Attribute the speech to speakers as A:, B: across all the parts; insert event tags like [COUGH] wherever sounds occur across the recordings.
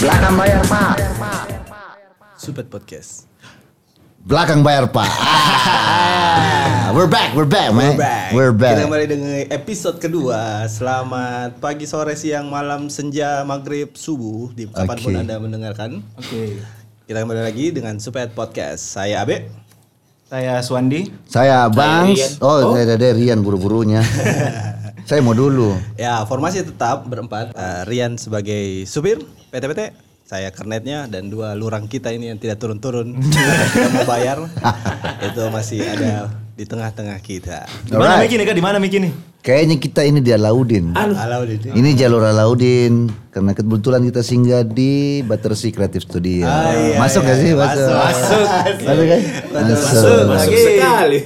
A: Belakang bayar pak.
B: Super Podcast.
A: Belakang bayar pak. [LAUGHS] Ah. we're back, we're back, man. We're back.
B: Kita kembali dengan episode kedua. Selamat pagi, sore, siang, malam, senja, maghrib, subuh. Di kapanpun
A: Oke.
B: Anda mendengarkan.
C: Oke,
B: Kita kembali lagi dengan Super Podcast. Saya Abe.
C: saya Suwandi.
A: Saya Bang. Oh, saya ada Rian buru-burunya. [LAUGHS] saya mau dulu.
B: Ya, formasi tetap berempat. Eh, Rian sebagai supir PT-PT. Saya kernetnya dan dua lurang kita ini yang tidak turun-turun. Yang mau bayar. Itu masih ada di tengah-tengah kita.
C: Di mana
A: Alright.
C: Miki nih kak? Di mana Miki nih?
A: Kayaknya kita ini di Alaudin.
B: Alhamdulillah.
A: Ini jalur Alaudin karena kebetulan kita singgah di Battersea Creative Studio. masuk gak sih? iya, Masuk.
C: Masuk.
A: Masuk kan? Masuk.
B: Masuk.
D: Masuk
C: Lagi.
D: sekali.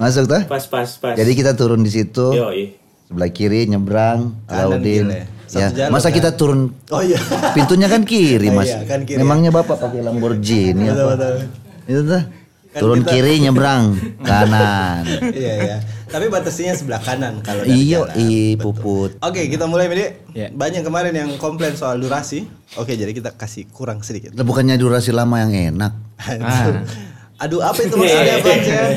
A: Masuk tuh.
D: Pas pas pas.
A: Jadi gitu. kita turun di situ.
D: Yoi.
A: sebelah kiri nyebrang
B: Kanan
A: Alaudin
B: kiri. Satu
A: ya
B: jalan,
A: masa
B: kan?
A: kita turun
B: Oh iya.
A: pintunya kan kiri
B: Oh
A: mas
B: iya, kan kiri.
A: memangnya bapak pakai Lamborghini
B: Betul,
A: apa
B: betul.
A: itu tuh turun
B: kita-
A: kiri
B: [LAUGHS]
A: nyebrang kanan
B: iya iya. Tapi batasnya sebelah kanan kalau dari
A: iyo
B: Iya, kanan.
A: i puput
B: Oke, kita mulai Midi.
C: Ya.
B: Banyak kemarin yang komplain soal durasi. Oke, jadi kita kasih kurang sedikit.
A: Lah, bukannya durasi lama yang enak
B: [LAUGHS] Aduh, apa itu maksudnya, Bang? Jen?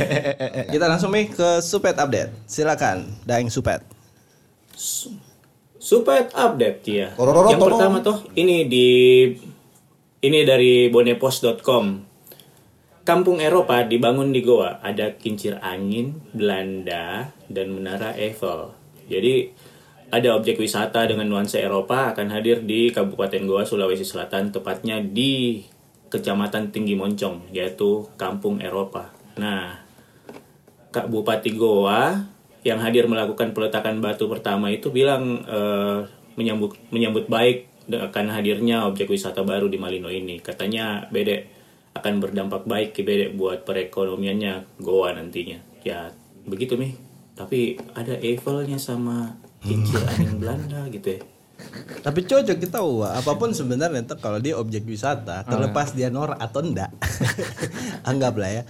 B: kita langsung Mi ke Supet update. Silakan, Daeng Supet.
D: Supaya update ya.
A: Kororo,
D: Yang
A: tolong.
D: pertama tuh ini di ini dari bonepos.com. Kampung Eropa dibangun di Goa, ada kincir angin, Belanda, dan Menara Eiffel. Jadi ada objek wisata dengan nuansa Eropa akan hadir di Kabupaten Goa, Sulawesi Selatan, tepatnya di Kecamatan Tinggi Moncong, yaitu Kampung Eropa. Nah, Kak Bupati Goa yang hadir melakukan peletakan batu pertama itu bilang eh, menyambut menyambut baik akan hadirnya objek wisata baru di Malino ini. Katanya Bede akan berdampak baik ke Bede buat perekonomiannya Goa nantinya. Ya begitu nih. Tapi ada Eiffelnya sama kincir angin Belanda gitu ya.
B: Tapi cocok kita wah, apapun sebenarnya tuh kalau dia objek wisata, terlepas dia nor atau [LAUGHS] enggak. Anggaplah ya.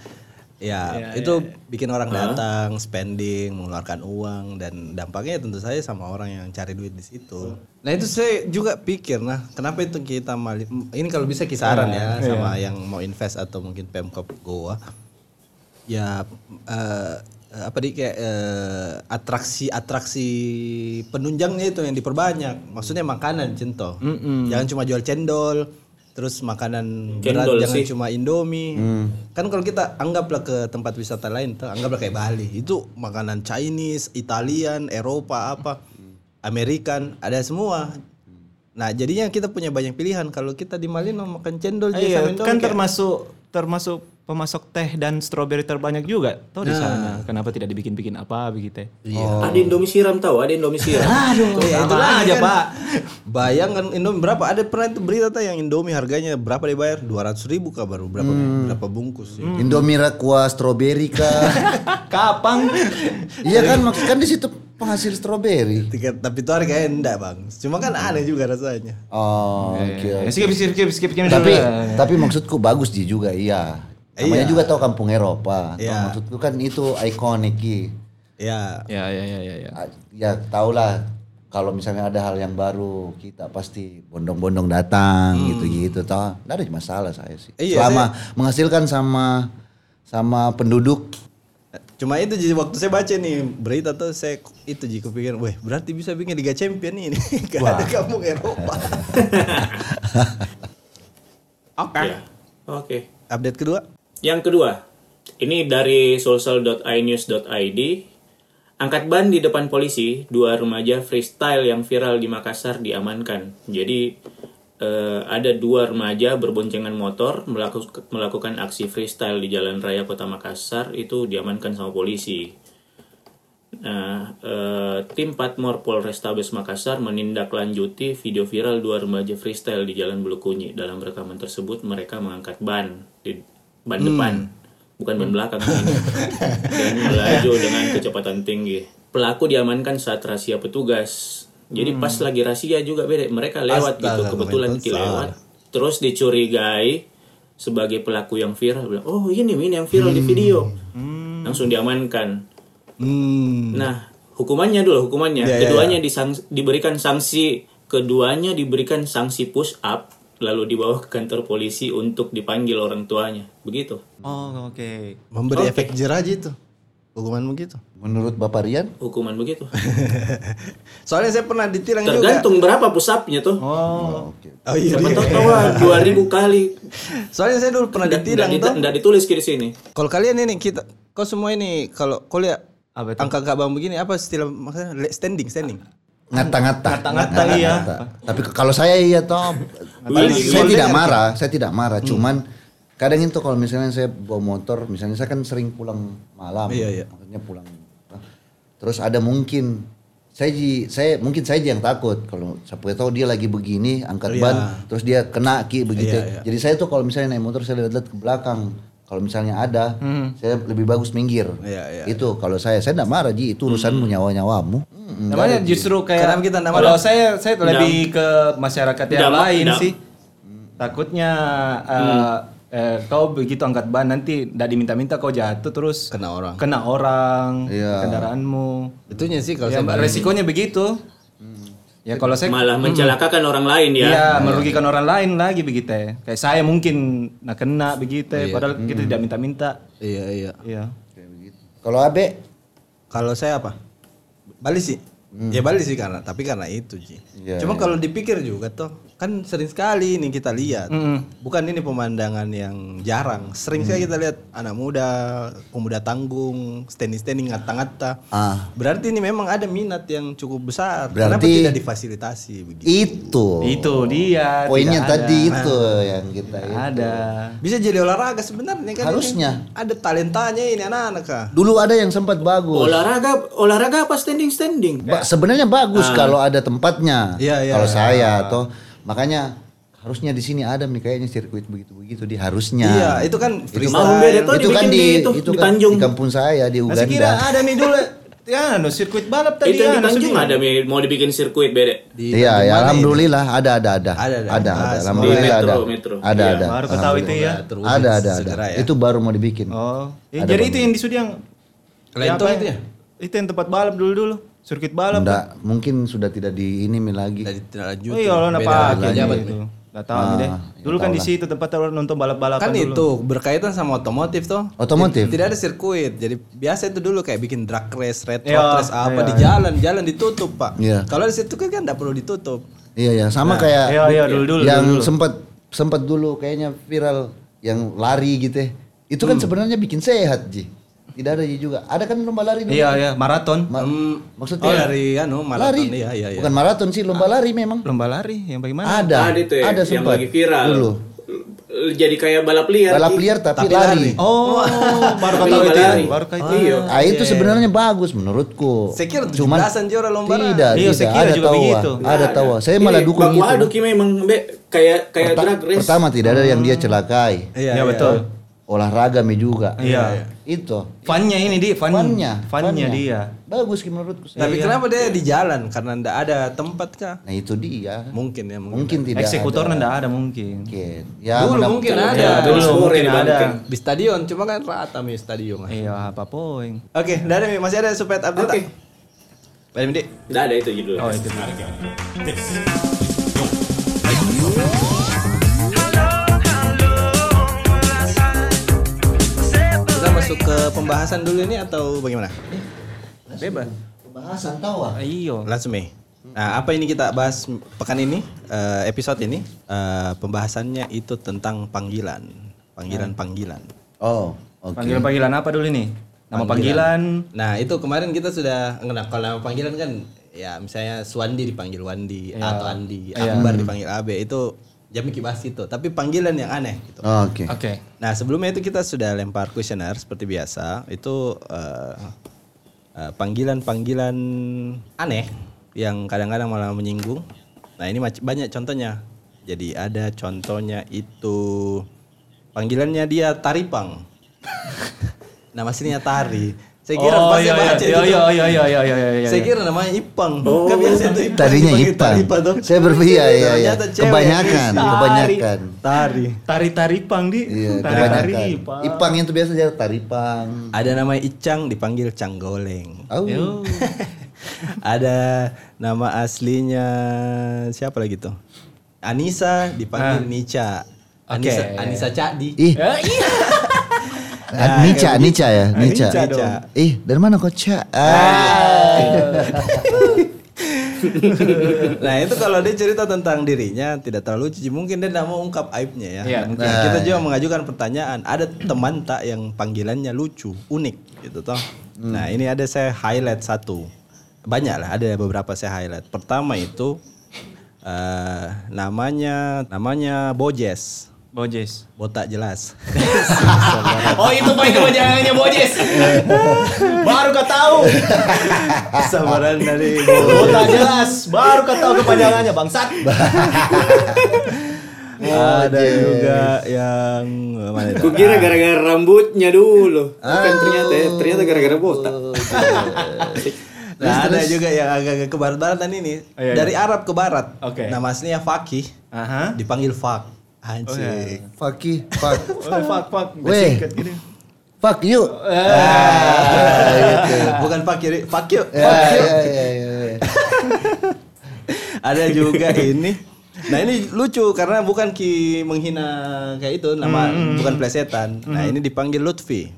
B: Ya, itu bikin orang datang, spending, mengeluarkan uang dan dampaknya tentu saja sama orang yang cari duit di situ. Nah, itu saya juga pikir nah, kenapa itu kita mali- ini kalau bisa kisaran ya sama yang mau invest atau mungkin Pemkop Goa. Ya eh, apa di kayak eh, atraksi-atraksi penunjangnya itu yang diperbanyak. Maksudnya makanan cento. Jangan cuma jual cendol, terus makanan berat
D: Cendol
B: jangan
D: sih.
B: cuma Indomie. Kan kalau kita anggaplah ke tempat wisata lain tuh, anggaplah kayak Bali, itu makanan Chinese, Italian, Eropa apa, American, ada semua. Nah, jadinya kita punya banyak pilihan kalau kita di Malino makan cendol
C: Ah,
B: dia
C: iya,
B: sama Indomie
C: kan
B: kayak-
C: termasuk termasuk pemasok teh dan stroberi terbanyak juga. Tahu di sana. Kenapa tidak dibikin-bikin apa begitu? ya?
D: Ada Indomie siram tahu, ada Indomie siram.
B: Aduh, ya, itu
C: sama
B: lagi
C: aja,
B: kan.
C: Pak.
B: Bayangkan kan, Indomie berapa? Ada pernah itu berita tuh yang Indomie harganya berapa dibayar? 200 ribu kah baru berapa
D: Hmm.
B: berapa bungkus ya. sih?
A: Indomie kuah stroberi kah
B: [LAUGHS]
C: Kapang.
A: iya kan maksud kan di situ penghasil stroberi
B: Tiga- tapi itu harganya enggak bang. Cuma
D: Hmm.
B: kan aneh juga rasanya.
A: oh
B: iya.
A: oke
C: Ya, skip skip skip skip skip.
A: tapi
C: dulu.
A: tapi maksudku bagus dia juga iya namanya juga tahu kampung Eropa Tahu
B: Iya.
A: maksudku kan itu ikonik Ki.
B: Ya,
C: ya ya ya ya ya.
A: A- ya tau lah kalau misalnya ada hal yang baru kita pasti bondong-bondong datang gitu-gitu toh nggak ada masalah Hmm. saya sih
B: Iya,
A: selama menghasilkan sama sama penduduk
B: cuma itu jadi waktu saya baca nih berita tuh saya itu jadi kepikiran, weh berarti bisa bikin Liga Champion ini [LAUGHS] karena ada kampung Eropa. Oke.
D: Ya. Oke.
B: Update kedua.
D: Yang kedua, ini dari solsel.inews.id. Angkat ban di depan polisi, dua remaja freestyle yang viral di Makassar diamankan. Jadi eh, ada dua remaja berboncengan motor melaku- melakukan aksi freestyle di jalan raya kota Makassar itu diamankan sama polisi. Nah, eh, tim Patmor Polrestabes Makassar menindaklanjuti video viral dua remaja freestyle di Jalan Bulukunyi. Dalam rekaman tersebut, mereka mengangkat ban di ban depan, bukan ban belakang, dan melaju dengan kecepatan tinggi. Pelaku diamankan saat rahasia petugas. Jadi pas lagi rahasia juga beda, mereka lewat
B: Astaga,
D: gitu kebetulan
B: pemain
D: ki
B: futsal.
D: lewat. Terus dicurigai sebagai pelaku yang viral, bilang, oh ini ini yang viral di video, langsung diamankan.
B: Hmm.
D: Nah, hukumannya dulu hukumannya.
B: Ya, ya,
D: keduanya disang- diberikan sanksi, keduanya diberikan sanksi push up lalu dibawa ke kantor polisi untuk dipanggil orang tuanya. Begitu.
C: Oh, oke.
B: Memberi efek jerah gitu. Hukuman begitu. [LAUGHS]
A: Menurut Bapak Rian,
D: Hukuman begitu.
B: Soalnya saya pernah ditilang juga.
D: Tergantung berapa pusapnya tuh.
A: oh, oke.
B: Oh iya.
D: Siapa
B: dia.
D: tahu dua 2000 kali.
B: Soalnya saya dulu pernah
D: Nggak-
B: ditilang
D: nggak
B: tuh.
D: dita- nggak ditulis di sini.
B: Kalau kalian ini kita kau semua ini kalau kau lihat
C: Apa itu?
B: angka kabang begini apa istilah maksudnya Le- standing standing.
A: ngata-ngata.
C: Ngata-ngata, iya.
A: Tapi ke- kalau saya iya toh,
D: Willy,
A: saya
B: Willy.
A: tidak marah, saya tidak marah.
B: Hmm.
A: Cuman kadang itu kalau misalnya saya bawa motor, misalnya saya kan sering pulang malam,
B: Iya, iya.
A: maksudnya pulang. nah, Terus ada mungkin saya ji- saya mungkin saya aja yang takut kalau siapa tahu dia lagi begini angkat
B: Iya.
A: ban terus dia kena ki begitu.
B: Iya, iya.
A: Jadi saya tuh kalau misalnya naik motor saya lihat-lihat ke belakang. Kalau misalnya ada, saya lebih bagus minggir.
B: Hmm. Iya, Hmm. iya.
A: Itu kalau saya saya tidak marah ji, itu urusanmu nyawa-nyawamu. Mm-mm.
C: Namanya justru kayak
B: Karena kita nama-
C: kalau saya saya lebih ke masyarakat yang
D: Dampak-
C: lain
D: dampak.
C: sih. Takutnya eh, eh, kau begitu angkat ban nanti tidak diminta-minta kau jatuh terus
B: Kena orang.
C: kena orang
A: Iya.
C: kendaraanmu.
B: Itunya sih kalau
C: Ya,
B: saya
C: Mbak, resikonya begitu. Ya kalau saya
D: Malah
B: Hmm.
D: mencelakakan orang lain ya.
C: Iya, merugikan orang lain lagi begitu. ya. Kayak saya mungkin nah kena begitu, ya, padahal kita tidak minta-minta.
B: Iya iya.
C: Iya.
A: Kayak begitu. Kalau Abe,
B: Kalau saya apa? Balik sih. Ya balik sih karena tapi karena itu Ji.
A: Hmm. Iya,
B: Cuma kalau dipikir juga toh kan sering sekali ini kita lihat.
A: Hmm.
B: Bukan ini pemandangan yang jarang. Sering sekali kita lihat anak muda, pemuda tanggung, standing-standing ngata-ngata.
A: Ah.
B: Berarti ini memang ada minat yang cukup besar. Kenapa
A: Berarti-
B: tidak difasilitasi begitu?
A: itu
C: Itu dia.
A: Oh. poinnya
C: tidak
A: tadi
C: ada.
A: itu yang kita
C: Tidak ada.
B: Bisa jadi olahraga sebenarnya kan. ini.
A: Harusnya.
B: ada talentanya ini anak-anak Kak.
A: dulu ada yang sempat bagus
D: Olahraga olahraga apa standing standing?
A: Ba- sebenarnya bagus kalau ada tempatnya
B: Iya, iya.
A: kalau saya atau makanya harusnya di sini ada nih kayaknya sirkuit begitu-begitu di harusnya
B: Iya, itu kan
D: Mau
B: freestyle.
D: beda tuh
A: itu kan
D: dibikin
A: di,
D: itu,
A: itu
D: di
A: kan
D: Tanjung.
A: di kampung saya di
C: Masih kira
A: Uganda
C: ada nih dulu. Ya, no sirkuit balap tadi.
D: itu
B: Iya,
D: yang di
C: ya, no
D: Tanjung
C: sirkuit.
D: ada Mi, mau dibikin sirkuit beda.
A: iya
B: Di- di
A: ya
B: mana ini?
A: alhamdulillah ada ada ada
B: Ada, ada.
A: ada
B: Ah,
A: ada
B: di
A: alhamdulillah ada
D: metro, metro.
A: ada
D: Iya,
A: ada
C: baru ketahu itu ya.
A: Alhamdulillah.
B: Terwujud
A: ada ada ada
B: segera ya.
A: itu baru mau dibikin
C: Oh. Ya,
A: Ada
C: jadi
A: Bang.
C: itu yang di Sudiang.
B: Lentong
C: apa
B: itu ya?
C: Itu yang tempat balap dulu dulu. Sirkuit balap.
A: Nggak, mungkin sudah tidak di ini mi lagi
B: Dari tindak lanjut.
C: Oh iya, lo
B: Beda
C: napa
B: lagi.
C: akhirnya itu. Enggak tahu nih deh. Dulu kan di situ tempat orang nonton balap-balapan
B: Kan
C: dulu.
B: itu berkaitan sama otomotif tuh.
A: Otomotif?
B: Tidak ada sirkuit. Jadi biasa itu dulu kayak bikin drag race, retro
C: Iya,
B: race apa
C: iya,
B: di jalan, jalan ditutup, Pak.
A: Iya.
B: Kalau di sirkuit kan enggak perlu ditutup.
A: iya ya sama kayak
C: Iya, iya, dulu dulu.
A: yang
C: dulu.
A: sempat sempat dulu kayaknya viral yang lari gitu ya. Itu kan sebenarnya bikin sehat, Ji. Tidak ada Ji juga. Ada kan lomba lari dulu.
C: Iya, iya, maraton.
A: Ma-
B: Oh,
A: maksudnya
B: dari anu
A: lari.
B: maraton iya iya iya.
A: Bukan maraton sih, lomba lari memang.
C: Lomba lari yang bagaimana?
A: Ada.
D: Ada itu ya,
A: ada
D: yang
A: sempat.
D: lagi viral. Iya,
A: Dulu.
D: L- Jadi kayak balap liar.
A: Balap
D: Ki.
A: liar tapi,
B: Tapi
A: lari.
B: lari.
C: Oh, baru
D: Tapi
C: tahu
D: lomba
C: itu. ya?
D: lari.
C: Baru tahu itu.
D: Iya.
A: Ah, itu sebenarnya bagus menurutku.
B: Saya kira
A: Cuman
B: 17-an Jora lomba lari.
A: Tidak,
C: Iya, saya
A: tidak.
C: kira
A: Ada
C: juga
A: tawa.
C: begitu.
A: Ada tawa. Saya
D: Iya, Ini
A: malah dukung
D: baku
A: itu.
D: aduk ini memang be kayak kayak
A: Perta-
D: drag race. Hmm.
A: pertama tidak ada yang dia celakai.
B: Iya,
C: Ya,
B: iya.
C: betul.
A: Olahraga me juga.
C: Iya.
A: Itu.
C: Funnya ini di fun,
A: Fannya,
C: funnya dia.
A: Bagus sih menurutku. saya.
C: Iya.
B: Tapi kenapa dia di jalan? Karena enggak ada tempat kah?
A: Nah itu dia. Mungkin,
B: Mungkin ya mungkin.
A: tidak.
C: Eksekutornya
A: ada.
C: enggak ada mungkin.
A: Mungkin. Ya,
B: Dulu
A: mudah-
B: mungkin
D: Kalau
B: ada.
D: dia
C: Dulu
D: sport
C: mungkin
D: di
C: ada.
D: Banteng.
B: Di stadion cuma kan rata mi stadion. ah.
C: Iya, apa poin?
B: Oke, dari Mi, masih ada supaya update.
D: Oke.
B: tak? Dari Mi, Dik.
D: Nggak ada itu judulnya.
A: iya.
C: Oh, itu.
B: Kita masuk ke pembahasan dulu ini atau bagaimana?
C: Iya. Bebas.
A: Pembahasan tahu ah.
C: Iya.
B: Langsung Mi. Nah, apa ini kita bahas pekan ini? eh, episode ini eh, pembahasannya itu tentang panggilan,
C: Nah.
B: panggilan-panggilan.
A: Oh, oke.
C: Panggilan-panggilan apa dulu nih? Nama panggilan.
B: Nah, itu kemarin kita sudah ngenal kalau nama panggilan kan ya misalnya Suwandi dipanggil Wandi
C: Iya.
B: atau Andi, Akbar dipanggil Abe itu Jami kibas itu, tapi panggilan yang aneh gitu.
A: Oke.
C: Oke.
B: Nah sebelumnya itu kita sudah lempar kuesioner seperti biasa itu eh, eh, panggilan-panggilan aneh yang kadang-kadang malah menyinggung. Nah ini mac- banyak contohnya. Jadi ada contohnya itu panggilannya dia taripang. [LAUGHS] Nama aslinya tari. Saya kira
C: oh,
B: pas saya
C: iya, iya,
B: baca
C: iya,
B: itu
C: iya,
B: tuh,
C: iya, iya, iya, iya, iya, Oh.
B: Saya
C: iya.
B: kira namanya Ipang. Kan biasa itu Ipang
A: Tadinya
B: dipanggil
A: Ipang.
B: taripang tuh.
A: Saya berpikir ya, ya,
B: Ternyata cewek.
A: Kebanyakan,
C: Tari.
A: kebanyakan.
B: Tari.
C: Tari-tari pang di.
A: Iya,
C: Tari-tari
A: kebanyakan.
C: pang.
A: Ipang itu biasa jadi taripang.
B: Ada namanya Icang dipanggil Canggoleng.
A: [LAUGHS] Oh.
C: Yo.
B: ada nama aslinya siapa lagi tuh Anissa dipanggil Nica. Anissa, Anissa Cadi.
A: Ih. Ah, Nica, Nica ya, Nica.
B: Nica dong.
A: Ih, dari mana kok Ca? Ah.
B: [LAUGHS] nah itu kalau dia cerita tentang dirinya tidak terlalu cuci mungkin dia tidak mau ungkap aibnya ya.
C: Iya.
B: Mungkin kita juga mengajukan pertanyaan ada teman tak yang panggilannya lucu unik gitu toh. Nah ini ada saya highlight satu banyak lah ada beberapa saya highlight. Pertama itu eh, namanya namanya Bojes
C: Bojes.
B: botak jelas.
D: Oh itu poin kepanjangannya Bojes. Baru kau tahu.
B: Samaran dari
D: Botak jelas. Baru kau tahu kepanjangannya
A: [LAUGHS]
D: bangsat.
B: [LAUGHS] ada juga yang mana itu?
D: Gue
A: Ah.
D: kira gara-gara rambutnya dulu. Bukan ternyata ya. Ternyata gara-gara botak.
B: Nah, ada juga yang agak-agak ke barat-baratan ini.
C: iya,
B: Dari Arab ke barat.
C: Oke.
B: Nama aslinya Fakih.
C: [LAUGHS] Aha.
B: Dipanggil Fak.
C: iya.
B: Anjing.
A: Fakih, fuck.
C: Oh, fuck fuck. Udah
A: Weh.
C: singkat gini.
A: Fuck you.
B: Ah, gitu. Bukan Fakir,
C: [LAUGHS]
B: Fakir.
A: Ya,
C: Iya,
A: ya, ya, ya, ya.
B: ada juga ini. Nah, ini lucu karena bukan Ki menghina kayak itu, nama
C: Hmm,
B: bukan plesetan. Nah, ini dipanggil Lutfi.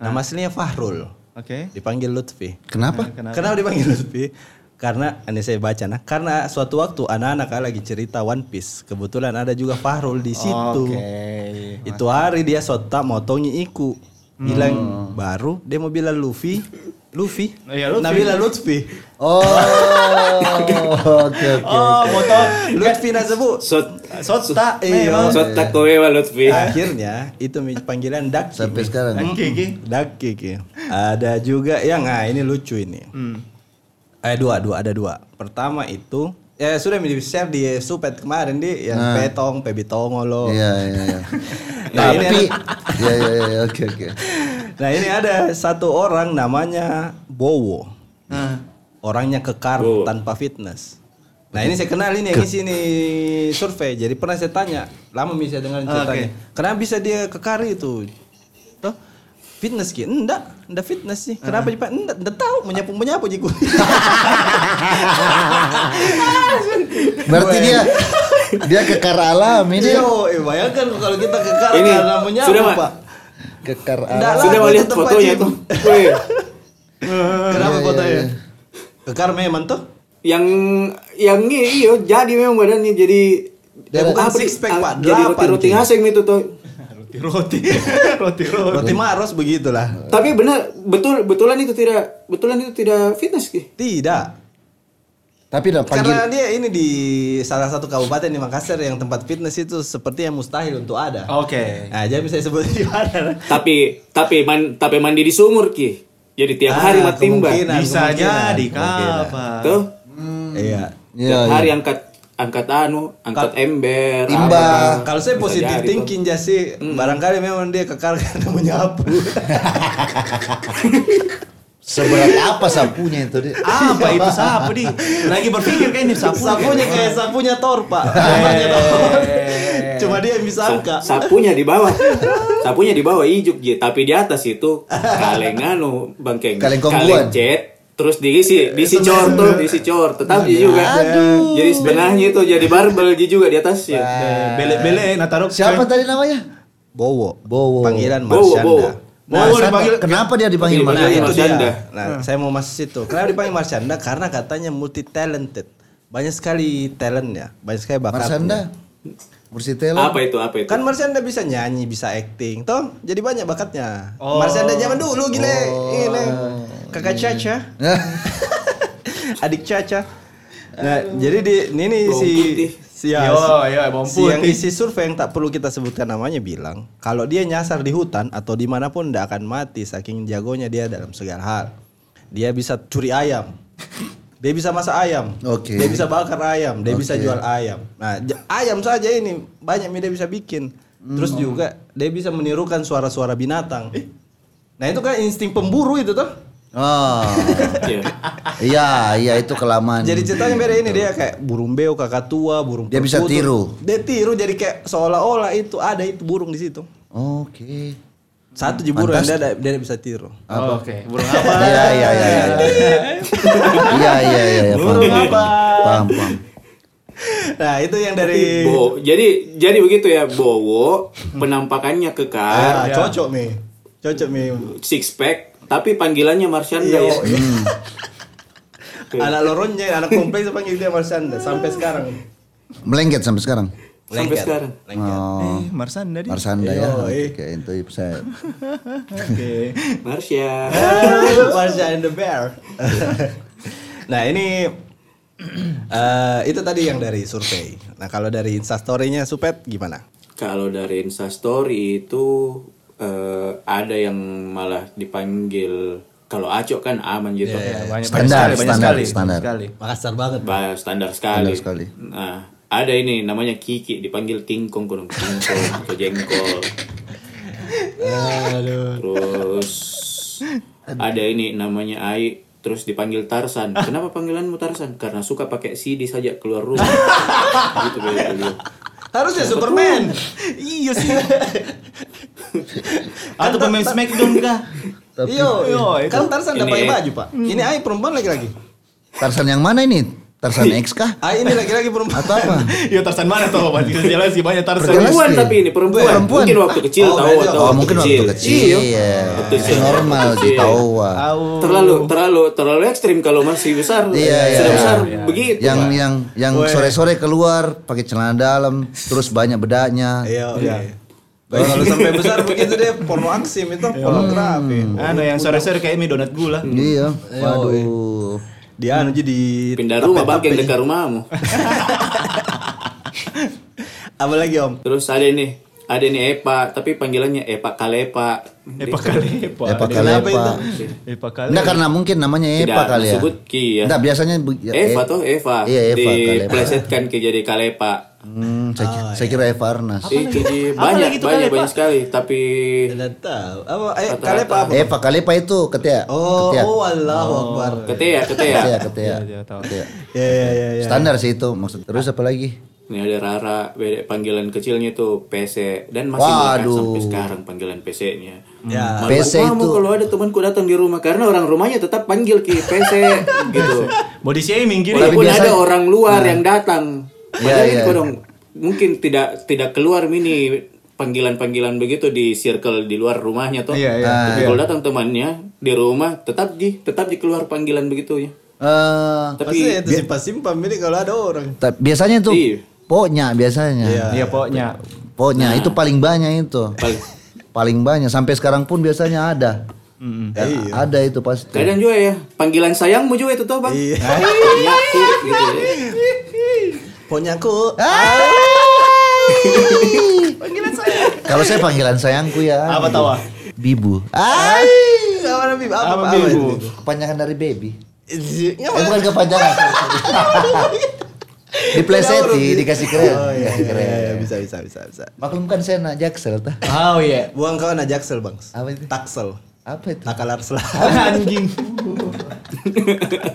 B: Nama aslinya Fahrul.
C: Oke.
B: Dipanggil Lutfi.
A: Kenapa?
B: Kenapa? dipanggil Lutfi? Karena ini saya baca nah, karena suatu waktu anak-anak kan lagi cerita One Piece, kebetulan ada juga Fahrul di situ. Itu hari dia sota motongi iku. Bilang baru dia mau bilang Luffy, Luffy.
C: Oh, iya, Luffy.
B: Nabila Lutfi.
A: Oh, [LAUGHS] oke oke.
C: Oh, motor.
B: Lutfi
C: [LAUGHS]
B: Nazabu.
D: Sot
C: Sota.
A: Oh,
B: Iya.
D: sot tak kowe wa Lutfi.
B: Akhirnya itu mi- panggilan Daki.
A: Sampai sekarang.
C: Gigi.
B: Daki. Ki. Ada juga yang nah ini lucu ini.
C: Hmm.
B: Eh dua dua ada dua. Pertama itu ya sudah di share di supet kemarin di yang petong
A: Nah.
B: pebitongolo.
A: Iya, iya, iya.
B: Nah, Oh. ini
A: Tapi, ya, ya, ya, ya, oke oke.
B: [LAUGHS] Nah ini ada satu orang namanya Bowo.
C: Nah.
B: Orangnya kekar
D: Bowo.
B: tanpa fitness. Nah ini saya kenal ini yang isi ini survei. Jadi pernah saya tanya, lama mi saya dengar ceritanya. Kenapa bisa dia kekar itu? Toh fitness ki? Enggak, enggak fitness sih. Kenapa cepat? Enggak, enggak tahu menyapu menyapu jiku.
A: Berarti dia dia kekar alam [LAUGHS] ini.
B: [LAUGHS] Yo, eh, bayangkan kalau kita kekar
D: Ini,
B: karena menyapu
D: sudah, Pak.
B: pak.
A: Kekar
B: Nggak
A: alam.
B: lah,
D: Sudah mau
B: itu
D: lihat
B: tempat
D: fotonya
B: gym.
D: tuh. Weh,
A: Iya,
B: Kenapa ya? fotonya? Kekar memang tuh.
D: Yang yang ini iyo jadi memang badannya jadi
B: Dia bukan
D: apa
B: six
D: sih? Ah,
B: pack, Pak.
D: Jadi
B: Delapan,
D: roti-roti
B: Ki.
D: ngaseng itu tuh.
A: Eh.
C: Roti roti. [LAUGHS] Roti roti.
B: Roti maros begitulah.
D: Tapi benar betul betulan itu tidak betulan itu tidak fitness ki.
B: Tidak.
A: Tapi udah panggil
B: Karena dia ini di salah satu kabupaten di Makassar yang tempat fitness itu seperti yang mustahil untuk ada.
D: Oh.
C: Oke.
B: Nah, jadi bisa sebut di mana.
D: Tapi tapi man, tapi mandi di sumur ki. Jadi tiap hari
B: Ah,
D: mati timba.
B: kemungkinan,
C: Bisa
B: kemungkinan,
C: jadi
B: kemungkinan.
C: kapan?
D: Tuh.
A: Hmm.
B: Iya.
D: tiap
A: Iya,
D: hari angkat angkat anu, angkat ember,
A: Timba.
D: apa.
B: Kalau saya
D: Bisa
B: positif
D: jadi, Hmm.
B: thinking ya sih, barangkali memang dia [LAUGHS] kekal karena menyapu.
A: seberat apa sapunya itu dia?
C: Apa itu sapu di? Lagi berpikir kayak ini sapu.
D: ya?
B: sapunya kayak sapunya tor,
D: [LAUGHS]
B: Pak. Sapunya tor. Cuma dia yang bisa
D: Sa-
B: angka.
D: sapunya di bawah. sapunya di bawah ijuk ji, tapi di atas itu kaleng anu bangkeng.
A: Kaleng kongguan.
D: cat, terus diisi
B: Iya,
D: diisi cor tuh, diisi cor. Tetap ji juga. Jadi sebenarnya itu jadi barbel ji juga di atas ya.
C: Bele-bele natarok.
A: Siapa tadi namanya?
B: Bowo.
A: Bowo.
B: Panggilan
D: Bowo, Bowo.
B: Marsyanda.
A: Nah,
C: Bowo
A: saya-
C: dipanggil-
A: kenapa dia dipanggil
B: Nah,
D: Dipanggil
A: Marsyanda?
D: Marsyanda.
B: itu dia.
D: Marsyanda.
B: Nah, saya mau masuk situ. Kenapa dipanggil Marsyanda? Karena katanya multi talented. Banyak sekali talentnya, banyak sekali
A: Marsyanda?
B: bakatnya.
A: Mursitelo?
D: Apa ya? itu? Apa itu?
B: Kan Marsyanda bisa nyanyi, bisa acting, toh? Jadi banyak bakatnya.
C: Oh.
B: Marsyanda zaman dulu gile, gile. Kakak Caca, [LAUGHS] adik Caca. Nah, jadi di ini nih
D: Bawang
B: si
D: putih.
B: si ya,
C: Yo,
B: si-
C: yo, bawang
B: si yang
C: putih.
B: isi survei yang tak perlu kita sebutkan namanya bilang kalau dia nyasar di hutan atau dimanapun tidak akan mati saking jagonya dia dalam segala hal. Dia bisa curi ayam, dia bisa masak ayam,
A: Oke.
B: dia bisa bakar ayam, dia bisa
A: Oke.
B: jual ayam. Nah j- ayam saja ini banyak yang dia bisa bikin. Terus juga dia bisa menirukan suara-suara binatang. Nah itu kan insting pemburu itu tuh.
A: [LAUGHS] Oh.
D: Iya.
A: Iya, iya itu kelamaan.
B: Jadi ceritanya beda ini dia kayak burung beo, kakak tua, burung
A: Dia bisa
B: perkutut.
A: tiru.
B: Dia tiru jadi kayak seolah-olah itu ada itu burung di situ.
A: Oke.
B: Satu je burung dia, ada- dia bisa tiru.
C: Oke. Burung apa?
A: Iya, iya, iya. Iya, iya, iya, iya. Paham,
B: Burung apa?
A: paham. paham.
B: nah itu yang dari
D: Bo, jadi jadi begitu ya Bowo penampakannya
B: Hmm. Ah,
D: kekar,
B: cocok nih cocok nih
D: six pack, tapi panggilannya Marsyanda ya.
B: anak loronnya anak kompleks panggil dia Marsanda sampai sekarang
A: Melengket sampai sekarang.
D: Sampai
B: Lengket.
D: sekarang.
B: Lengket.
A: Oh,
C: Eh, Marsan tadi.
A: Marsanda ya.
B: Yoi.
A: Oke, itu saya.
B: oke
D: Marsya.
B: Marsha and the Bear. [LAUGHS] nah ini [CLEARS THROAT] eh, itu tadi yang dari survei. Nah kalau dari instastorynya Supet gimana?
D: Kalau dari Instastory itu eh, ada yang malah dipanggil kalau acok kan aman gitu.
B: Iya,
A: Standar,
C: Banyak, banyak sekali, banyak
A: standar,
C: sekali,
A: standar.
C: banyak sekali.
B: Makassar banget.
D: Bah, standar sekali.
A: Standar sekali.
D: Nah, ada ini namanya Kiki dipanggil Kingkong kurang Kingkong atau Jengkol. Terus ada ini namanya Ai terus dipanggil Tarsan. Kenapa panggilanmu Tarsan? Karena suka pakai CD saja keluar rumah.
A: [LAUGHS]
D: gitu beda beliau.
B: Harusnya Superman.
C: Iya sih. Atau pemain Smackdown kah?
B: Iyo, iyo.
C: itu-
B: Kan Tarsan udah
D: ini-
B: pakai baju pak. Ini ay perempuan lagi-lagi.
A: Tarsan yang mana ini? Tarsan X kah?
B: Ay ini lagi-lagi perempuan.
A: Atau apa?
C: Iya Tarsan mana tuh? Pak? Kita jalan sih banyak Tarsan.
A: Pergelas.
D: Perempuan
A: Pasti.
D: tapi ini perempuan.
A: Perempuan.
D: Mungkin waktu kecil
B: Oh,
D: tahu
B: berarti-
D: atau
A: Oh, mungkin waktu kecil.
D: Iya.
A: Iya.
D: Waktu
A: Itu
D: kecil.
A: normal
D: Waktu
A: di
D: kecil.
A: Tawa.
D: Terlalu terlalu terlalu ekstrim kalau masih besar.
A: Iya, iya.
D: Sudah besar
A: Iya.
D: begitu.
A: Yang
D: Pak.
A: yang yang sore-sore keluar pakai celana dalam, terus banyak bedanya.
B: Iya. Kalau sampai besar begitu deh porno aksim itu pornografi.
C: Anu yang sore-sore kayak mie donat gula.
A: Iya. Waduh.
B: Dia anu jadi
D: pindah rumah bahkan dekat rumahmu.
B: apa lagi om?
D: Terus ada ini, ada ini Epa, tapi panggilannya Epa Kalepa.
C: Epa kali, ya? Epa.
A: Epa
B: Kenapa
A: Kalepa.
B: itu?
C: Epa kali.
A: Enggak karena mungkin namanya Epa
D: Tidak
A: kali ya.
D: disebut Ki ya.
A: Enggak biasanya bu- ya,
D: Eva
A: E-
D: tuh Eva.
A: Iya Eva Kalepa.
D: Diplesetkan ke jadi Kalepa.
A: Hmm, saya, ki- saya kira Eva Arnas.
D: Itu di-
C: Apa
D: banyak
C: lagi itu
D: banyak
C: Kalepa?
D: banyak sekali, tapi
B: Tidak tahu. Apa? Eh kalian apa?
A: Eva Kalepa itu ketia.
B: Oh,
A: ketia.
B: oh Allahu Akbar.
D: ketea ketea.
A: Ketia, ketia.
C: Iya, tahu.
A: Ketia.
B: Ya ya ya ya.
A: Standar sih itu maksud. Terus apa lagi?
D: Ini ada Rara, beda- panggilan kecilnya tuh PC dan masih melekat
A: Waduh.
D: sampai sekarang panggilan PC-nya.
B: Ya.
A: PC
D: Kamu
A: itu-
D: kalau ada temanku datang di rumah karena orang rumahnya tetap panggil Ki PC gitu.
C: Body shaming gini.
D: Walaupun
A: biasa-
D: ada orang luar yang datang.
A: Iya,
D: Padahal
A: iya.
D: itu dong, mungkin tidak tidak keluar mini panggilan-panggilan begitu di circle di luar rumahnya toh.
C: Iya, iya.
D: Tapi kalau datang temannya di rumah tetap di tetap di keluar panggilan begitu ya.
A: Eh,
B: Tapi
D: Tapi
B: itu simpan simpan ini kalau ada orang.
A: ta- biasanya itu
D: Iya.
A: poknya biasanya.
C: Iya, pokoknya.
A: Poknya
B: Nah.
A: itu paling banyak itu.
D: paling-
A: Paling banyak sampai sekarang pun biasanya ada. Ya,
B: Iya.
A: Ada itu pasti.
D: kadang juga ya panggilan sayangmu juga itu toh, Bang.
B: Iya.
D: Nyaku, gitu ya.
B: Ponyaku.
A: Kalau saya panggilan sayangku ya.
C: Apa tawa?
A: Bibu. Ah,
B: Apa nabi? Apa
C: Apa
B: apa Iya.
C: bibu?
B: itu?
A: kepanjangan dari baby.
B: Nggak
A: Eh,
B: apa-
A: bukan kepanjangan. Dipleset
B: Tidak,
A: dikasih keren,
B: Oh, iya,
A: dikasih
B: iya,
A: keren.
B: iya, bisa bisa bisa bisa.
A: Maklumkan saya nak jaksel tah.
C: Oh iya.
B: Buang kau anak jaksel bang.
A: Apa itu?
B: Taksel.
A: Apa itu?
B: Takalar
A: [LAUGHS]
B: selah.
C: [LAUGHS] Anjing.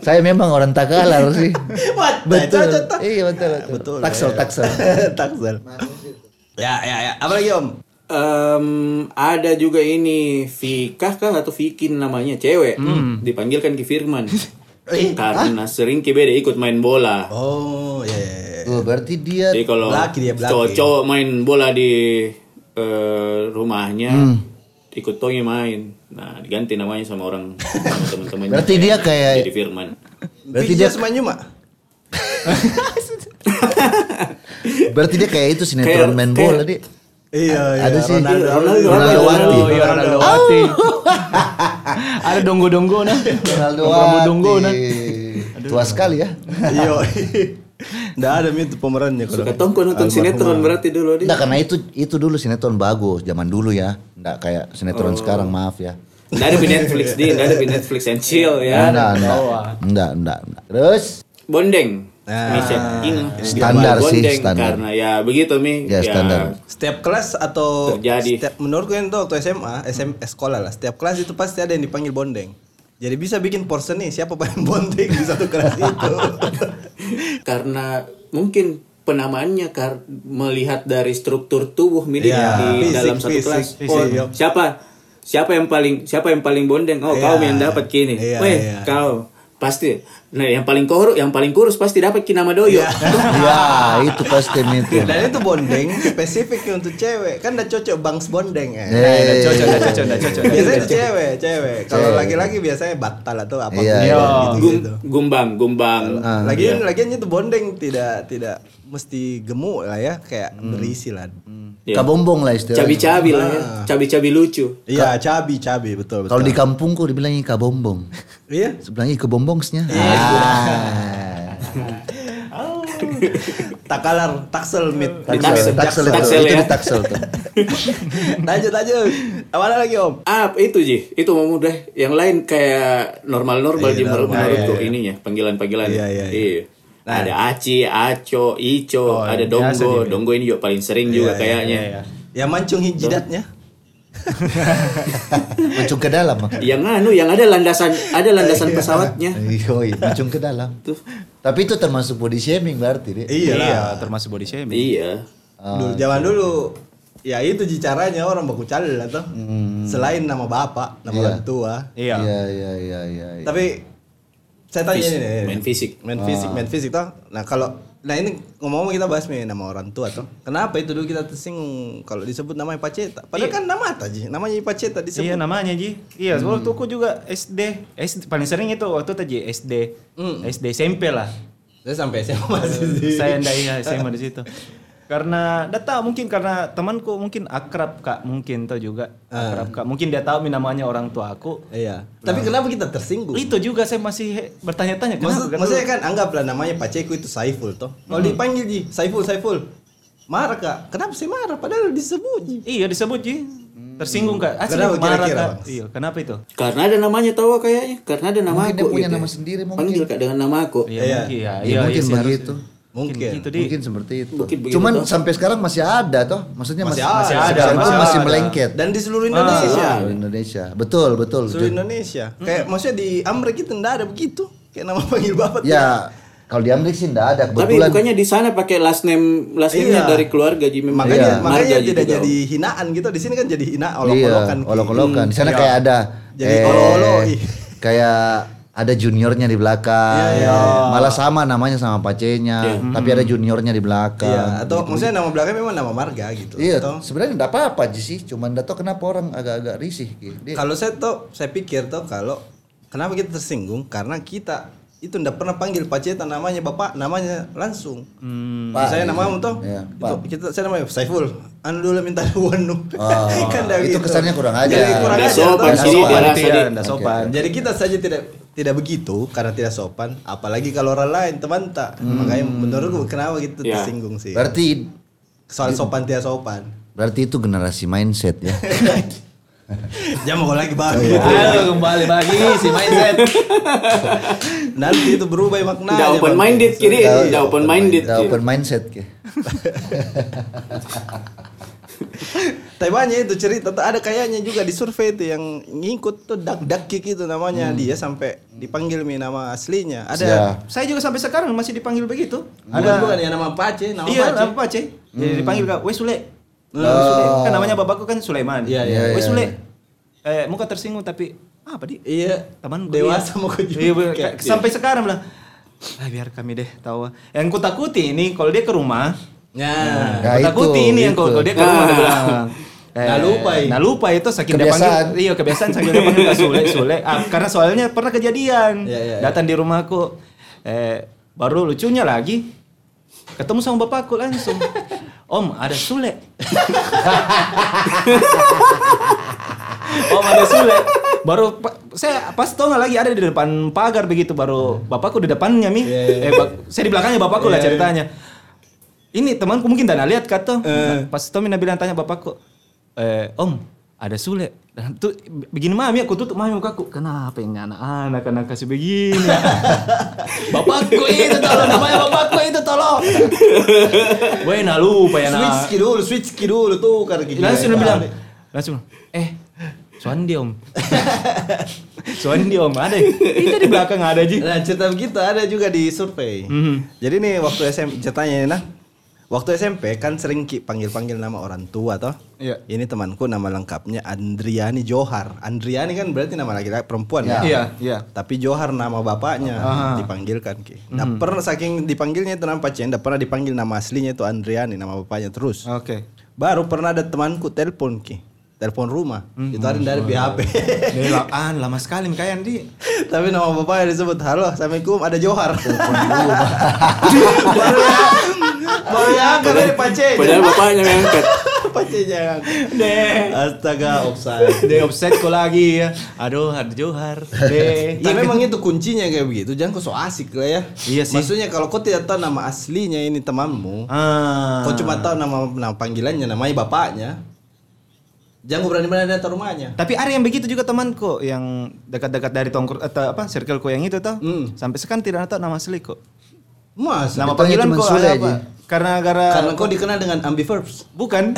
A: Saya memang orang takalar sih.
B: [LAUGHS] What?
A: Betul.
B: Cocok, tak?
A: Iya betul betul.
B: Betul.
A: Taksel
B: ya.
A: taksel.
B: [LAUGHS] taksel. Ya ya ya. Apa lagi om?
D: Em, ada juga ini Fikah kan atau Vikin namanya cewek dipanggilkan Ki Firman karena sering Ki Bede ikut main bola.
B: Oh ya. ya, ya.
A: Tuh, berarti dia
D: Jadi kalau
B: Belaki dia, belaki.
D: cowok-cowok main bola di eh, rumahnya
A: Hmm.
D: ikut Tongi main. Nah, diganti namanya sama orang sama teman-temannya.
A: Berarti dia kayak-
D: jadi Firman.
A: Berarti
B: Pijat
A: dia-
B: semuanya Mak?
A: berarti dia kayak itu sinetron
D: Kayak-
A: main
D: kayak-
A: bola dia.
B: Iya iya.
A: Ada sih
B: Ronaldo.
D: Ronaldo.
A: Ronaldo Wati.
C: Oh, iya
A: [LAUGHS]
C: Ronaldo Wati. Ada donggo-donggo nah.
A: Ronaldo
C: Donggo-donggo nah.
A: Wati. Tua sekali ya.
B: Iya. [LAUGHS] Nggak ada itu pemerannya kalau.
D: Suka Tongko nonton sinetron berarti dulu dia.
A: Nah, karena itu itu dulu sinetron bagus zaman dulu ya. Enggak kayak
D: Oh.
A: sinetron sekarang, maaf ya.
D: Nggak ada di Netflix di, nggak ada di Netflix and chill ya.
A: Enggak, enggak. Enggak, enggak, enggak. Terus [LAUGHS]
D: Bondeng.
B: Nah,
D: Micet King.
A: standar sih,
D: Bondeng
A: standar.
D: karena ya begitu Mi.
A: Ya, standar.
B: Setiap kelas atau
D: Terjadi.
B: setiap menurutku itu waktu SMA, SM eh, sekolah lah. Setiap kelas itu pasti ada yang dipanggil bondeng. Jadi bisa bikin porsen nih siapa [LAUGHS] paling bondeng di satu kelas itu.
D: karena mungkin penamaannya kar melihat dari struktur tubuh Mi, di-
B: Iya.
D: di
B: Fisik,
D: dalam satu
B: fisik,
D: kelas.
B: fisik.
D: Oh,
B: Iya.
D: siapa siapa yang paling siapa yang paling bondeng? Oh,
B: Iya.
D: kau yang dapat kini.
B: Iya,
D: Weh,
B: iya.
D: kau Pasti. Nah, yang paling kurus, yang paling kurus pasti dapat Kinamadoyo.
A: ya itu pasti mitin.
B: Dan itu bondeng spesifik untuk cewek. Kan udah cocok bangs bondeng ya.
A: Eh,
C: Nggak cocok, nggak cocok, nggak iya, cocok.
B: Biasanya itu cewek, cewek. Kalau laki-laki biasanya batal atau apa
A: Iya,
B: gitu. Ah.
A: iya.
D: Gum- Ah, gumbang, gumbang.
B: Lagian lagian itu bondeng tidak tidak mesti gemuk lah ya, kayak berisi lah.
D: Iya.
A: Kabombong lah istilahnya.
D: Cabi-cabi lah
B: Ah.
D: ya. Cabi-cabi lucu.
B: Iya, cabi cabi betul betul.
A: Kalau di kampungku dibilangnya kabombong.
B: Iya.
A: Sebenarnya kebombongnya.
D: Iya.
A: Ah.
B: Takalar, taksel mit.
A: Taksel, taksel, itu,
D: Taksel
A: itu
D: ya.
A: di taksel tuh.
B: [LAUGHS] lanjut lanjut. Awalnya lagi Om.
D: Ah, itu Ji. Itu mau mudah. Yang lain kayak normal-normal Ji menurut- menurutku ininya, panggilan-panggilan.
B: Iya, iya, iya.
D: ada Aci, Aco, Ico, ada Donggo. Donggo ini juga paling sering juga kayaknya.
B: iya, Yang mancung hijidatnya.
A: Mencung ke dalam. Mak.
D: Yang anu yang ada landasan ada landasan pesawatnya.
A: Yoi, mencung ke dalam. Tapi itu termasuk body shaming berarti Ah, deh.
B: Iya lah.
C: termasuk body shaming.
D: Iya.
B: Dulu, zaman dulu ya itu ji caranya orang baku calil lah tuh. Selain nama bapak, nama orang tua.
A: Iya,
C: Iya.
A: iya, iya, iya. iya.
B: Tapi saya tanya ini nih.
D: Main fisik.
B: Main fisik, main fisik toh. Nah, kalau nah ini ngomong kita bahas nih nama orang tua toh. Kenapa itu dulu kita tersinggung kalau disebut namanya Paceta? Padahal kan nama apa ji? Namanya Paceta disebut.
C: Iya namanya Ji. Iya, waktu aku juga SD. SD paling sering itu waktu itu Ji SD. SD SMP lah.
B: Saya sampai SMA masih Ji.
C: Saya [LAUGHS] ndak iya SMA di situ. Karena ndak tahu mungkin karena temanku mungkin akrab Kak, mungkin tuh juga akrab Kak. Mungkin dia tahu namanya orang tua aku.
B: Iya. Tapi kenapa kita tersinggung?
C: Itu juga saya masih he- bertanya-tanya kenapa
B: Maksud,
C: kan?
B: Uh. maksudnya kan anggaplah namanya Paceku itu Saiful toh. Kalau
A: Hmm.
B: dipanggil Ji, Saiful, Saiful. Marah kak, kenapa sih marah? Padahal disebut Ji.
C: Iya disebut Ji. Tersinggung Kak. Asli
B: Kenapa
C: marah
B: kan- kira-kira,
C: Kak.
B: Bang?
C: Iya, kenapa itu?
D: Karena ada namanya tawa kayaknya. Karena ada nama
A: Mungkin
D: aku.
A: dia punya
D: gitu
A: nama
D: ya.
A: sendiri, mungkin.
D: Panggil kak dengan nama aku.
C: Iya,
B: Iya.
C: mungkin ya.
A: Ya, mungkin
C: sih, harus-
A: begitu.
B: Mungkin.
C: gitu Di.
A: Mungkin seperti itu.
D: Mungkin begitu,
A: Cuman
D: toh.
A: sampai sekarang masih ada toh. Maksudnya masih,
B: Masih
C: ada,
A: sampai sekarang
C: masih
A: tuh masih
C: ada.
A: melengket.
B: Dan di seluruh Indonesia.
A: Seluruh Indonesia. Betul, betul. Hmm.
B: seluruh
A: Jun.
B: Indonesia. Kayak maksudnya di Amrik itu enggak ada begitu. Kayak nama panggil bapak. tuh.
A: Ya, kalau di Amerika sih enggak ada
D: Tapi
A: kebetulan.
D: bukannya di sana pakai last name last name
B: Iya.
D: dari keluarga Ji memang. Iya,
B: Makanya
A: Ya,
D: Marga
B: makanya
D: Ji
B: tidak
D: juga.
B: jadi hinaan gitu. Di sini kan jadi hina
A: iya,
B: olok-olokan. Hmm. Ki.
A: olok-olokan. Di sana kayak ada eh,
B: Jadi olo-olo, ih.
A: Kayak ada juniornya di belakang. Malah sama namanya sama pacenya, tapi ada juniornya di belakang.
B: Iya, atau maksudnya nama belakangnya memang nama marga gitu.
A: Kan. Iya,
B: Atau-
A: sebenarnya enggak apa-apa Ji, sih, cuman enggak tahu kenapa orang agak-agak risih Ki. Dia-
B: Kalau saya tuh saya pikir tuh kalau kenapa kita tersinggung karena kita itu ndak pernah panggil Paceta namanya bapak namanya langsung.
D: Hmm.
A: Pak,
B: saya
A: gitu.
B: nama tuh
A: Iya,
B: itu kita saya namanya Saiful. Anu dulu minta [LAUGHS] duluan nu.
A: Oh,
B: ndak
A: itu
B: gitu.
A: kesannya kurang aja.
B: Jadi kurang
D: Nggak
B: aja,
D: sopan
B: tuh.
A: Nggak
D: sih, dia
A: sopan.
D: rasa
C: Iya,
D: dia.
C: ndak sopan.
B: Jadi kita saja tidak tidak begitu karena tidak sopan, apalagi kalau orang lain teman tak.
A: Hmm.
B: Makanya menurutku kenapa kita
D: Iya.
B: tersinggung sih.
A: Berarti
B: Soal sopan tidak
A: [LAUGHS]
B: sopan.
A: berarti itu generasi mindset ya.
B: Jangan mau lagi
A: Oh,
B: bahas.
C: Gitu
A: iya.
C: Aduh, kembali lagi si mindset.
B: Nanti itu berubah maknanya.
D: Nggak open
B: Bang. Iya.
D: minded kiri, nggak open minded.
A: Udah
D: Ki.
A: Iya, open mindset Ki.
B: Tapi banyak itu cerita tuh ada kayaknya juga di survei itu yang ngikut tuh dak dak kiki itu namanya dia sampai dipanggil mi nama aslinya. Ada
A: Ya.
C: Saya juga sampai sekarang masih dipanggil begitu.
B: ada bukan ya nama Pace, nama Hmm.
C: iya,
B: Pace.
C: apa Pace? Jadi dipanggil kak, weh Sule. Weh, Sule. Kan namanya bapakku kan
B: Oh.
C: Sulaiman.
B: Iya, iya,
C: Weh
A: iya.
C: Sule. Eh, muka tersinggung tapi ah, apa di?
B: Iya,
C: Teman gue,
B: dewasa
C: iya.
B: mau gue juga.
C: Iya, bener. Kayak sampai sekarang lah. Ah, biar kami deh tahu. Yang ku takuti ini kalau dia ke rumah,
A: Nah,
B: Nah,
C: ku
A: itu,
C: takuti ini yang
A: itu.
C: kalau kalau dia ke rumah
D: Nah.
C: dia bilang.
B: Nah, lupa, iya.
C: Nah lupa itu saking dia
A: Kebiasaan.
C: panggil. Iya kebiasaan saking dia panggil Kak Sule Sule. Ah, karena soalnya pernah kejadian.
B: Iya, iya, iya.
C: Datang di rumahku. Eh, baru lucunya lagi ketemu sama bapakku langsung. Om ada Sule. Om ada Sule. Baru pa- saya pas tau nggak lagi ada di depan pagar begitu baru bapakku di depannya mi. Eh, bak- saya di belakangnya bapakku lah ceritanya. Ini temanku mungkin tak nak lihat kata. Pas Tommy Nabil yang tanya bapakku, eh, Om ada Sule. Dan tuh begini mami aku tutup mami mukaku. Kenapa ini anak-anak anak kasih begini? [LAUGHS] bapakku itu tolong namanya bapakku itu [LAUGHS] tolong. Gue nak lupa ya
B: switch
C: nak.
B: ki dulu, switch ki dulu tuh karena gitu.
C: Langsung dia bilang, langsung eh Suandi [LAUGHS] om. Suandi om ada. Itu di belakang ada Ji. Mm-hmm.
B: Nah, cerita begitu ada juga di survei. Jadi nih waktu SM ceritanya nih nah. Waktu SMP kan sering Ki panggil-panggil nama orang tua toh.
C: Iya.
B: Ini temanku nama lengkapnya Andriani Johar. Andriani kan berarti nama laki-laki perempuan ya.
C: Iya, iya.
B: Tapi Johar nama bapaknya
C: Ah.
B: dipanggilkan Ki. Nah,
C: Mm-hmm.
B: pernah saking dipanggilnya itu nama Pacenda, pernah dipanggil nama aslinya itu Andriani nama bapaknya terus.
C: Oke.
B: Baru pernah ada temanku telepon Ki. Telepon rumah.
C: Mm-hmm.
B: Itu ada dari BHP.
C: Dari lapaan lama sekali kayak di.
B: Tapi nama bapaknya disebut halo, assalamualaikum ada
C: Oh,
B: Johar. [LAUGHS] baru ya, baru ya kan dari Pace.
D: Padahal bapaknya yang angkat.
B: [LAUGHS] Pace jangan. Astaga,
C: [LAUGHS]
B: offside.
C: Deh offset kok lagi ya. Aduh, ada Johar. Deh.
B: Ya memang itu kuncinya kayak begitu. Jangan kau so asik lah ya.
C: Iya sih.
B: Maksudnya kalau kau tidak tahu nama aslinya ini temanmu,
C: Ah.
B: kau cuma tahu nama nama panggilannya, namanya bapaknya. Jangan kau berani-berani datang rumahnya.
C: Tapi ada yang begitu juga temanku yang dekat-dekat dari tongkrong atau apa circleku yang itu tuh.
B: Hmm.
C: Sampai sekarang tidak tahu nama asli kok.
B: Mas,
C: Nama
A: Sebetulnya
C: panggilan
A: cuma
C: kok
A: Sule
C: ada apa?
A: aja.
C: Karena gara
B: karena kau dikenal dengan ambiverbs.
C: bukan.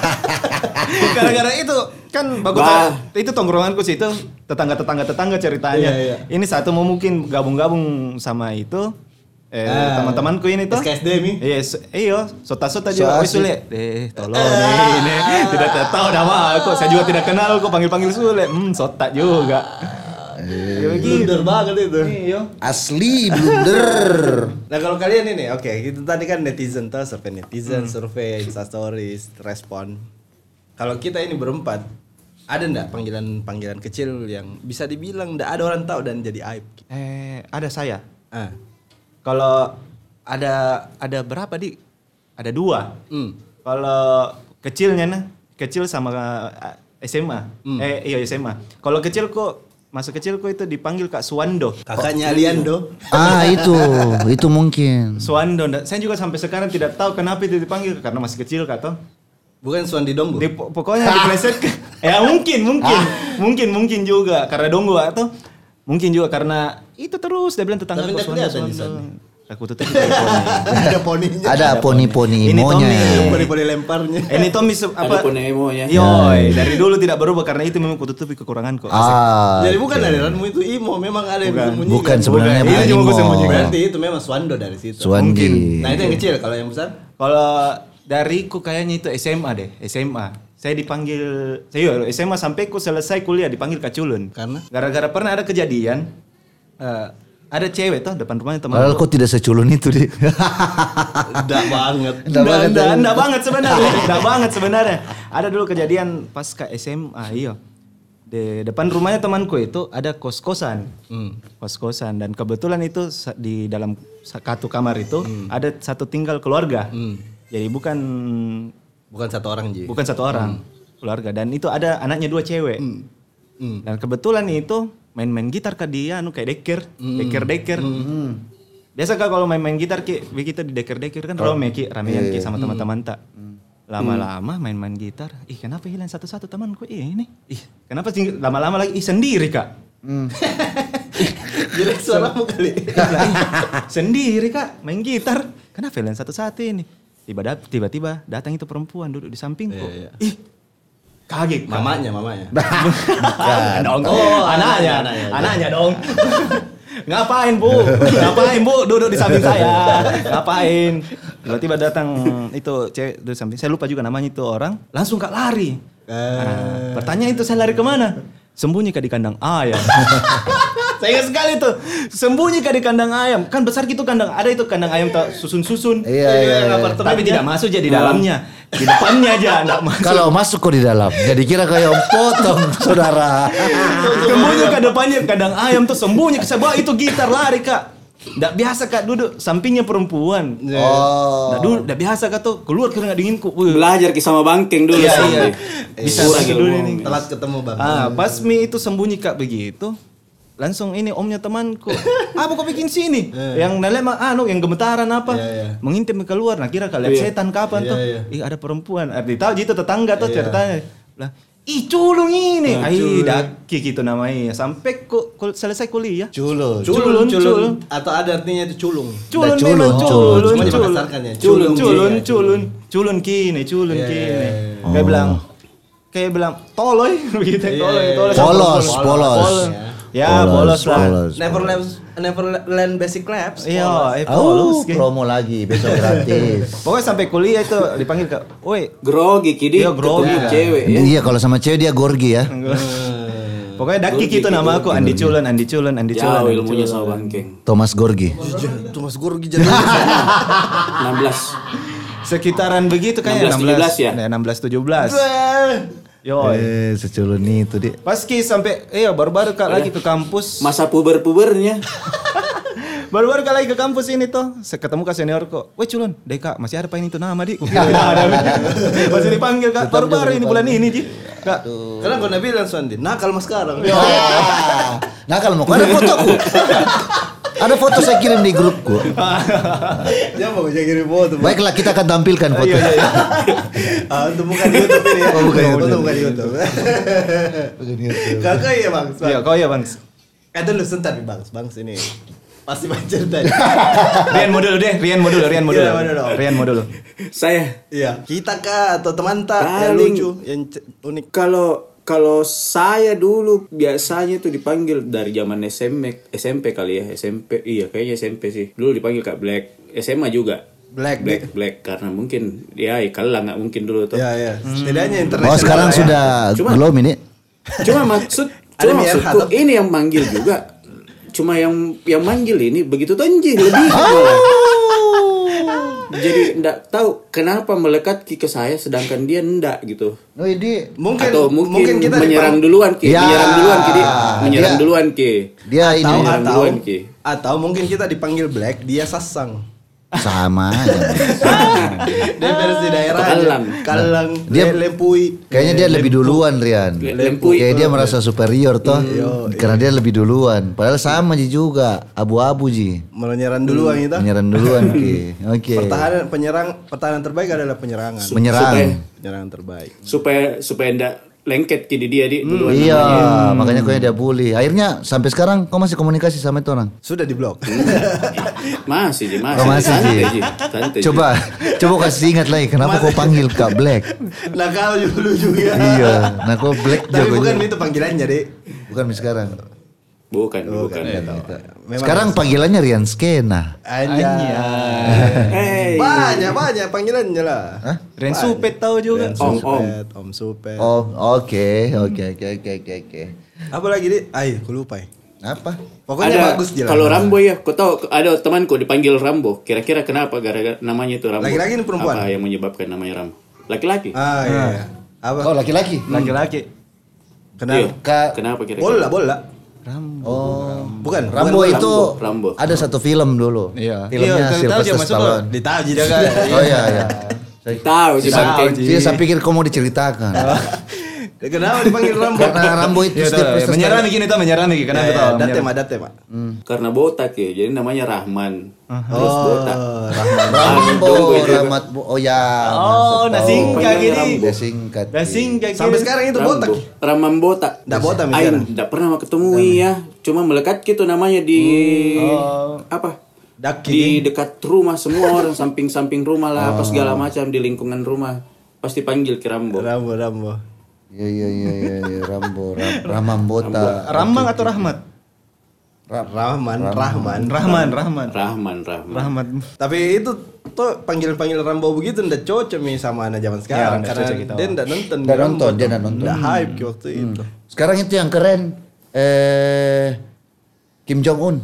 C: [LAUGHS] Gara-gara itu kan bagus
D: Bah.
C: itu tongkronganku situ tetangga-tetangga tetangga ceritanya.
B: Iya, iya.
C: Ini satu mau mungkin gabung-gabung sama itu eh,
B: Ah,
C: teman-temanku ini tuh.
B: SKSD mi.
C: Iya, so- iyo, sota-sota
A: So
C: juga. Woi
A: asik.
C: Sule, Eh. deh, tolong deh, ini tidak tahu nama aku. Saya juga tidak kenal kok panggil-panggil Sule. Hmm, sota juga. Ya begitu.
B: Blunder banget itu.
C: Iyo.
A: Asli blunder.
B: Nah kalau kalian ini, oke itu tadi kan netizen tuh survei netizen,
A: Hmm.
B: survei instastories, respon. Kalau kita ini berempat, ada ndak panggilan panggilan kecil yang bisa dibilang ndak ada orang tahu dan jadi aib?
C: Eh, ada saya.
B: Ah,
C: Kalau ada ada berapa di? Ada dua.
B: Hmm.
C: Kalau kecilnya nah, kecil sama eh, SMA. Eh iya SMA. Kalau kecil kok masuk kecil kok itu dipanggil Kak Suwando.
B: kakaknya Aliando.
A: ah itu, itu mungkin.
C: Suwando. nda- Saya juga sampai sekarang tidak tahu kenapa itu dipanggil karena masih kecil Kak Tom.
B: Bukan Suandi Dombo.
C: Di, po- pokoknya dipleset ke- [LAUGHS] ya mungkin mungkin mungkin mungkin juga karena donggo atau mungkin juga karena itu terus dia bilang tetangga
B: Tapi nggak
C: kok Suwando,
B: kelihatan di
C: Suwando.
B: sana.
C: Aku tuh teleponnya.
B: [LAUGHS] ada poninya.
A: Ada poni-poni
C: Ini
A: monyet.
C: Tommy.
B: Iya. Poni-poni lemparnya.
C: Eh, Ini Tommy se-
D: Ada
C: apa?
D: pun emo ya.
C: Yoi, dari dulu tidak berubah karena itu memang kututupi kekurangan kok.
A: Ah,
B: [LAUGHS] Jadi bukan ya? aliranmu itu Imo, memang ada yang disembunyikan. Iya,
A: bukan sebenarnya
C: Bukan.
A: bukan
C: Ini cuma
A: Imo.
C: kesembunyian.
B: Berarti itu memang Suando dari situ.
A: Suwandi.
B: Nah itu yang kecil, kalau yang
A: [LAUGHS]
B: besar?
C: Kalau dariku kayaknya itu SMA deh, SMA. Saya dipanggil, saya yo, SMA sampai ku selesai kuliah dipanggil Kaculun.
B: Karena?
C: Gara-gara pernah ada kejadian, eh, ada cewek tuh depan rumahnya teman.
A: Padahal kok tidak seculun itu deh.
B: Ndak banget.
A: Nggak banget,
C: Nggak-
A: ya.
C: nggak banget
A: [LAUGHS]
C: sebenarnya. Nggak banget sebenarnya. Ada dulu kejadian pas ke SMA, iya. Di depan rumahnya temanku itu ada kos-kosan.
A: Hmm.
C: Kos-kosan dan kebetulan itu sa- di dalam satu kamar itu
A: Hmm.
C: ada satu tinggal keluarga. Jadi bukan
B: Bukan satu orang Ji.
C: bukan satu
A: Hmm.
C: orang, keluarga dan itu ada anaknya dua cewek.
B: Hmm.
C: Dan kebetulan itu main-main gitar ke dia anu kayak dekir,
B: Mm-hmm.
C: dekir-dekir. Biasa kak kalau main-main gitar ki, kita di dekir-dekir kan
B: Oh.
C: rame ki, ramean
B: Iya,
C: ki sama teman-teman
B: Mm.
C: tak. Lama-lama main-main gitar, ih kenapa hilang satu-satu temanku ih ini? Ih, kenapa sih lama-lama lagi ih sendiri kak?
B: Jadi suaramu kali.
C: Lah,
B: [LAUGHS]
C: ih, sendiri kak main gitar kenapa villain satu-satu ini tiba da- tiba-tiba datang itu perempuan duduk di sampingku
B: Iya, iya.
C: ih kaget Kak.
B: Mamanya, mamanya.
C: Bukan dong
B: Oh,
C: anaknya
B: anaknya.
C: anaknya dong [LAUGHS] ngapain bu ngapain bu duduk di samping saya ngapain tiba-tiba datang hmm, itu cewek duduk di samping saya lupa juga namanya itu orang langsung kak lari Nah, pertanyaan itu saya lari kemana sembunyi kak di kandang ayam [LAUGHS] saya ingat sekali tuh sembunyi kah di kandang ayam kan besar gitu kandang ada itu kandang ayam tak susun-susun
A: Iya, iya, iya.
C: tapi tidak masuk jadi dalamnya di depannya aja [LAUGHS] enggak masuk
A: [LAUGHS] Kalau masuk kok di dalam, jadi kira kayak om potong [LAUGHS] saudara.
C: sembunyi ke depannya kandang ayam tuh sembunyi saya bawa itu gitar lari kak Nggak biasa kak duduk sampingnya perempuan
A: Oh.
C: Nggak duduk nggak biasa kak tuh keluar keringat dinginku Wih,
D: Belajar ki sama bangkeng dulu
C: Iya,
D: Sandi.
C: iya.
D: Bisa
B: Iya.
C: Kurang
D: lagi
C: ilmu.
D: dulu nih.
B: Eh, Telat ketemu bang.
C: Ah, pas mie itu sembunyi kak begitu. Langsung ini omnya
B: [LAUGHS]
C: temanku. apa kau bikin sini? yang nenek mah anu yang gemetaran
B: Eh.
C: apa?
B: Iya, iya.
C: Mengintip keluar. Nah, kira kalian
D: Iya.
C: setan kapan
B: Iya,
C: tuh?
B: iya.
C: Ih, ada perempuan. Arti tahu itu tetangga tuh
B: Iya.
C: ceritanya. Lah, ih culung ini.
B: Ah,
C: Ai,
B: culung.
C: daki gitu namanya. Sampai ku, ku- selesai kuliah.
A: Culun.
B: Culun,
C: culun,
B: culun,
C: culun.
B: Atau ada artinya itu culung.
C: Culun
A: Nah,
C: memang
A: culun,
C: culun,
B: culun. Cuma
C: culun,
B: dipaksakan ya,
C: culun,
B: culun,
C: culun,
B: iya,
C: culun, culun kini, culun
B: Iya,
C: kini.
B: iya,
A: iya.
C: Kayak
A: Oh.
C: bilang, kayak bilang toloy [LAUGHS] begitu,
B: Iya,
C: toloy,
B: iya,
C: toloy.
B: iya.
A: Polos,
B: Polos,
A: polos.
B: ya.
C: Ya,
A: Polos,
C: bolos, lah.
A: polos.
B: Never Labs- Never Land Basic Labs.
C: Iya, eh,
A: Oh,
C: polos. geng.
A: promo lagi besok gratis.
C: Pokoknya sampai kuliah itu dipanggil ke, woi,
D: Grogi kidi
C: Iya, grogi.
D: ketemu cewek ya.
A: Iya, kalau sama cewek dia gorgi ya.
B: Eh.
C: pokoknya Daki gitu nama aku, Andi Cullen, Andi Cullen, Andi Cullen.
D: Jauh
C: Andi
D: ilmunya
C: Cullen.
D: sama Bangkeng.
A: Thomas Gorgi.
B: Thomas Gorgi [LAUGHS] jadi
D: 16.
C: Sekitaran begitu kayaknya
D: 16,
C: 16, 16 17. Yo.
A: Eh, seculun itu dia.
C: Pas Ki sampai iya baru-baru Kak lagi ke kampus.
D: Masa puber-pubernya.
C: Baru-baru kali lagi ke kampus ini tuh, saya ketemu kak seniorku. Weh culun, deh kak, masih ada apa ini tuh nama [LAUGHS] di? Kukira tidak ada. masih dipanggil kak, baru-baru ini bulan ini di. Kak,
B: Karena gue nabi langsung di nakal mas sekarang.
A: Nah, kalau mau ada fotoku. ada foto saya kirim di grupku.
B: [LAUGHS] Dia mau jadi foto.
A: Baiklah, kita akan tampilkan foto.
B: Ah, itu bukan di YouTube ini ya.
A: Oh, bukan YouTube.
B: Itu bukan di YouTube. Kakak ya bang. Bang.
C: iya kau ya bang.
B: Kata lu Eh, sebentar nih bang, bang sini. Pasti ya. banjir
A: [LAUGHS]
B: tadi.
C: [LAUGHS] Rian mau dulu deh, Rian mau dulu, Rian mau dulu,
B: Iya, mau dulu.
C: Rian mau dulu.
D: [LAUGHS] Saya
B: Iya. Kita kah atau teman tak yang
D: Paling-
B: lucu, yang c- unik.
D: kalau kalau saya dulu biasanya tuh dipanggil dari zaman SMP SMP kali ya SMP iya kayaknya SMP sih dulu dipanggil kak Black SMA juga
B: Black.
D: Black Black karena mungkin ya kalau nggak mungkin dulu tuh
B: Ya ya. Setidaknya internasional.
A: Oh, sekarang
B: lah ya.
A: sudah
D: Cuma-
A: glow ini.
D: cuma maksud
B: Ada
D: cuma
B: Mia
D: maksudku
B: Khattab.
D: ini yang manggil juga cuma yang yang manggil ini begitu tonjil lebih
A: Oh.
D: malah. jadi ndak tahu kenapa melekat Ki ke saya sedangkan dia ndak gitu
A: Oh, ini
B: Mungkin
D: atau mungkin,
B: dipang-
D: menyerang duluan ki
A: Ya.
D: menyerang duluan ki Dia- menyerang
A: Dia-
D: duluan ki
A: dia ini
B: Atau
D: Menyerang
B: atau
D: duluan, Ki.
B: atau mungkin kita dipanggil Black, dia
D: [LAUGHS]
B: sasang. [LAUGHS]
A: sama aja.
B: Dia versi daerah. aja.
D: Kalang.
B: Kalang.
A: Nah, Dia-
B: Dia lempui.
A: Kayaknya dia lebih duluan Rian.
D: Lempuy.
A: Kayak dia merasa superior toh.
B: Iya,
A: Karena dia lebih duluan. Padahal sama Ji juga, abu-abu Ji.
B: Menyerang duluan kita.
A: Menyerang
B: [LAUGHS]
A: duluan Ki. Oke.
B: Pertahanan penyerang pertahanan terbaik adalah penyerangan.
D: supaya
A: Menyerang.
B: Penyerangan terbaik.
D: supaya supaya ndak lengket ki di dia di duluan
A: Iya,
B: Hmm.
A: makanya kau dia bully. Akhirnya sampai sekarang kau masih komunikasi sama itu orang.
B: Sudah di blok.
D: Iya. masih Ji, masih
A: Oh, masih, Ji.
D: santai Ji, santai, Ji.
A: Coba, [LAUGHS] coba kasih ingat lagi kenapa kau panggil Kak Black.
B: [LAUGHS] nah kau dulu juga.
A: iya, nah kau Black
B: Tapi bukan
A: jagonya.
B: itu panggilannya, Dek.
A: Bukan sekarang.
D: bukan bukan
B: Iya, gitu. Memang
A: Sekarang panggilannya Rian Skena.
B: Anja.
D: Hey.
B: Banyak banyak panggilannya lah.
C: Rian Supet tahu juga.
D: Om, om.
B: Supet, Om Supet.
A: Oh, oke, oke, oke, oke, oke, oke.
B: Apa lagi, Dek? Ay, aku lupa. ya.
A: Apa?
B: Pokoknya
D: ada,
B: bagus jelas.
D: Kalau Rambo ya, kau tahu ada temanku dipanggil Rambo. Kira-kira kenapa gara-gara namanya itu Rambo?
B: Laki-laki ini perempuan?
D: Apa yang menyebabkan namanya Rambo? Laki-laki.
B: Ah, iya. iya. Apa?
A: Kau Oh, laki-laki.
C: Hmm. Laki-laki.
D: Iya.
B: Kenapa?
A: Kak
D: Kenapa
B: Bola,
D: kira-kira?
B: bola.
A: Oh,
B: Bukan.
A: Rambo
B: bukan
A: itu
D: Rambo.
A: ada satu film dulu.
C: Iya. Iya,
A: Filmnya
C: tahu dia
A: Sylvester
C: masuk
A: Stallone.
C: kok.
B: Ditaji dia
A: [LAUGHS]
B: kan.
A: Oh iya, iya. Saya- iya,
D: Tahu sih Bang Keng.
A: Saya, saya pikir kau mau diceritakan.
B: Kenapa dipanggil Rambo?
A: Karena Rambo itu
C: Iya, tahu,
A: setiap kan.
C: iya. menyerang gini tuh menyerang gini
B: Ya,
C: karena
B: ya,
C: tahu.
B: date
C: menyerang.
B: mah, date mah.
D: Karena botak ya, jadi namanya Rahman.
B: Uh-huh.
D: Terus
B: Oh.
D: botak.
A: Rambo, Ramat Bu- Oh ya.
C: Oh,
A: masuk
C: udah
A: tahu.
C: singkat gini.
A: Udah singkat.
C: Udah singkat gini.
B: Sampai sekarang itu botak.
D: Rambo. Rahman botak.
B: Nggak botak,
D: Ayo,
B: sekarang.
D: nggak pernah ketemu ya. Cuma melekat gitu namanya di apa?
B: Hmm. Oh. Daki. Oh.
D: Di dekat rumah semua
B: [LAUGHS]
D: orang samping-samping rumah lah, apa segala macam di lingkungan rumah. Pasti panggil ke Rambo.
B: Rambo, Rambo.
A: Iya iya iya iya iya. Rambo, Ram- Ramambota.
C: Ramang atau Rahmat?
B: Rahman, Rahman.
C: Rahman, Rahman.
D: Rahman, Rahman.
C: Rahmat.
B: Tapi itu tuh panggilan-panggilan Rambo begitu ndak cocok nih sama anak zaman sekarang
C: nggak
B: karena
C: cocok kita.
B: dia Ya, ndak gitu. nonton.
A: Nggak
B: Rambo
A: nonton, dia
B: tuh.
A: nggak nonton. Hmm.
B: Nggak hype ke waktu itu.
A: Sekarang itu yang keren eh Kim Jong Un.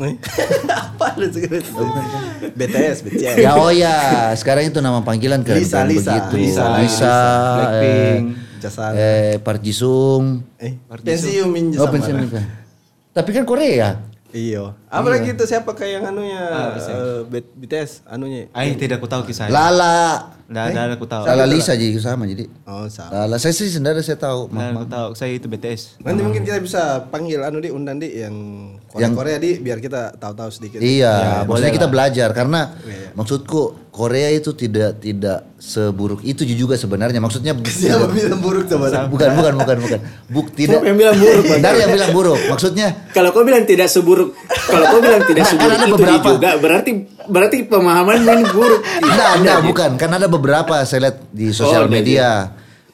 B: Nih. [LAUGHS] Apa lu sekarang Iya. itu? BTS, BTS.
A: Ya oh ya, sekarang itu nama panggilan keren.
B: Lisa, Lisa,
A: begitu.
B: Lisa,
A: Lisa,
B: Lisa,
C: Blackpink.
B: Jasara. Eh,
A: eh, eh Park Ji Sung.
B: Pensiun minjem
A: Oh,
B: sama
A: pensiun
B: lah.
A: nikah. Tapi kan Korea.
B: Iya. Apalagi itu siapa kayak yang anunya eh, B- BTS anunya.
C: Ay, tidak aku tahu kisahnya.
A: Lala.
C: Dah, dah aku tahu.
A: Lala Lisa jadi sama jadi.
B: Oh, sama.
A: Lala saya sih sendiri saya tahu.
C: Dah,
A: Mah-
C: aku tahu. Saya itu BTS.
B: Nanti mungkin kita bisa panggil anu di undang di yang Korea,
A: Yang-
B: Korea di biar kita tahu-tahu sedikit.
A: Iya, maksudnya kita belajar karena maksudku Korea itu tidak tidak seburuk itu juga sebenarnya. Maksudnya bu-
B: Siapa bilang buruk coba?
A: bukan bukan bukan bukan. Buk tidak.
D: Siapa yang bilang buruk, Bang?
A: Dari yang bilang buruk. Maksudnya
D: Kalau kau bilang tidak seburuk, kalau kau bilang tidak
A: Nah, kan
D: seburuk
A: ada
D: itu
A: beberapa. Nah,
D: juga berarti berarti pemahaman main buruk.
B: Iya,
A: Kan enggak enggak bukan. Karena ada beberapa saya lihat di sosial
B: iya.
D: Oh, ada
A: media.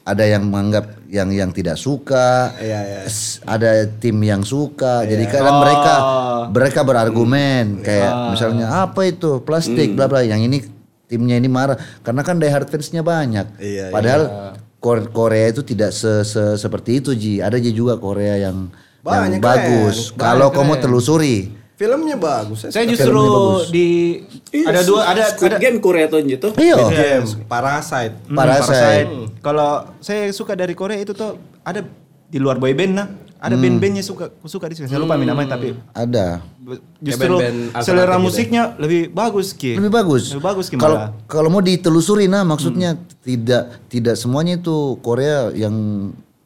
A: ada yang menganggap yang yang tidak suka,
B: Iya, iya.
A: s- ada tim yang suka. Jadi kadang mereka
B: Oh.
A: mereka
B: Iya.
A: berargumen kayak misalnya apa itu
B: Hmm.
A: plastik bla bla. Yang ini timnya ini marah karena kan diehard fansnya banyak.
B: Iya,
A: Padahal Kor- Korea itu tidak se, se- seperti itu Ji. Ada Ji juga Korea yang
B: Banyak
A: yang
B: keren.
A: bagus.
B: Banyak
A: Kalau kamu telusuri,
B: Filmnya bagus. eh,
C: Saya justru di ada dua ada
D: Squid
C: ada
D: Game Korea tuh gitu.
A: iya.
B: Game, Parasite.
C: Hmm,
A: Parasite.
C: Kalau saya suka dari Korea itu tuh ada di luar boyband nah, ada
A: Hmm.
C: band-bandnya suka suka di sini. Saya lupa namanya tapi
A: Ada.
C: justru
B: band-band alternatif
C: selera
B: gitu
C: musiknya lebih bagus ki.
A: ya. lebih bagus.
C: Iya. Lebih bagus gimana?
A: Kalau kalau mau ditelusuri nah maksudnya tidak tidak semuanya itu Korea yang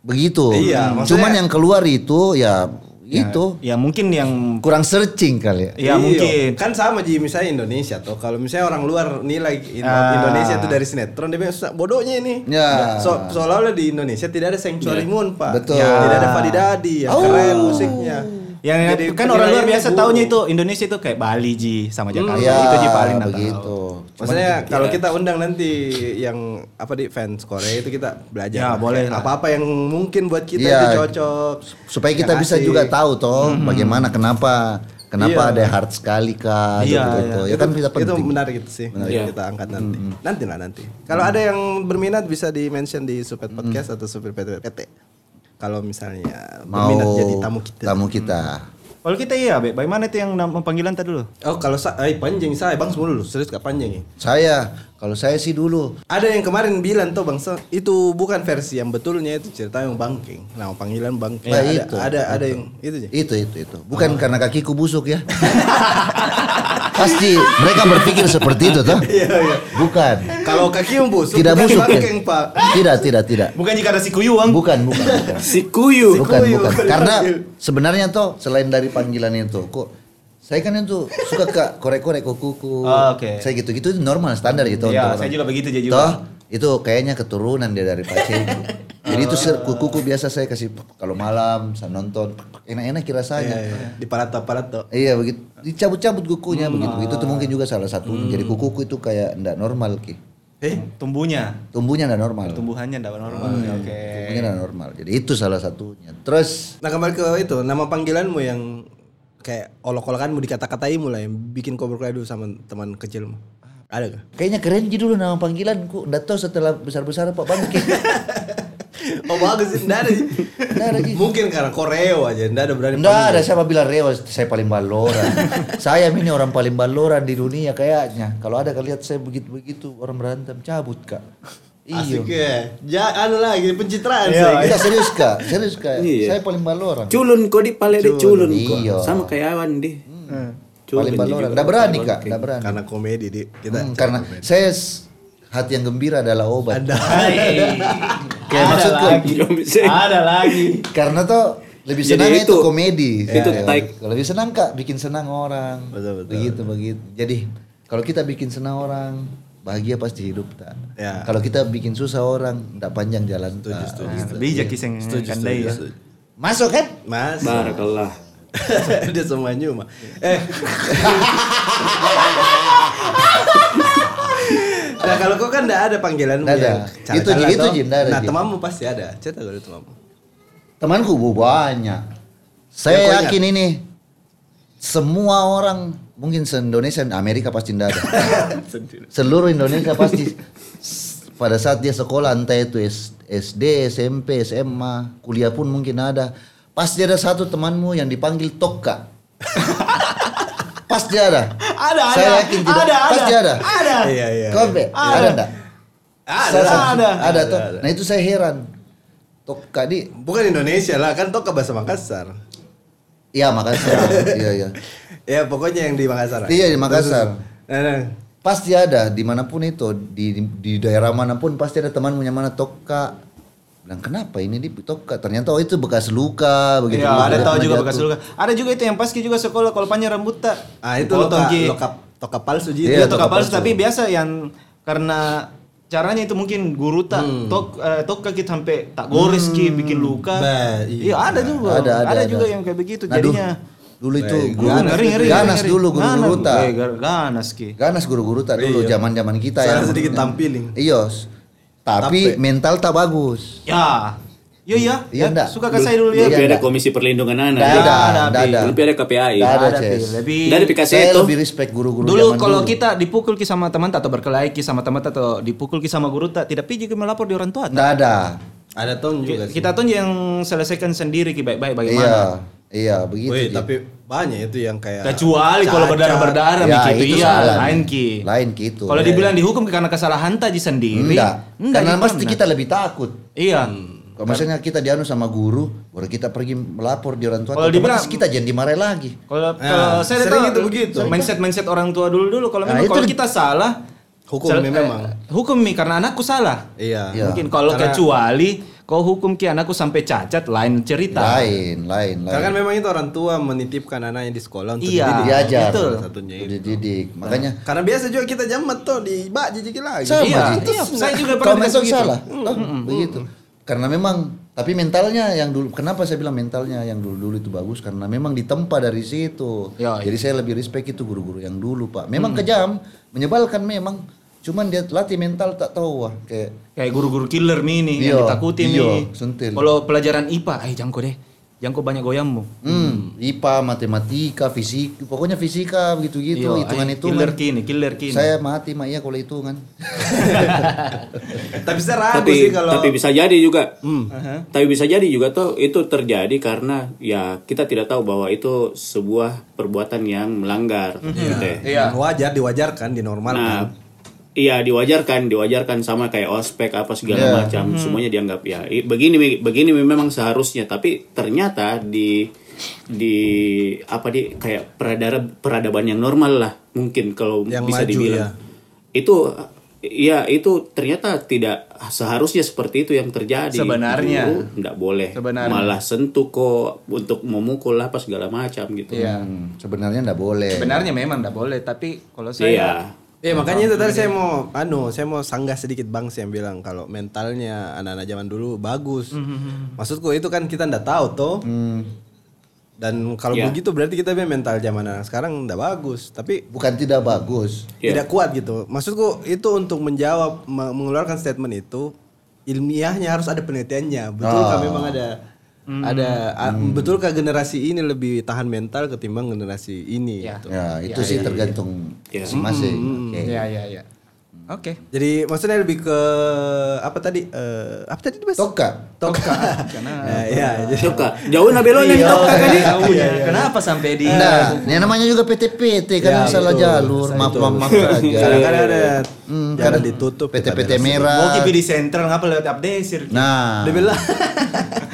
A: begitu.
B: Iya, maksudnya-
A: Cuman yang keluar itu ya itu
C: Ya mungkin yang
A: kurang searching kali ya.
C: ya
B: Iya,
C: mungkin
B: Kan sama Ji misalnya Indonesia tuh. Kalau misalnya orang luar nilai in-
C: Ah.
B: Indonesia tuh dari sinetron dia bilang "Susah, bodohnya ini.
A: Ya.
B: So, seolah-olah di Indonesia tidak ada
C: Ya.
B: Sanctuary Moon, Pak. Ya.
A: Betul.
B: Tidak ada Fadidadi yang keren musiknya.
C: yang
B: Jadi
C: Oh. kan orang luar
B: penilaiannya
C: biasa
B: buruk.
C: taunya itu Indonesia itu kayak Bali ji sama Jakarta
A: Ya,
C: Iya, itu ji paling nggak
A: begitu.
B: Maksudnya kalau
C: ya.
B: kita undang nanti yang apa di fans Korea itu kita belajar.
C: Ya,
B: lah.
C: boleh lah.
B: Apa-apa yang mungkin buat kita
A: Iya.
B: itu cocok.
A: Supaya kita
B: Yang
A: bisa
B: asik.
A: juga tahu toh bagaimana kenapa kenapa ada hard sekali kah
C: Iya,
A: gitu. Ya
C: iya.
A: kan kita
B: itu
A: penting.
B: menarik itu sih
D: Iya.
B: kita angkat nanti nanti lah nanti kalau ada yang berminat bisa di mention di Supet Podcast atau Supir PT PT kalau misalnya
A: mau
B: berminat jadi tamu kita
A: Tamu kita.
C: kalau kita iya Be. bagaimana itu yang nama panggilan tadi dulu
B: oh kalau sa- eh, panjang saya bang semua dulu serius gak panjang ya
A: Saya kalau saya sih dulu
B: ada yang kemarin bilang tuh bang Sa- itu bukan versi yang betulnya itu cerita yang bangking nah panggilan bangking
A: Nah,
B: ada,
A: itu,
B: ada ada yang itu
A: Iya.
B: Ji.
A: Itu itu itu.
C: Oh.
A: Bukan karena kakiku busuk
C: [LAUGHS]
A: ya. Pasti mereka berpikir seperti itu toh.
C: Iya,
A: Bukan.
B: kalau kaki yang busuk
A: Tidak
B: bukan
A: busuk. ya.
B: bangking pak
A: Tidak, tidak, tidak.
C: bukan jika ada si kuyuang
A: Bukan, bukan.
C: [LAUGHS]
A: bukan.
D: Si Kuyu.
A: Bukan,
B: kuyu.
A: bukan. Karena sebenarnya toh selain dari panggilan itu, kok saya kan itu suka ke korek-korek kuku.
C: Ah, oke.
A: Saya gitu-gitu itu normal standar gitu untuk
C: Iya,
A: orang.
C: saya juga begitu, Jay, juga.
A: Toh itu kayaknya keturunan dia dari Paceku. Jadi itu ser- kuku-kuku biasa saya kasih kalau malam saya nonton enak-enak rasanya.
C: Iya,
B: di parato parato
A: Iya begitu dicabut-cabut kukunya begitu itu tuh mungkin juga salah satunya jadi kukuku itu kayak ndak normal ki
B: eh
C: tumbuhnya
A: tumbuhnya ndak normal
C: tumbuhannya tidak normal
A: Oh, iya.
C: oke
A: tumbuhnya ndak normal jadi itu salah satunya terus
B: Nah kembali ke itu nama panggilanmu yang kayak olok-olokanmu dikata-katai mulai bikin kau berkelahi dulu sama teman kecilmu. Ada gak?
A: kayaknya keren gitu dulu nama panggilanku ndak tahu setelah besar-besar pak bangke
B: Oh bagus, enggak ada sih.
A: Nggak ada, Ji.
B: Mungkin karena Koreo aja, enggak ada berani.
A: ndak ada siapa bilang rewa saya paling baloran saya ini orang paling baloran di dunia kayaknya kalau ada kalian lihat saya begitu-begitu orang berantem cabut kak
B: Asik
A: iya
B: ya. Ja, anu lagi pencitraan sih.
A: kita serius kak serius kak
D: Iya.
A: saya paling baloran
D: Culun kok di pale deh culun kok.
A: Iya.
D: Sama kayak awan deh.
A: paling baloran ndak berani kak ndak berani
B: Karena komedi di kita.
A: Hmm, karena saya s- hati yang gembira adalah obat. [LAUGHS]
B: Ada.
A: Kayak maksudku,
D: Iya,
C: ada lagi
A: karena tuh lebih
D: Jadi
A: senangnya itu,
D: itu-
A: komedi.
D: itu
A: Ya,
D: taik.
A: lebih senang kak bikin senang orang.
B: Betul, betul.
A: Begitu begitu. Jadi kalau kita bikin senang orang bahagia pasti hidup tak.
B: Ya.
A: Kalau kita bikin susah orang tidak panjang jalan. tak.
C: bijak
A: Iya.
C: kisah kandai ya
A: Masuk kan?
B: Mas.
D: Barakallah.
B: [LAUGHS] Dia semuanya mah. Eh. [LAUGHS] nah kalau kau kan enggak ada panggilan
A: Nggak ada. Itu, Ji, itu, Ji, nggak ada,
B: Nah,
A: Ji.
B: temanmu pasti ada. Cerita kalau temanmu.
A: Temanku bu, banyak.
B: Yang kau
A: Saya
B: ingat?
A: yakin ini semua orang mungkin se Indonesia Amerika pasti
C: [LAUGHS]
A: tidak ada. seluruh Indonesia pasti s- pada saat dia sekolah entah itu S- SD, SMP, SMA, kuliah pun mungkin ada. Pasti ada satu temanmu yang dipanggil
C: [LAUGHS]
A: Tokka. pasti ada.
C: Ada,
A: Saya
C: ada.
A: yakin tidak.
C: Ada, ada.
A: pasti ada. [LAUGHS]
C: Ada.
B: Iya, iya.
A: Kau, Be,
C: Ada.
A: ada enggak? Salah
B: Ada lah.
A: satu-
C: ada.
A: Ada, toh. Nah, itu saya heran. Tokka di
B: Bukan Indonesia lah, kan toh ke bahasa Makassar.
A: Iya, Makassar. Iya, iya.
B: Ya pokoknya yang di Makassar.
A: Iya, di Makassar.
B: Nah, nah.
A: Pasti ada dimanapun itu di, di, di daerah manapun pasti ada teman punya mana toka. Bilang kenapa ini di toka? Ternyata oh itu bekas luka begitu.
C: Iya,
A: Luka
C: ada
A: dia
C: tahu
A: pernah
C: juga
A: jatuh.
C: bekas luka. Ada juga itu yang paski juga sekolah kalau panjang rambut tak.
B: Ah itu
C: Potong,
B: loka,
C: Ji.
B: loka, toka palsu Ji.
A: Iya,
C: Iya,
B: Itu
A: toka
C: toka palsu
A: palsu.
C: tapi biasa yang karena caranya itu mungkin guru tak
A: Hmm.
C: tok eh, tok kaki sampai tak gores ki bikin luka.
B: Bah, iya.
C: iya. ada juga.
A: Ada, ada,
C: juga
A: ada.
C: yang kayak begitu
A: Nah,
C: jadinya.
A: dulu- Dulu itu
B: Eh,
A: guru
B: ganas,
A: ganas, ganas dulu guru-guru
C: Ganas,
A: tak.
C: eh, gar- Ganas ki.
A: Ganas guru-guru tak dulu zaman-zaman kita
B: Soalnya
A: ya.
B: sedikit
A: maksudnya.
B: tampiling.
A: Iya. s- Tapi mental tak bagus.
C: Ya. Iya iya.
A: Iya, enggak?
C: Suka ke saya dulu ya.
A: Iya,
D: Lebih ada
A: enggak?
D: komisi perlindungan anak.
A: Enggak ada,
C: Nah, iya. ada,
A: enggak ada.
D: Lebih ada KPAI.
A: Enggak ada,
C: Ada, Pi.
A: Ces.
C: Lebih
D: Dari Picasso
A: Saya
D: itu.
A: lebih respect guru-guru
C: Dulu
A: zaman
C: kalau
A: dulu.
C: kita dipukul ki sama teman tak, atau berkelahi ki sama teman tak, atau dipukul ki sama guru tak tidak pergi ki melapor di orang tua tak.
A: enggak ada.
B: Ada ton juga sih.
C: Kita tuh yang selesaikan sendiri ki baik-baik
A: Iya,
C: bagaimana.
A: iya begitu. Ci.
B: Woi, tapi banyak itu yang kayak
C: Kecuali kalau
B: cacat.
C: berdarah-berdarah
A: Ya,
C: mi, ki, itu
A: itu
C: iya
A: salah.
C: lain ki.
A: Lain ki itu.
C: Kalau dibilang dihukum ki karena kesalahan taji sendiri.
A: enggak, Iya, karena
C: ki,
A: pasti
C: pernah.
A: kita lebih takut.
C: Iya.
B: Hmm.
A: Kalau misalnya kita dianu sama guru, baru kita pergi melapor di orang tua,
C: Kalau
A: otomatis
C: dibilang-
A: kita jangan dimarahin lagi.
C: Kalau kalau saya
B: sering
C: tahu
B: itu Nah, begitu.
C: mindset mindset orang tua dulu dulu kalau
A: Nah,
C: memang
A: itu
C: kalau
A: di-
C: kita salah
B: Hukum
C: sel-
B: mi
C: eh,
B: memang.
C: hukum mi karena anakku salah.
B: Iya.
A: Iya.
C: Mungkin kalau
B: Karena-
C: kecuali kau hukum ki anakku sampai cacat lain cerita.
A: Lain, lain, lain.
B: Karena kan memang itu orang tua menitipkan anaknya di sekolah untuk
C: Iya.
B: dididik.
A: diajar,
C: Betul. Nah.
B: Salah satunya itu.
A: dididik. Makanya
B: Karena biasa juga kita jamet tuh di bak jijik lagi.
A: Sama,
C: Iya,
A: gitu.
C: iya, saya juga
A: Kalau
C: pernah
A: masuk
C: begitu.
A: salah, Loh, begitu. Karena memang, tapi mentalnya yang dulu, kenapa saya bilang mentalnya yang dulu-dulu itu bagus? Karena memang ditempa dari situ.
C: Ya, Mm.
A: Jadi saya lebih respect itu guru-guru yang dulu, Pak. Memang kejam, menyebalkan memang. Cuman dia latih mental tak tahu wah kayak
C: Kayak guru-guru killer mi ini
A: Iya,
C: yang ditakuti mi.
A: iya, sentil.
C: Kalau pelajaran IPA, eh jangko deh. Jangko banyak goyangmu.
A: hmm, IPA, matematika, fisik, pokoknya fisika begitu-gitu,
C: Iya,
A: hitungan
C: eh,
A: itu.
C: Killer kini, killer kini.
A: Saya mati mah iya kalau hitungan.
B: Tapi saya ragu
D: tapi
B: sih kalau
D: tapi bisa jadi juga tapi bisa jadi juga tuh itu terjadi karena ya kita tidak tahu bahwa itu sebuah perbuatan yang melanggar gitu
B: Iya.
D: ya.
B: wajar Eh, diwajarkan kan. dinormalkan.
D: nah iya diwajarkan diwajarkan sama kayak ospek apa segala
A: Iya.
C: Hmm.
D: macam semuanya dianggap ya i- begini begini memang seharusnya tapi ternyata di di apa di kayak peradab peradaban yang normal lah mungkin kalau
B: Yang
D: bisa
B: maju,
D: dibilang
B: ya.
D: itu ya itu ternyata tidak seharusnya seperti itu yang terjadi
C: Sebenarnya.
D: Guru nggak boleh
C: Sebenarnya.
D: malah sentuh kok untuk memukul apa segala macam gitu
C: Iya.
A: Hmm, sebenarnya enggak boleh.
C: Sebenarnya memang tidak boleh, tapi kalau saya
D: iya
B: Iya makanya itu tadi saya mau anu saya mau sanggah sedikit bang sih yang bilang kalau mentalnya anak-anak zaman dulu bagus. Maksudku itu kan kita ndak tahu toh. Dan kalau
D: Hmm. Iya.
B: begitu berarti kita punya mental zaman anak sekarang ndak bagus. Tapi
A: Bukan tidak bagus.
D: Iya.
B: tidak kuat gitu. Maksudku itu untuk menjawab me- mengeluarkan statement itu ilmiahnya harus ada penelitiannya. Betulkah
D: Ah.
B: memang ada ada a-
D: Hmm.
B: betulkah generasi ini lebih tahan mental ketimbang generasi ini
C: Ya.
B: gitu.
A: Ya, itu sih tergantung
D: Iya.
A: masing-masing. Oke.
C: Iya, iya, iya. Oke.
B: Jadi maksudnya lebih ke apa tadi? Eh, apa tadi Mas?
A: Toka.
B: Toka. [LAUGHS] Nah, ya, jadi
D: Suka. jauh
B: Iya.
D: nabelonya nih Dok, kakak nih.
C: ya? Kenapa sampai di
A: Iya, Nah, yang namanya juga PT-PT
B: Ya,
A: kan
B: gitu.
A: salah jalur, maaf maaf maaf aja.
B: kadang-kadang kan ada
A: Hmm,
B: jalan
A: kadang
B: ditutup
A: PT-PT
C: Mau
A: merah.
C: kipi di sentral ngapa lewat update
A: Nah,
B: Dia
A: [LAUGHS]
B: bilang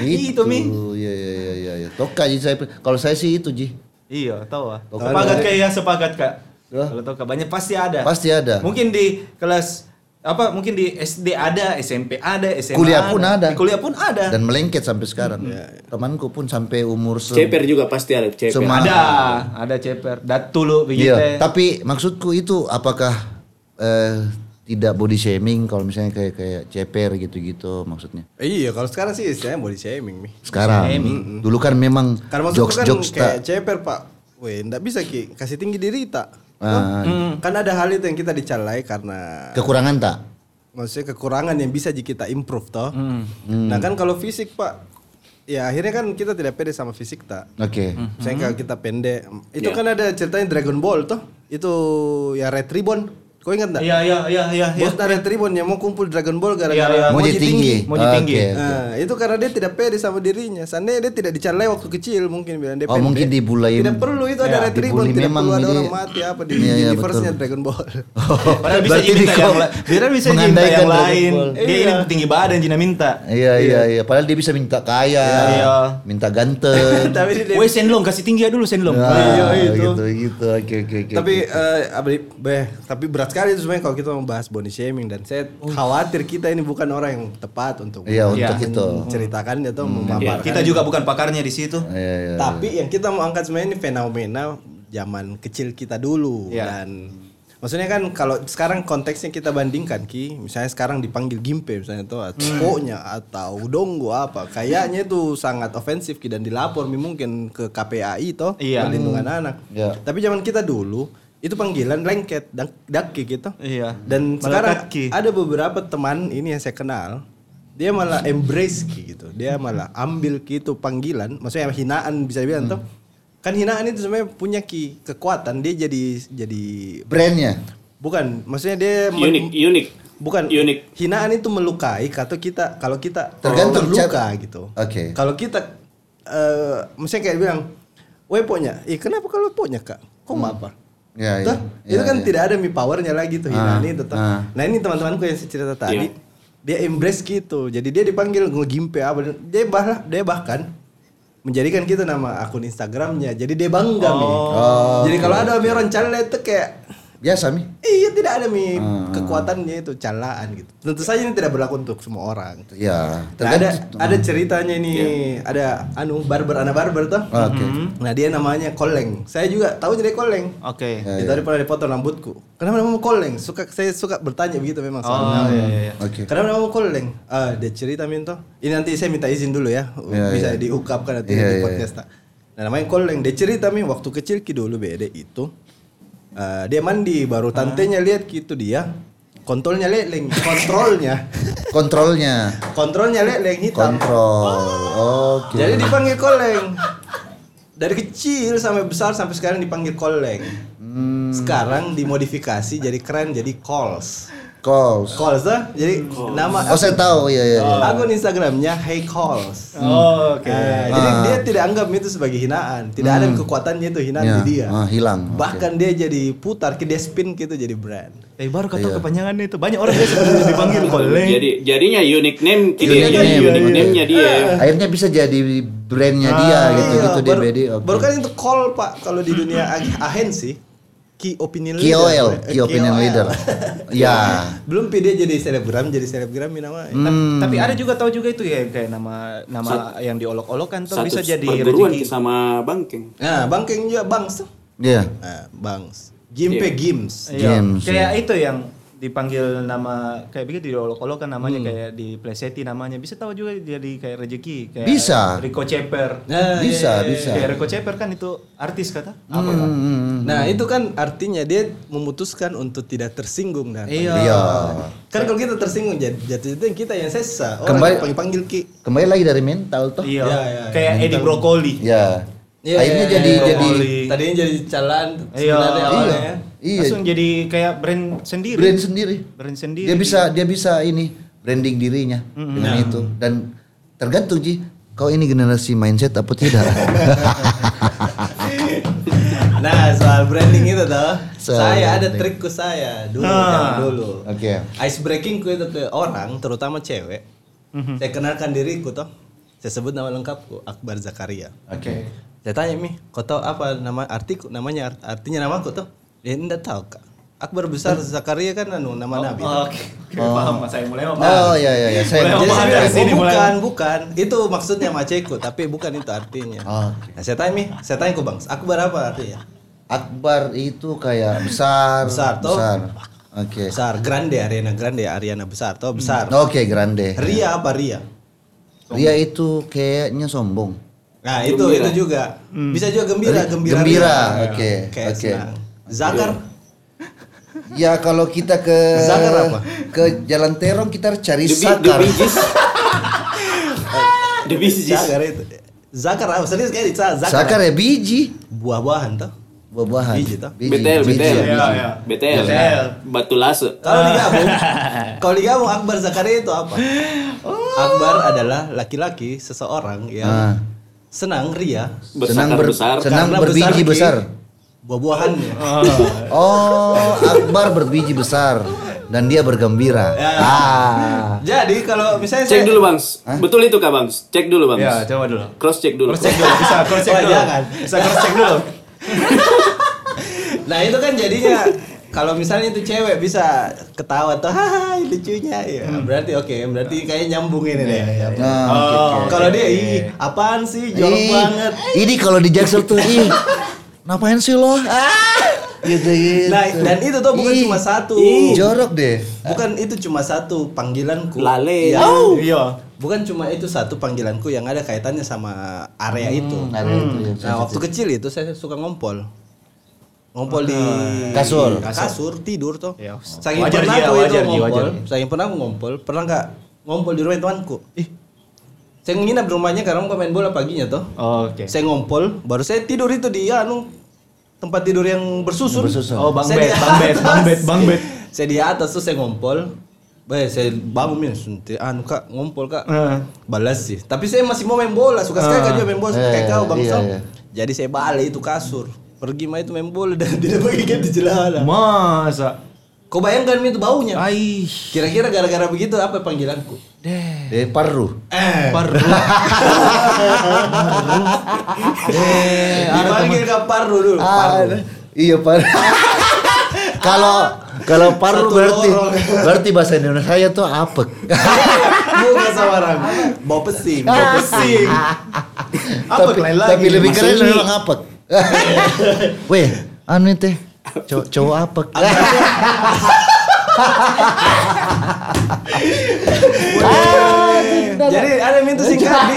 A: itu mi. Iya iya iya iya. iya. Toka jadi saya kalau saya sih itu ji.
C: Iya, tahu ah.
A: Tahu.
C: Sepakat kak ya, sepakat kak.
A: Lah.
C: Kalau tahu kak banyak pasti ada.
A: Pasti ada.
C: Ya. Mungkin di kelas apa mungkin di SD ada, SMP ada, SMA
A: Kuliah pun ada.
C: Di kuliah pun ada.
A: Dan melengket sampai sekarang. Temanku pun sampai umur se
D: Ceper juga pasti ada ceper.
A: Semua-
C: ada, ada ceper. Datulu begitu.
A: Iya, tapi maksudku itu apakah eh, tidak body shaming kalau misalnya kayak kayak ceper gitu-gitu maksudnya.
B: Iya, kalau sekarang sih saya body shaming nih.
A: Sekarang dulu kan memang
B: Karena maksudku kan
A: jokes-jokes tak
B: kayak ceper, Pak. Weh, ndak bisa Ki kasih tinggi diri tak.
A: Ah.
B: Kan ada hal itu yang kita dicalai karena
A: kekurangan tak?
B: maksudnya kekurangan yang bisa ji kita improve toh.
A: Hmm.
B: Nah, kan kalau fisik, Pak, ya akhirnya kan kita tidak pede sama fisik tak.
A: Oke.
B: Saya kalau kita pendek.
A: Ya.
B: Itu kan ada ceritanya Dragon Ball toh. Itu ya Red Ribbon. Kau ingat enggak?
C: Iya, iya, iya, iya. iya.
B: Bos dari Tribun yang mau kumpul Dragon Ball gara-gara
C: Iya, iya.
A: Mau jadi tinggi.
C: Mau jadi
B: [LAUGHS]
C: tinggi.
A: Oke, oke.
B: Nah, itu karena dia tidak pede sama dirinya. Seandainya dia tidak dicalai waktu kecil mungkin bilang dia
A: Oh,
B: pendek.
A: mungkin dibully. Iya,
B: Tidak perlu itu ada
C: Ya,
B: Red Ribbon,
A: dibully
B: tidak
A: memang
B: perlu ada
A: ini.
B: orang mati apa di
A: Iya, iya,
B: universe-nya
A: betul.
B: Dragon
A: [LAUGHS]
B: Ball.
C: Padahal bisa
A: Berarti
C: jadi minta
A: dia kok
C: yang lain. Padahal bisa jadi minta
A: mengandaikan
C: yang
A: Dragon
C: lain. Iya.
A: Ball.
C: Dia ini tinggi badan Jina minta.
A: Iya iya iya. Padahal dia bisa minta kaya,
C: Iya.
A: minta ganteng.
B: Tapi dia-
C: Woi Senlong kasih tinggi ya dulu Senlong.
A: Nah,
B: [LAUGHS] Iya, itu.
A: gitu gitu. Oke oke oke.
B: tapi eh, abri- beh, tapi berat sekali itu sebenarnya kalau kita membahas body shaming dan saya khawatir kita ini bukan orang yang tepat untuk
A: Iya, Hmm.
C: Iya.
A: untuk itu.
B: menceritakan atau
C: Iya,
B: memaparkan.
C: kita juga bukan pakarnya di situ.
A: Iya iya.
B: Tapi yang kita mau angkat sebenarnya ini fenomena zaman kecil kita dulu
C: Iya.
B: dan maksudnya kan kalau sekarang konteksnya kita bandingkan ki, misalnya sekarang dipanggil gimpe misalnya tuh atau "Oh-nya" atau donggo apa, kayaknya itu sangat ofensif ki dan dilapor mi mungkin ke KPAI toh
C: Iya.
B: perlindungan anak.
A: Iya.
B: Tapi zaman kita dulu itu panggilan lengket dak daki gitu
C: Iya.
B: dan
C: Malah
B: sekarang
C: daki.
B: ada beberapa teman ini yang saya kenal dia malah embrace ki gitu dia malah ambil ki itu panggilan maksudnya hinaan bisa
A: Hmm.
B: dibilang tuh kan hinaan itu sebenarnya punya ki kekuatan dia jadi jadi
A: Brandnya.
B: bukan maksudnya dia men-
D: Unik, unik.
B: bukan
D: Unik.
B: hinaan itu melukai kalau kita kalau kita
A: Tergantung
B: luka
A: cap-
B: gitu
A: Oke.
B: kalau kita eh maksudnya kayak bilang Weh poknya, eh kenapa kalau poknya kak? Kok
A: Hmm.
B: apa?
A: Ya,
B: Tuh,
A: ya.
B: itu
A: Ya,
B: kan
A: ya.
B: tidak ada mi powernya lagi tuh hinaan
A: Ah,
B: itu tuh.
A: ah.
B: Nah ini teman-temanku yang saya cerita tadi,
D: Iya.
B: dia embrace gitu. Jadi dia dipanggil ngegimpe apa? Dia bah, dia bahkan menjadikan kita nama akun Instagramnya. Jadi dia bangga Mi.
A: Oh.
B: Jadi kalau ada mi orang cale itu kayak
A: Biasa mi.
B: Iya tidak ada mi
A: Ah.
B: kekuatannya itu calaan gitu. Tentu saja ini tidak berlaku untuk semua orang.
A: Ya.
B: Nah, ada ada ceritanya ini ada anu barber anak barber tuh.
A: Oke.
B: Nah dia namanya Koleng. Saya juga tahu jadi Koleng.
C: Oke.
A: Ya,
B: itu
A: ya.
B: hari pernah dipotong rambutku. Kenapa namanya Koleng? Suka saya suka bertanya begitu memang. soal
C: Oh
B: nama.
C: iya iya. iya.
A: Oke.
B: Kenapa namanya Koleng? Ah, dia cerita minto. Ini nanti saya minta izin dulu ya.
A: Iya,
B: Bisa
A: iya.
B: diungkapkan nanti
A: Iya,
B: di
A: iya,
B: podcast. tak? Nah, namanya Koleng. Dia cerita min waktu kecil ki dulu beda itu. eh, dia mandi baru
A: Ah.
B: tantenya lihat gitu dia. Kontolnya leleng, kontrolnya.
A: [LAUGHS] Kontrolnya.
B: kontrolnya leleng hitam.
A: Kontrol. Oke.
B: Jadi dipanggil koleng. Dari kecil sampai besar sampai sekarang dipanggil koleng.
A: Hmm.
B: Sekarang dimodifikasi jadi keren jadi calls.
A: Calls.
B: Calls tuh jadi
A: Oh
B: nama
A: saya tahu ya ya. ya.
B: akun Instagramnya Hey Calls.
A: Ah.
C: Oh, Oke.
B: Nah, Jadi dia tidak anggap itu sebagai hinaan. Tidak ada kekuatannya itu hinaan
A: Hmm. Ya.
B: di dia.
A: Ah, hilang. Oke.
B: Bahkan dia jadi putar, dia spin gitu jadi brand.
C: Eh baru kata kepanjangan itu banyak orang yang sebenarnya [LAUGHS] dipanggil koleng.
D: Jadi jadinya unique name dia,
A: Unique
D: jadi
A: name,
D: unique
A: iya.
D: name-nya dia.
A: Akhirnya bisa jadi brandnya dia gitu
B: Iya,
A: gitu dia
B: baru,
A: BD. Oke.
B: baru kan itu call pak kalau di dunia ag- agensi key opinion leader.
A: KOL,
B: Eh,
A: key opinion
B: KOL. [LAUGHS]
A: leader. ya.
B: Belum PD jadi selebgram, jadi selebgram ini namanya.
C: Ta- Tapi ada juga tahu juga itu ya kayak nama nama yang diolok-olokkan tuh Ah,
D: Satu
C: bisa jadi
D: perguruan
C: rezeki.
D: sama bangkeng.
B: Nah, Bangkeng juga Bangs tuh.
A: Iya.
B: Nah, Bangs. Gimpe Gims.
C: Iya,
A: Games,
C: kayak itu yang dipanggil nama kayak begitu diolok-olokkan namanya
B: Hmm.
C: kayak diplesetin namanya bisa tahu juga jadi kayak rezeki kayak
A: Bisa.
C: Rico Ceper
B: Nah,
A: Bisa,
B: iya, iya,
A: bisa.
C: kayak Rico Ceper kan itu artis kata
B: Apa lah?
A: Hmm.
B: Nah, itu kan artinya dia memutuskan untuk tidak tersinggung dan
A: Iya.
B: Kan kalau kita tersinggung jat- jatuh-jatuh kita yang sesa. Orang
A: Kembali-
B: yang panggil-panggil Ki.
A: Kembali lagi dari mental toh.
C: iya
B: Iya, iya,
C: kayak
B: iya.
C: Eddie Brokoli
A: Ya.
B: Iya,
A: Akhirnya
B: iya,
A: jadi
B: iya,
A: jadi
C: Brokoli.
B: Tadinya jadi jalan
C: iya
B: sebenarnya awalnya.
C: iya.
B: ya.
A: Iya.
C: langsung jadi kayak brand sendiri
A: brand sendiri.
C: brand
A: Dia
C: sendiri
A: bisa dia bisa ini branding dirinya dengan
B: Iya.
A: itu dan tergantung Ji kau ini generasi mindset apa
B: [LAUGHS]
A: tidak.
B: Nah, soal branding itu toh,
A: Soal
B: saya ada
A: branding.
B: trikku saya dulu,
C: Ah.
B: zaman dulu.
A: Oke.
B: Ice breaking ku itu ke orang, terutama cewek.
C: Mhm.
B: Saya kenalkan diriku toh. Saya sebut nama lengkapku, Akbar Zakaria.
A: Oke.
B: Saya tanya mi, kau tahu apa nama artiku? Namanya art- artinya namaku toh? Dia tidak tahu kak. Akbar besar Zakaria kan anu nama nabi. toh.
C: oke Oke, paham mas saya mulai paham.
A: Oh ya ya ya saya.
C: Oh,
B: Jadi
C: Boleh, Apa
B: saya
C: ada
B: bilang,
C: di sini
B: "Oh,
C: mulai?"
B: bukan, bukan. Itu maksudnya maceku, tapi bukan itu artinya.
A: Oh, Oke.
B: Nah, saya tanya mi, saya tanya ku bang, Akbar apa artinya?
A: Akbar itu kayak besar
B: Besar, toh.
A: besar. Oke.
B: Besar, grande, Ariana Grande, Ariana besar, toh besar.
A: Hmm, Oke grande.
B: Ria apa Ria?
A: Ria itu kayaknya
B: [LAUGHS]
A: sombong.
B: Nah itu itu juga bisa juga gembira
A: Ri-
B: gembira.
A: gembira,
B: Ria.
A: oke,
B: Kayak
A: oke.
B: senang. Zakar
A: Ya kalau kita ke
B: Zakar apa?
A: ke Jalan Terong kita harus cari
D: The Bee- The
A: Sakar.
D: Bee Gees. The Bee Gees.
B: Zakar itu Zakar apa serius kayak Zakar.
A: Sakar ya biji
B: Buah-buahan tuh.
A: buah-buahan.
B: Biji, toh. Ya.
D: BTL,
A: biji,
D: BTL.
A: biji.
C: Iya, iya.
D: BTL.
C: BTL.
D: Batu laso.
B: Kalau digabung, kalau digabung Akbar Zakaria itu apa? Akbar adalah laki-laki seseorang yang
A: Ah.
B: senang ria.
D: kan
A: Senang ber-
D: Besar-besar.
A: senang-
B: karena
A: berbiji
B: ki,
A: besar.
B: Buah-buahannya.
A: Oh, Akbar berbiji besar dan dia bergembira.
B: Ya.
A: Ah.
B: Jadi kalau misalnya
D: Cek
B: saya-
D: dulu, Bangs. Betul itu Kak, Bangs? Cek
A: Nah.
D: dulu, Bangs.
C: ya coba dulu
D: Cross check dulu.
C: cross check dulu bisa cross check
B: Oh,
C: dulu
B: jangan.
C: bisa cross check dulu
B: Nah itu kan jadinya kalau misalnya itu cewek bisa ketawa tuh haha lucunya ya
C: Hmm.
B: berarti oke berarti kayak nyambung ini deh.
A: Nah,
C: Iya, Oh, oke.
B: Kalau dia ih apaan sih jorok
A: Ih,
B: banget.
A: Ini kalau di Jaksel tuh ih. Ngapain sih lo? Gitu gitu.
B: Ah. Nah, dan itu tuh bukan
A: Ih,
B: cuma satu.
A: ih, Jorok deh.
B: Bukan itu cuma satu panggilanku.
D: Lale.
B: yang-
A: Oh.
C: iya
B: Bukan cuma itu satu panggilanku yang ada kaitannya sama area itu.
C: Hmm.
B: Hmm.
A: Ada itu ya.
B: Nah waktu kecil itu saya suka ngompol. Ngompol di
A: Ah, Kasur.
B: kasur tidur toh.
C: Ya,
B: Saking
C: wajar
B: pernah
C: dia,
B: aku itu
C: wajar dia,
B: ngompol.
C: wajar.
B: Saking pernah aku ngompol, pernah nggak ngompol di rumah tuanku? Ih. Saya nginap di rumahnya karena mau main bola paginya toh.
C: Oke.
B: Saya ngompol, baru saya tidur itu di anu tempat tidur yang bersusun.
A: Bersusun.
C: Oh, Bang
B: Saya
C: Bet,
B: di
C: Bang Bet,
B: atas.
C: Bang Bet, Bang Bet.
B: [LAUGHS] Saya di atas tuh saya ngompol. Baik, saya bangun ya, suntik. Anu kak, ngompol kak.
C: Eh.
B: Balas sih. Tapi saya masih mau main bola. Suka sekali kan juga main bola. Suka
A: Eh,
B: kayak kau bang
A: iya,
B: Sam.
A: iya.
B: Jadi saya balik itu kasur. Pergi main itu main bola dan [LAUGHS] tidak pakai ganti celana.
C: Masa.
B: Kau bayangkan itu
C: Iya.
B: baunya.
C: Aih.
B: Kira-kira gara-gara begitu apa panggilanku?
C: Deh.
A: Eh, paru.
B: Eh,
C: Perlu.
B: eh dipanggil ke Pardu dulu.
A: Ah,
B: [LAUGHS] Pardu.
A: iya paru. Kalau kalau paru
B: Satu
A: berarti
B: lorong.
A: berarti bahasa Indonesia saya tuh apek.
B: Bukan sawarang. Bau pesing, bau
A: Ah,
B: pesing. Apa
A: tapi,
B: lain lagi?
A: tapi lebih keren
B: Maksudnya-
A: memang
B: [LAUGHS]
A: apek. Weh, anu teh cowok cowok apek.
B: Eh, Jadi ada minta singkatan. Di,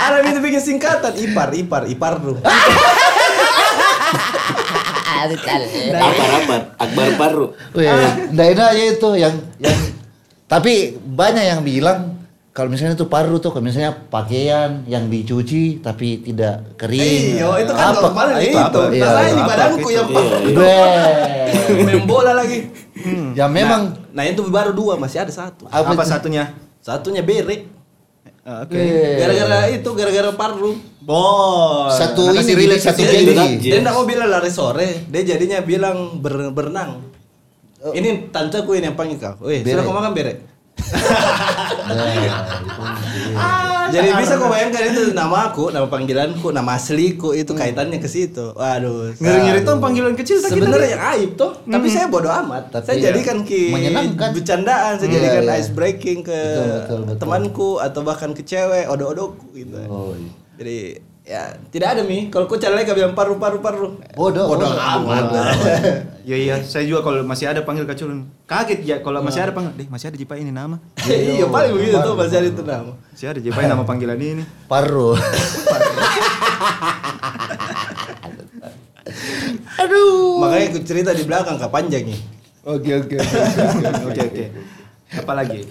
B: ada minta bikin singkatan Ipar, Ipar, Ipar lu.
D: Apar-apar, Akbar Paru.
A: [LAUGHS] Weh, ndak enak aja itu yang yang tapi banyak yang bilang kalau misalnya itu paru tuh kalau misalnya pakaian yang dicuci tapi tidak kering.
B: Iya, itu kan
A: Apek,
B: normal itu. gitu.
A: apek, iya.
B: Masalahnya di badanku yang
A: Weh.
B: main Eh, bola lagi.
A: Ya memang
B: Nah, itu baru dua, masih ada satu.
A: Apa
C: Apa
A: itu?
C: satunya?
B: Satunya bere.
A: eh,
B: Gara-gara itu, gara-gara parlu.
C: Boy.
A: satu
C: Nakasih
A: ini jadi
C: relate
A: satu
C: sih.
D: Iya,
A: jadi.
D: iya.
B: Dia enggak mau bilang lari sore, dia jadinya bilang ber- berenang.
C: Oh.
B: Ini tanteku ini yang panggil kau. Weh,
A: Bere.
B: sudah kau makan
C: [LAUGHS]
B: bere?
C: Nah,
B: [LAUGHS] Jadi
C: Ah,
B: bisa kau bayangkan itu nama aku, nama panggilanku, nama asliku itu kaitannya ke situ. Waduh.
C: Ngeri-ngeri tuh
B: aduh.
C: panggilan kecil sakit
B: Sebenarnya yang aib tuh, tapi saya bodoh amat.
A: Tapi
B: saya
A: ya,
B: jadikan ki
A: menyenangkan.
B: bercandaan, saya
A: Iya,
B: jadikan
A: iya.
B: ice breaking ke
A: Betul, betul, betul.
B: temanku atau bahkan ke cewek, odo-odoku gitu.
A: Oh, iya.
B: Jadi ya tidak ada mi. Kalau ku calon bilang paru paru paru.
A: Bodoh, bodoh.
B: amat.
C: Iya iya, saya juga kalau masih ada panggil kacurun. Kaget ya kalau masih ada panggil, deh masih ada Jipa ini nama.
B: [LAUGHS] Iya paling begitu tuh masih ada itu nama.
C: Masih ada [LAUGHS] Jipa nama panggilan ini.
A: Paru. Aduh.
B: Makanya ku cerita di belakang kak panjang nih.
A: [LAUGHS] Oke oke.
C: [LAUGHS] Oke oke. Apalagi?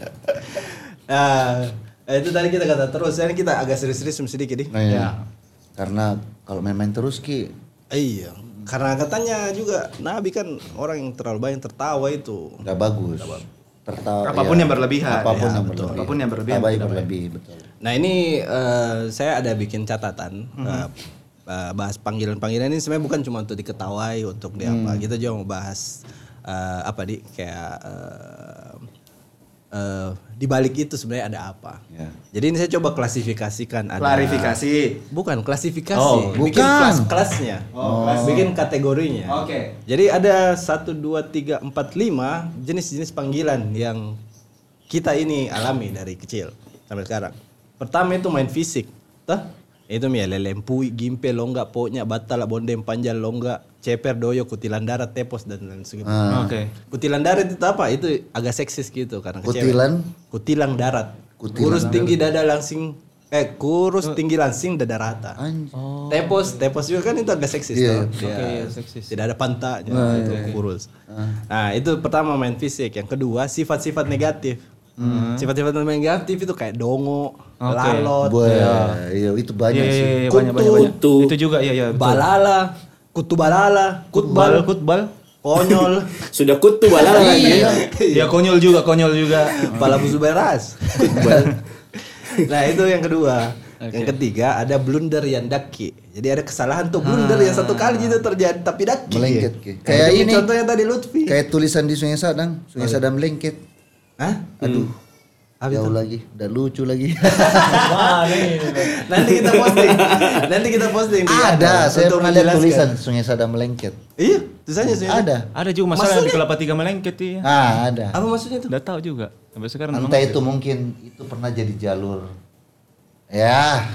B: Nah, itu tadi kita kata terus. Sekarang kita agak serius-serius sedikit nih.
A: Nah, iya. Karena kalau main-main terus ki
B: Iya. Karena katanya juga Nabi kan orang yang terlalu banyak tertawa itu.
A: nggak bagus. Tertawa.
C: Apapun
A: iya.
C: yang berlebihan.
A: Apapun
C: Iya,
A: yang
C: betul.
A: berlebihan.
C: Apapun yang berlebihan,
A: Tak baik
C: tidak baik.
A: berlebih betul.
B: Nah ini eh, saya ada bikin catatan eh, eh, bahas panggilan-panggilan ini sebenarnya bukan cuma untuk diketawai untuk di apa kita juga mau bahas eh, apa di kayak eh, eh, di balik itu sebenarnya ada apa.
A: Ya.
B: Jadi ini saya coba klasifikasikan ada
C: Klarifikasi.
B: bukan klasifikasi
A: Oh,
B: bikin
A: bukan.
B: kelas-kelasnya
C: Oh, kelas.
B: bikin kategorinya.
C: Oke.
B: Jadi ada 1 2 3 4 5 jenis-jenis panggilan yang kita ini alami dari kecil sampai sekarang. Pertama itu main fisik. Tuh. Itu mi lelempui, gimpe, longga, poknya, batal, bondem, panjal, longga, ceper, doyo, kutilan darat, tepos dan lain sebagainya.
A: Ah,
C: Oke.
B: Kutilan darat itu apa? Itu agak seksis gitu karena ke cewek.
A: Kutilan?
B: Kutilang darat.
A: Kutilang
B: kurus tinggi dada langsing eh kurus tinggi langsing dada rata.
A: Anj-
B: Tepos, tepos juga kan itu agak
A: Ah.
B: seksis
A: Iya,
B: toh. Dia Tidak ada pantanya itu kurus. Nah, itu pertama main fisik, yang kedua sifat-sifat negatif. Sifat-sifat negatif itu kayak dongo,
C: Oke.
B: lalot,
A: Wah, Oh, iya, itu banyak
C: Iya iya
A: sih.
C: iya, banyak banyak banyak.
D: Kutu.
C: Itu juga iya iya. betul.
B: balala, kutu balala, kutbal,
C: kutbal.
B: konyol,
D: Sudah kutu balala kan,
A: [COUGHS]
D: lagi.
A: Iya.
C: Ya konyol juga, konyol juga.
B: kepala
C: Hmm.
B: busuk beras.
C: [LAUGHS]
B: nah, itu yang kedua. Yang ketiga ada blunder yang daki. Jadi ada kesalahan tuh blunder yang satu
C: Ah.
B: kali itu terjadi tapi daki.
A: Melengket, Ki.
B: Kayak,
A: Kayak
B: ini
A: ini.
B: contohnya tadi Lutfi.
A: Kayak tulisan di Sungai Sadang, Sungai Sadang melengket.
B: Hah?
A: Aduh.
B: Apa
A: Hmm. Jauh lagi, udah lucu lagi.
B: Nanti kita
A: [LAUGHS]
B: posting. Nanti kita posting. di
A: ada,
C: ya,
B: Yadol
A: saya
B: untuk
A: pernah lihat
B: menjelaskan.
A: tulisan Sungai Sadang melengket.
B: Iya, tulisannya sih.
A: Ada.
C: Ada juga masalah yang di Kelapa Tiga melengket iya.
A: Ah, ada.
B: Apa maksudnya tuh?
C: Enggak tahu juga. Sampai sekarang belum.
A: Entah itu mungkin itu pernah jadi jalur. Ya,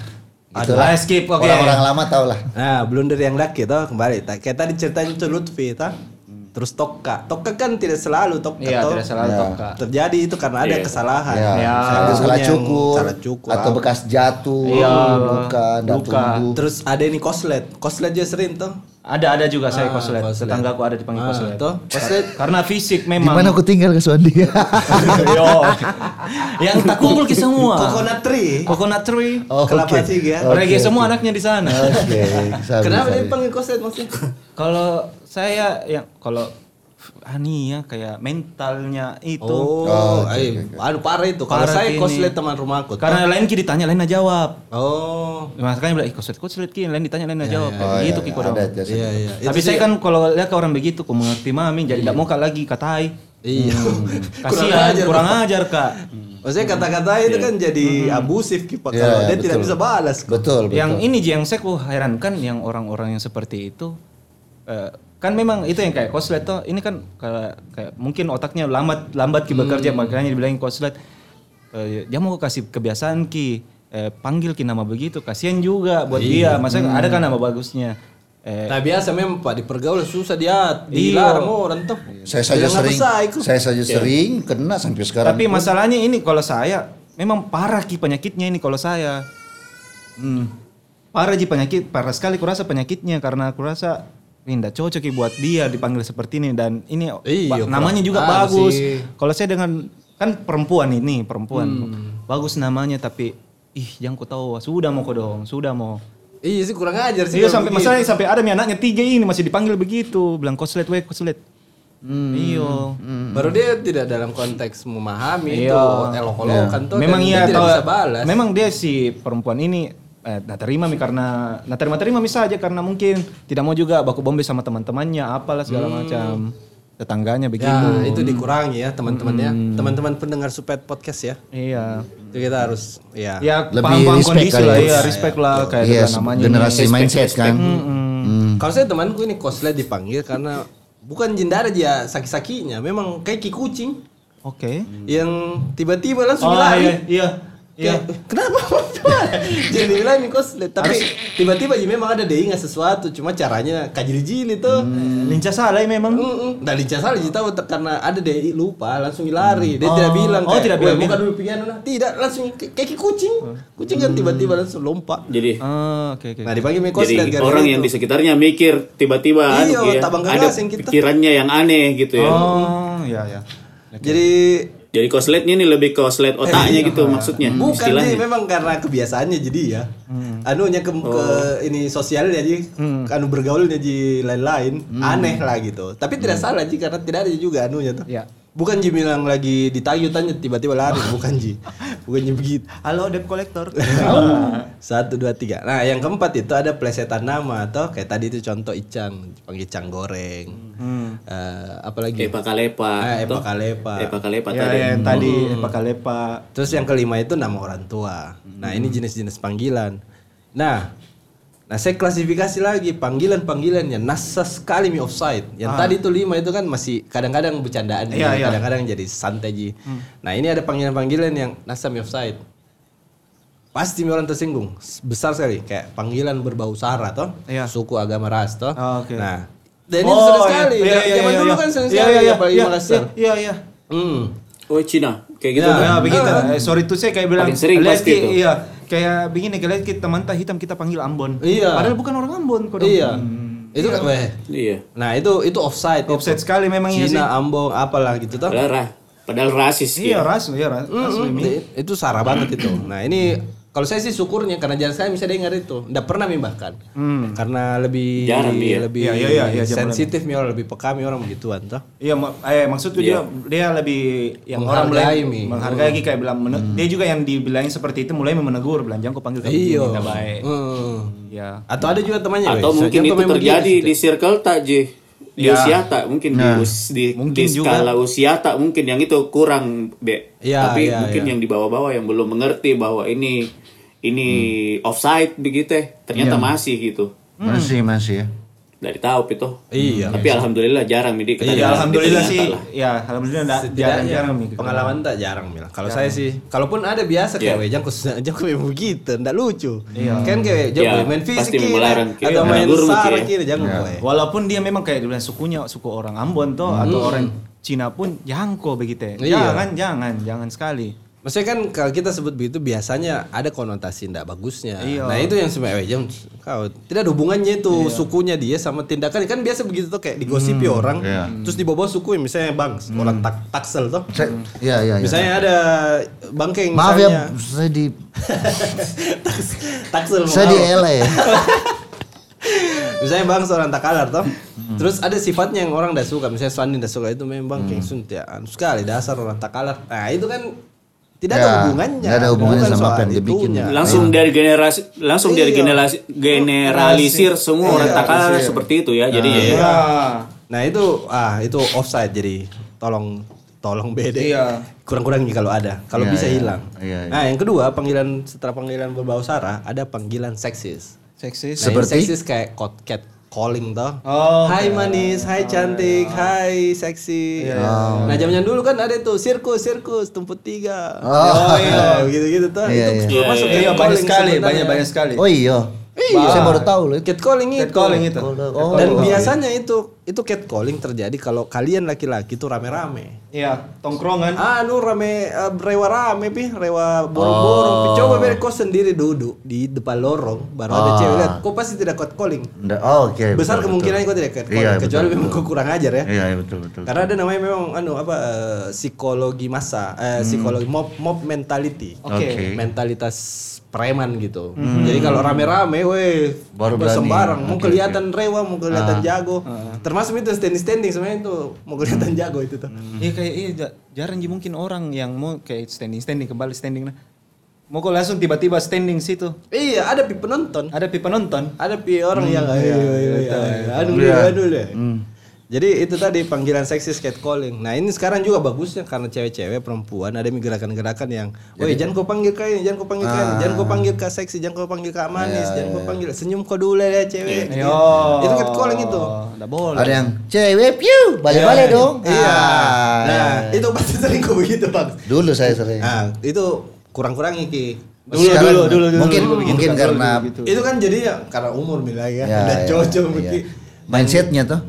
C: Adalah skip, oke.
A: Orang-orang lama tau lah.
B: Nah, blunder yang laki toh kembali. Ta- Kayak tadi ceritanya tuh Lutfi toh.
A: Hmm.
B: Terus Tokka. Tokka kan tidak selalu Tokka
C: Iya,
B: toh.
C: tidak salah
A: Iya.
C: toka.
B: Terjadi itu karena ada
D: Iya.
B: kesalahan.
A: Ya,
C: Ya.
A: misalnya salah
B: Yang
A: cukur,
B: salah cukur,
A: atau
B: apa.
A: bekas jatuh,
C: Iya,
A: luka, ndak
C: luka.
A: tumbuh.
B: Terus ada ini koslet. Koslet juga sering toh.
C: Ada ada juga saya
B: Ah,
C: konsulet.
B: konsulet.
C: Tetanggaku ada dipanggil
B: Ah,
C: konsulet.
B: toh.
A: Konsulet.
C: Karena fisik
A: Di
C: memang.
A: mana aku tinggal ke
C: [LAUGHS]
A: Suwandi? [LAUGHS]
C: Yo. Yang tak kumpul ke semua.
B: Coconut tree.
C: Coconut tree.
A: Oh,
B: Kelapa
A: oke.
B: Ciga.
A: Oke,
C: Reggae semua
A: oke.
C: kan? anaknya di sana.
A: Oke. sabi,
B: Kenapa
A: sabi.
B: dia panggil koset maksudnya?
C: Kalau saya yang kalau Ani ya kayak mentalnya itu.
B: Oh,
A: [LAUGHS] Oh,
B: ay, aduh parah itu. Kalau
C: Parah
B: saya
C: ini.
B: koslet teman rumahku.
C: Karena lain ki ditanya lain nggak jawab.
B: Oh,
C: Makanya kan bilang, ih koslet koslet ki, lain ditanya lain nggak jawab. Kayak
A: Oh,
C: begitu
A: iya,
C: ki
A: iya,
C: kodam.
A: Ada aja sih.
B: iya iya.
C: Tapi
B: Itu
C: saya
B: sih-
C: kan kalau lihat ke orang begitu, ku mengerti mami, jadi tidak mau kak lagi katai.
B: iya.
A: Hmm.
B: [LAUGHS]
C: Kasihan, kurang ajar Hmm. kak.
B: Maksudnya kata-kata itu kan jadi abusif kipak
A: Iya,
B: kalau dia
A: betul.
B: tidak bisa balas. kok.
A: Betul, betul.
C: Yang ini Ji, yang saya ku herankan, yang orang-orang yang seperti itu, eh, kan memang itu yang kayak koslet toh, ini kan kayak, kayak mungkin otaknya lambat lambat ki bekerja, makanya dibilangin koslet. Eh, dia mau kasih kebiasaan ki, eh, panggil ki nama begitu, kasihan juga buat dia. Maksudnya ada kan nama bagusnya. Eh,
B: Nah biasa memang Pak di pergaul susah dia
C: Iya.
B: dilarang orang tuh.
A: Saya saja
B: Bilang apa
A: sering,
B: sah, ikut.
A: saya saja sering kena sampai sekarang.
C: Tapi masalahnya ini kalau saya memang parah ki penyakitnya ini kalau saya. Hmm. Parah ji penyakit, parah sekali kurasa penyakitnya karena kurasa tidak cocok Ki, buat dia dipanggil seperti ini dan ini
B: Iya,
C: ba- namanya
B: kurang
C: juga
B: tahu
C: bagus.
B: sih.
C: Kalau saya dengan kan perempuan ini perempuan
B: Hmm.
C: bagus namanya tapi ih yang ku tahu sudah mau kodong sudah mau
B: Iya sih kurang ajar sih.
C: Iya
B: kalau
C: sampai
B: begitu.
C: masalahnya sampai ada mi anaknya tiga ini masih dipanggil begitu bilang koslet we koslet.
B: Hmm.
C: Iya. Iyo.
B: Baru dia tidak dalam konteks memahami
C: Iya.
B: itu elok-elokan Kan tuh.
C: memang
B: dan
C: iya
B: dia tidak
C: tahu-
B: bisa balas.
C: memang dia si perempuan ini eh, nah terima mi karena nah terima terima mi saja karena mungkin tidak mau juga baku bombe sama teman-temannya apalah segala macam tetangganya begitu
B: Hmm. Ya, itu dikurangi ya teman-temannya. Teman-teman pendengar Supet Podcast ya.
C: iya
B: Itu kita harus ya.
C: ya
A: Lebih
C: paham-paham
A: respect
C: kondisi
A: kali
C: lah
A: ya.
C: ya respect lah kayak
A: Iya,
C: dengan namanya
A: generasi
C: ini.
A: mindset kan.
B: Kalau saya temanku ini koslet dipanggil karena bukan jendara dia saki-sakinya, memang kayak ki kucing
C: oke
B: yang tiba-tiba langsung
C: oh
B: lari.
C: iya iya iya
B: Kayak, "Eh, Kenapa? [LAUGHS] Jadi bilang ini koslet, tapi tiba-tiba ya memang ada dia ingat sesuatu, cuma caranya kajil-jil itu.
C: Mm. lincah salah ya memang
B: Mm-mm. Nah, Dan lincah salah jadi tahu te- karena ada DI lupa langsung lari. Dia tidak
C: Oh.
B: bilang
C: Oh, tidak
B: "Weh,
C: bilang. Mm.
B: buka dulu pikiran lah. Tidak, langsung kayak kayak kucing. Kucing kan tiba-tiba langsung lompat.
D: Jadi
C: Ah, oke oke
B: Nah, dipanggil mekos
D: jadi orang
B: Gitu.
D: yang di sekitarnya mikir tiba-tiba
B: Iya,
D: anu, ya,
B: tabang
D: ada
B: gagas yang kita.
D: pikirannya yang aneh gitu ya.
C: oh iya iya
B: Jadi
D: Jadi kosletnya ini lebih koslet otaknya gitu maksudnya.
B: Eh, iya. Hmm. bukan
D: istilahnya.
B: sih memang karena kebiasaannya jadi ya.
C: Mm.
B: Anunya ke, ke
D: Oh.
B: ini sosialnya jadi anu bergaulnya jadi lain-lain.
C: Mm.
B: Aneh lah gitu. Tapi tidak salah sih karena tidak ada juga anunya tuh.
C: Iya.
B: Bukan Ji bilang lagi ditayutannya tiba-tiba
C: [LAUGHS]
B: lari, bukan Ji. Bukan Ji begitu.
C: halo debt
A: [LAUGHS]
C: collector
B: Satu dua tiga. Nah yang keempat itu ada plesetan nama atau kayak tadi itu contoh icang, panggil icang goreng.
C: Hmm.
B: Eh, apalagi
D: Hmm. Epa kalepa.
B: Ah,
D: toh?
B: epakalepa.
D: Epa kalepa
C: ya,
D: tadi.
C: ya, yang
B: Hmm.
C: tadi lepa lepa
B: Terus yang kelima itu nama orang tua. Nah ini
C: Hmm.
B: jenis-jenis panggilan. Nah, nah saya klasifikasi lagi panggilan-panggilan yang nasa sekali mi offside. Yang tadi itu lima itu kan masih kadang-kadang bercandaan,
C: Ah. Iya,
B: jadi
C: iya. Hmm.
B: kadang-kadang jadi santai ji. Nah ini ada panggilan-panggilan yang nasa mi offside. Pasti mi orang tersinggung, S- besar sekali. Kayak panggilan berbau sara toh,
C: Iya.
B: suku agama ras toh.
C: Ah, oke. Oh,
B: Nah, dan ini sering sekali. Zaman dulu kan sering sekali apalagi
C: iya,
B: Makassar.
C: Iya, iya.
B: Hmm.
D: Oh Cina kayak gitu
B: Iya.
C: Gitu
D: kan?
C: ya, begitu. Eh, sorry tuh saya kayak bilang
D: Paling sering
C: "Lihat
D: pasti
C: Ki,"
D: itu.
C: Iya, kayak begini kayak lihat Ki, teman tak hitam kita panggil Ambon.
B: Iya.
C: Padahal bukan orang Ambon kok. dong.
B: Iya.
C: Hmm.
B: Itu kan weh,
D: Iya.
B: Nah itu itu offside.
C: Offside
B: itu.
C: sekali memang iya sih.
B: Cina, Ambon, apalah gitu toh.
D: Padahal, ra- padahal rasis gitu.
C: Iya,
D: dia.
C: ras, iya ras.
B: Mm,
C: asli, Mi.
B: mm, Itu sarah banget itu. Nah ini kalau saya sih syukurnya karena jarang saya bisa dengar itu. Nggak pernah mi bahkan. Karena lebih
D: Jarang, iya.
B: lebih
C: Hmm. Iya, iya, iya, iya, jarang.
B: sensitif mi orang lebih peka mi orang begituan toh.
C: Iya, ma- eh maksudku
D: Iya.
C: dia dia lebih yang orang
B: Menghargai, Mi.
C: mulai menghargai Ki, kayak bilang mene-
D: Mm.
C: dia juga yang dibilangin seperti itu mulai menegur bilang jangan kau panggil kamu
B: Iya.
C: begini, tak baik.
B: Mm.
C: Iya.
B: Atau ada juga temannya.
D: Atau
B: weh.
D: mungkin
B: Yang
D: itu
B: pemain
D: terjadi
B: begini.
D: di circle tak Ji. Di
C: Ya.
D: usia tak mungkin di, us- di,
C: Mungkin
D: di
C: juga.
D: skala usia tak mungkin yang itu kurang Be.
B: Ya,
D: Tapi
B: ya,
D: mungkin
B: ya.
D: yang di bawah-bawah yang belum mengerti bahwa ini ini
C: Hmm.
D: offside begitu eh.
C: Ya.
D: ternyata masih gitu.
A: masih masih ya.
D: Dari tahu itu.
B: Iya.
D: Tapi alhamdulillah jarang Midi.
C: Ya,
D: Kita-
C: alhamdulillah
D: kita
C: sih.
D: nyata lah.
C: Ya, alhamdulillah nggak-
B: Tidaknya
C: jarang-jarang Mi.
B: pengalaman tak jarang Mil. Kalau saya sih, kalaupun ada biasa kayak
D: Iya.
B: yeah. [LAUGHS] jangkau jangkau memang begitu, ndak lucu. Kan kayak
D: Iya,
B: jangkau main
D: pasti
B: fisik
D: melarang.
B: kira,
D: Iya,
B: atau main
D: menegur mungkin
B: sara
D: ya.
B: kira jangkau
A: Iya.
B: yeah.
C: Eh, Walaupun dia memang kayak dibilang sukunya suku orang Ambon toh atau orang Cina pun jangko begitu. ya.
B: Hmm. Iya.
C: Jangan, jangan, jangan sekali.
B: Maksudnya kan kalau kita sebut begitu biasanya ada konotasi tidak bagusnya.
A: Iya.
B: Nah itu yang sebenarnya "Eh, jam kau tidak ada hubungannya itu sukunya dia sama tindakan kan biasa begitu tuh kayak digosipi orang
A: iya.
B: terus dibawa suku misalnya bang
A: Hmm.
B: orang tak taksel tuh.
A: Saya, ya, ya, ya.
B: Misalnya ada bangkeng
A: Maaf ya,
B: misalnya. [LAUGHS]
A: saya di
B: taksel mau
A: saya di
B: tahu.
A: LA ya.
B: misalnya bang seorang takalar toh
A: Hmm.
B: terus ada sifatnya yang orang tidak suka misalnya Swandi tidak suka itu memang kayak sun tiap- anu sekali dasar orang takalar nah itu kan tidak ada
A: Ya,
B: hubungannya
A: nggak ada hubungannya
B: Bukan
A: sama apa
B: soal
A: yang dia bikin.
B: itunya.
C: Iya.
D: Langsung dari generasi langsung dari
B: Iya.
D: generasi generalisir semua orang takal seperti itu ya. Jadi ya.
E: Iya.
B: nah itu ah itu offside jadi tolong tolong bede
E: Iya.
B: kurang-kurangi kalau ada kalau
A: Iya,
B: bisa
A: iya.
B: hilang
A: Iya, iya.
B: nah yang kedua panggilan setelah panggilan berbau sara ada panggilan seksis
C: Seksis.
B: Nah,
A: Seperti?
B: yang seksis kayak cat calling toh.
E: Oh,
B: hai manis, hai cantik, hai seksi. Nah, zaman dulu kan ada tuh sirkus, sirkus tempat tiga.
A: Oh. [LAUGHS]
B: iya, gitu-gitu tuh.
A: Iya,
B: itu
D: iya.
B: termasuk
D: Iya,
B: cat calling
C: Eh,
D: iya,
B: ya.
C: banyak sekali,
B: sebenarnya.
C: banyak banyak sekali.
A: Oh iya. Saya baru tahu loh.
B: Cat calling itu.
C: Catcalling itu.
A: Oh,
B: Dan biasanya itu itu cat calling terjadi kalau kalian laki-laki tuh rame-rame.
E: Iya, tongkrongan.
B: Anu rame eh, rewa rame pi rewa borong-borong.
A: Oh.
B: Pi, Coba biar kau sendiri duduk di depan lorong baru ada
A: Ah.
B: cewek lihat. Kau pasti tidak cat calling.
A: Nda- oh, oke.
B: besar
A: betul,
B: kemungkinan
A: betul.
B: kau tidak cat
A: Iya,
B: calling kecuali
A: betul,
B: memang
A: betul.
B: kau kurang ajar ya.
A: Iya, iya, betul betul.
B: Karena ada namanya memang anu apa eh, psikologi masa eh, psikologi mob mob mentality.
A: Hmm. Oke. Hmm.
B: Mentalitas preman gitu. Jadi kalau rame-rame weh
A: Baru berani.
B: sembarang mau
A: Oke, Ah.
B: kelihatan rewa, mau kelihatan jago. Termasuk itu standing standing sebenarnya itu mau kelihatan jago itu tuh.
A: Hmm.
C: Iya kayak iya ja- jarang sih mungkin orang yang mau kayak standing standing kembali standing nah. Mau kok langsung tiba-tiba standing situ.
B: Iya, ada pi penonton.
C: Ada pi penonton.
B: ada ya, pi
A: Hmm,
B: orang yang
A: iya,
B: ayo ayo ayo anu deh anu deh jadi itu tadi panggilan seksis catcalling nah ini sekarang juga bagusnya karena cewek-cewek perempuan ada gerakan-gerakan yang woi jangan kau panggil kau ini jangan kau panggil kau ini jangan
A: Ah.
B: kau panggil kau seksi jangan kau panggil kau manis
A: Iya,
B: jangan kau panggil senyum kau dulu ya cewek Gitu. itu catcalling itu
C: Enggak boleh.
A: Ada yang cewek piu, balik-balik dong.
B: iya
A: Ah,
B: nah
A: iya.
B: itu pasti sering kau begitu bang
A: Dulu saya sering.
B: nah itu kurang-kurangi ki
C: Dulu,
A: Sekarang,
C: dulu, dulu, dulu,
A: Mungkin
C: dulu,
A: mungkin
C: dulu,
A: karena
C: dulu, gitu.
B: itu kan jadi ya karena umur mila ya,
A: ya,
B: udah
A: ya,
B: cocok
A: iya.
B: mungkin
A: Mindsetnya tuh.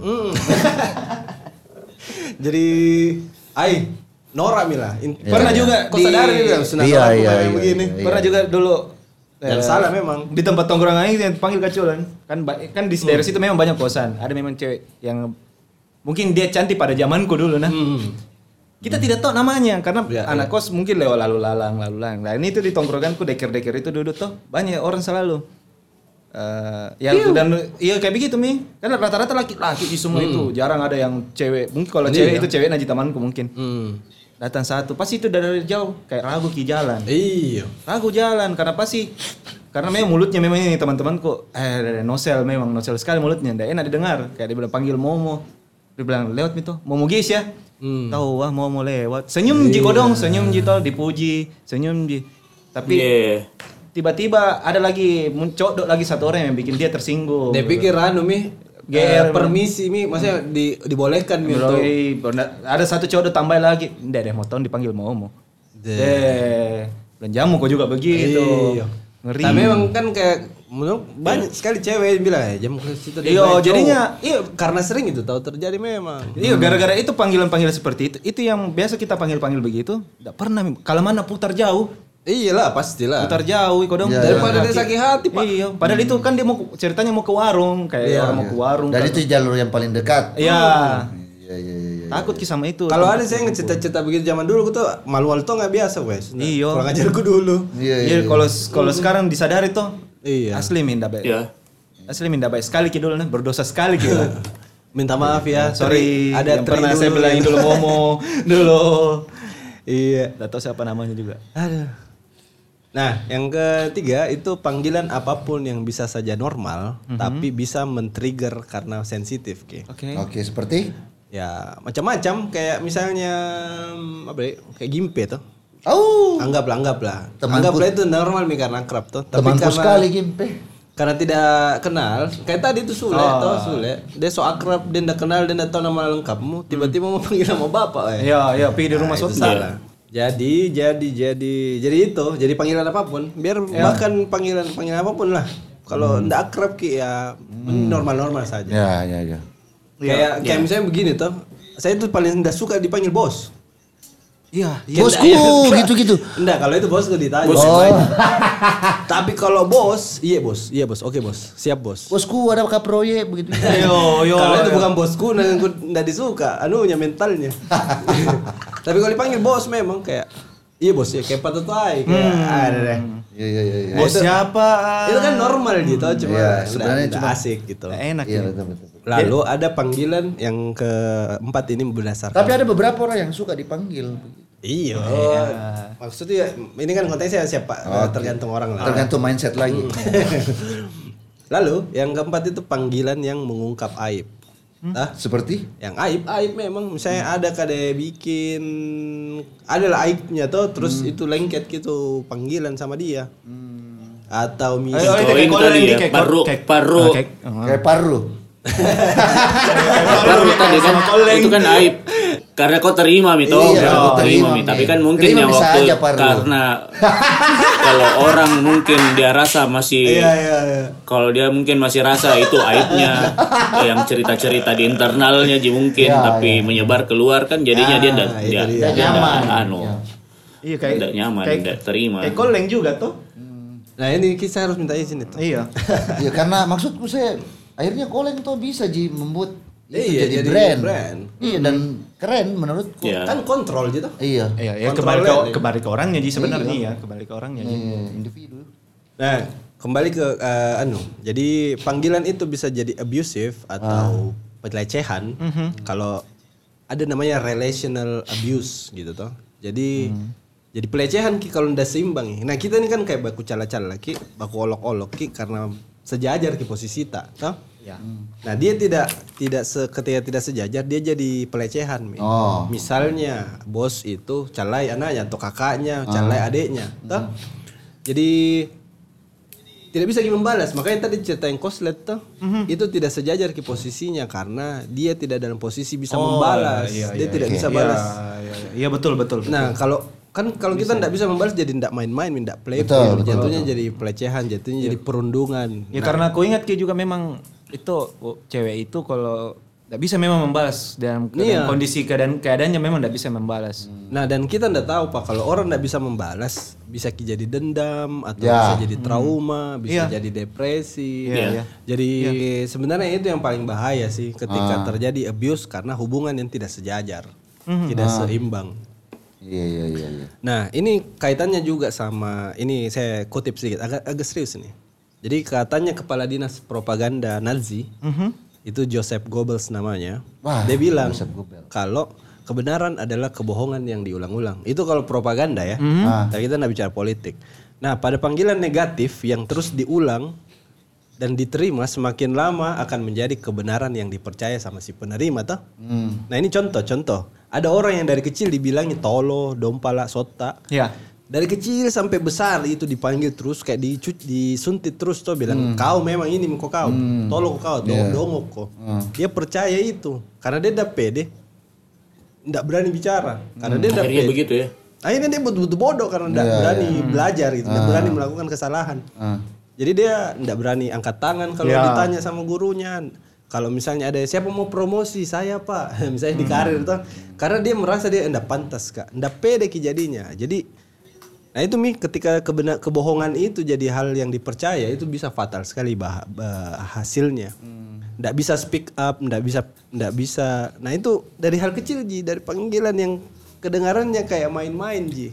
B: Jadi ai Nora Mila. In-
A: Iya. Pernah
C: juga gitu
B: Kau
C: di-
B: sadar ini
C: ya?
B: kan sudah
A: Iya,
B: Nora
A: iya,
B: kayak
A: iya,
B: begini.
A: iya.
C: Pernah juga dulu
B: Yang
C: eh,
B: salah memang. Hmm.
C: di tempat tongkrong aing yang panggil kaculan kan ba- kan di daerah situ memang banyak kosan ada memang cewek yang mungkin dia cantik pada zamanku dulu nah kita tidak tahu namanya karena
B: Hmm. Ya,
C: anak kos mungkin lewat lalu lalang lalu lalang nah ini itu di tongkronganku deker deker itu duduk tuh banyak orang selalu Eh, yang dan iya kayak begitu mi kan rata-rata laki-laki di semua itu jarang ada yang cewek mungkin kalau cewek itu cewek naji tamanku mungkin
B: ya. Hmm.
C: datang satu pasti itu dari jauh kayak ragu ki jalan
B: Iya.
C: Aku jalan karena pasti karena memang mulutnya memang ini teman-temanku eh nosel memang nosel sekali mulutnya ndak enak didengar kayak dia bilang panggil Momo dia bilang lewat itu Momo guys ya
B: Hmm. Iya.
C: tahu wah Momo lewat senyum ji kodong senyum ji tol dipuji senyum ji tapi
D: Iya.
C: tiba-tiba ada lagi muncul lagi satu orang yang bikin dia tersinggung
B: Dia pikir anu mi
C: GR,
B: eh,
C: Mil.
B: permisi mi maksudnya di dibolehkan mi
C: Bro,
B: untuk
C: eh, bener- ada satu cowok tambah lagi ndak deh mau tahun dipanggil Momo deh dan jamu kok juga
B: Iya.
C: begitu gitu. ngeri
B: Tapi memang kan kayak menurut banyak sekali cewek yang bilang ya jam ke situ dia
C: Iya,
B: banyak cowok."
C: jadinya-
B: iya karena sering itu tahu terjadi memang.
C: Iya, gara-gara itu panggilan-panggilan seperti itu, itu yang biasa kita panggil-panggil begitu, tidak pernah. Kalau mana putar jauh,
B: Iyalah pastilah.
C: putar jauh, kau dong.
A: Iya,
B: Daripada dia sakit hati, Pak.
C: Iya, padahal itu kan dia mau ke- ceritanya mau ke warung, kayak orang mau ke warung.
A: Dan
C: kan.
A: Iya, itu jalur yang paling dekat.
C: Iya,
A: Iya, iya, iya. iya.
C: takut kisah sama itu.
B: Kalau ada saya ngecita-cita begitu zaman dulu aku tuh malu-malu tuh nggak biasa wes. Nah,
C: Iya.
B: Kurang ajar aku dulu.
A: Iya, iya.
C: Iya, kalau kalau sekarang disadari tuh,
B: Iya.
C: asli minta baik.
D: Iya.
C: Asli minta baik sekali kidul nah, berdosa sekali
A: [LAUGHS]
C: kidul.
B: Minta maaf ya,
C: Sorry,
B: sorry ada
C: yang
B: tri
C: pernah saya
B: dulu
C: bilangin
B: gitu. [LAUGHS]
C: dulu Momo dulu.
B: Iya.
C: Tidak tahu siapa namanya juga.
B: Aduh. Nah, yang ketiga itu panggilan apapun yang bisa saja normal
C: Mhm.
B: tapi bisa men-trigger karena sensitif, Ki.
C: Oke.
A: Oke, seperti
B: Ya, macam-macam kayak misalnya mm, apa ya? Kayak gimpe tuh.
A: Oh,
B: Anggaplah, anggaplah.
A: Temanku-
B: anggaplah itu normal mi karena akrab tuh. Tapi
A: temanku
B: karena
A: sekali Gimpe.
B: karena tidak kenal kayak tadi itu Sule
C: Oh.
B: tau Sule dia so akrab dia tidak kenal dia tidak tahu nama lengkapmu tiba-tiba mau [LAUGHS] panggil nama bapak eh.
C: Iya, iya, pergi di rumah
B: Nah, itu
C: Sofi.
B: salah jadi jadi jadi jadi itu jadi panggilan apapun biar bahkan panggilan panggilan apapun lah kalau tidak akrab ki ya normal-normal saja
A: Ya, ya, ya.
B: kayak kayak misalnya begini tuh saya itu paling tidak suka dipanggil bos
C: Iya.
A: Bosku gitu-gitu.
B: Enggak, kalau itu bosku ditanya.
D: Bos.
B: Oh. Tapi kalau bos, iya bos, iya bos, oke bos, siap bos.
A: Bosku ada kah proyek begitu.
C: Oh, Yo yo.
B: kalau itu bukan bosku, nah, aku nggak disuka, anunya mentalnya. Tapi kalau dipanggil bos memang kayak, iya bos ya, kayak patut aja, kayak
C: Hmm.
B: ada deh.
A: [LAUGHS] Iya iya iya. iya.
C: Ah, Bos
B: Itu-
C: siapa?
B: Itu kan normal gitu, cuma
A: Iya,
B: nggak-
A: sebenarnya
B: nggak
A: cuma-
B: asik gitu.
C: Nggak enak
A: Iya
C: ini.
A: betul betul.
B: Lalu ada panggilan yang keempat ini berdasarkan.
A: Tapi ada beberapa orang yang suka dipanggil.
B: Iya. Maksudnya ini kan konteksnya siapa tergantung orang lah.
A: Ah. Tergantung mindset lagi.
B: Lalu yang keempat itu panggilan yang mengungkap aib. Hah?
A: [LAUGHS] Seperti
B: yang aib aib memang misalnya ada kade bikin adalah aibnya tuh terus itu lengket gitu panggilan sama dia atau
C: Ayo,
B: misalnya
C: ayo,
D: Join
C: kayak
D: tadi
C: ini,
D: ya,
C: kayak
D: paru,
C: kayak-
D: paru.
C: Ah, kayak-
A: kayak paru.
D: Baru tadi kan itu kan aib. Karena kau terima mito,
A: Iya,
D: karena
A: kau
D: kau terima
A: terima,
D: Mi.
A: Mi.
D: Tapi kan mungkin
A: Terima
D: yang
A: bisa
D: waktu
A: aja, Parlo. [LAUGHS]
D: karena kalau orang mungkin dia rasa masih
A: Iya,
D: kalau dia mungkin masih rasa itu aibnya yang cerita-cerita di internalnya ji mungkin
A: Iya,
D: tapi menyebar keluar kan jadinya dia tidak
B: itu dia.
D: dia, dia
A: Nggak
D: ndak-
A: nyaman.
D: anu
C: Iya kayak
D: tidak nyaman
C: kayak-
D: tidak terima
C: Kayak koleng juga tuh.
B: nah ini kita harus minta izin itu
C: Iya.
A: ya karena maksudku saya akhirnya koleng tuh bisa ji membuat itu
B: Iya,
A: jadi,
B: jadi
A: brand.
B: brand.
A: Iya dan keren menurutku.
D: ya
B: kan kontrol gitu
A: Iya.
C: Iya, ya
B: Kontrol
C: kembali ke
B: lagi.
C: kembali ke orangnya sih sebenarnya
A: Iya.
C: ya, kembali ke orangnya. Ji.
A: Iya, individu.
B: nah kembali ke eh, anu jadi panggilan itu bisa jadi abusive atau pelecehan kalau ada namanya relational abuse gitu toh jadi jadi pelecehan ki kalau ndak seimbang ya. nah kita ini kan kayak baku cala-cala ki baku olok-olok ki karena sejajar ki posisi tak toh
C: Ya.
B: Nah dia tidak tidak se, ketika tidak sejajar dia jadi pelecehan. Mi.
A: Oh.
B: Misalnya bos itu calai anaknya atau kakaknya,
C: Ah.
B: calai adiknya, toh?
C: Hmm.
B: Jadi tidak bisa gimana membalas. Makanya tadi cerita yang koslet toh,
C: Hmm.
B: itu tidak sejajar ke posisinya karena dia tidak dalam posisi bisa membalas.
C: iya,
B: dia
C: iya,
B: tidak
A: oke.
B: bisa
C: Iya,
B: balas.
C: iya, iya. Iya betul betul. betul.
B: Nah, kalau kan kalau kita tidak bisa membalas jadi tidak main-main, tidak playful,
A: Betul, betul,
B: jatuhnya jadi pelecehan, jatuhnya jadi perundungan.
C: Ya karena aku ingat Ki juga memang itu oh, cewek itu kalau nggak bisa memang membalas dalam keadaan
B: Iya.
C: kondisi keadaan keadaannya memang nggak bisa membalas.
B: Nah dan kita ndak tahu pak kalau orang ndak bisa membalas bisa ki jadi dendam atau
A: Ya.
B: bisa jadi trauma, bisa jadi depresi.
D: Iya.
B: Jadi sebenarnya itu yang paling bahaya sih ketika terjadi abuse karena hubungan yang tidak sejajar, tidak seimbang.
A: Iya iya iya. iya.
B: Nah ini kaitannya juga sama ini saya kutip sedikit agak agak serius nih. Jadi katanya kepala dinas propaganda Nazi itu Joseph Goebbels namanya.
A: Mhm. Wah,
B: dia bilang
A: Joseph Goebbels.
B: kalau kebenaran adalah kebohongan yang diulang-ulang. Itu kalau propaganda ya.
A: Ah.
B: Tapi kita nggak bicara politik. Nah pada panggilan negatif yang terus diulang dan diterima semakin lama akan menjadi kebenaran yang dipercaya sama si penerima toh.
A: Hmm.
B: Nah ini contoh-contoh. Ada orang yang dari kecil dibilangi tolo, dompala, sota.
C: Ya.
B: Dari kecil sampai besar itu dipanggil terus kayak dicu- disuntit terus tuh bilang kau memang ini kok kau, tolo kok kau, dong dongok kok. Dia percaya itu karena dia udah pede. Nggak berani bicara karena dia udah
A: Iya.
D: akhirnya
B: pede.
D: begitu ya
B: Akhirnya dia betul-betul bodoh karena nggak berani belajar gitu, nggak berani melakukan kesalahan.
A: Ah.
B: Jadi dia nggak berani angkat tangan kalau ditanya sama gurunya. Kalau misalnya ada siapa mau promosi saya pak, [LAUGHS] misalnya di karir tuh, karena dia merasa dia nggak pantas kak, nggak pede ki jadinya. Jadi, nah itu mi ketika kebena- kebohongan itu jadi hal yang dipercaya itu bisa fatal sekali bah- bah- hasilnya. Nggak bisa speak up, nggak bisa, nggak bisa. Nah itu dari hal kecil ji, dari panggilan yang kedengarannya kayak main-main ji.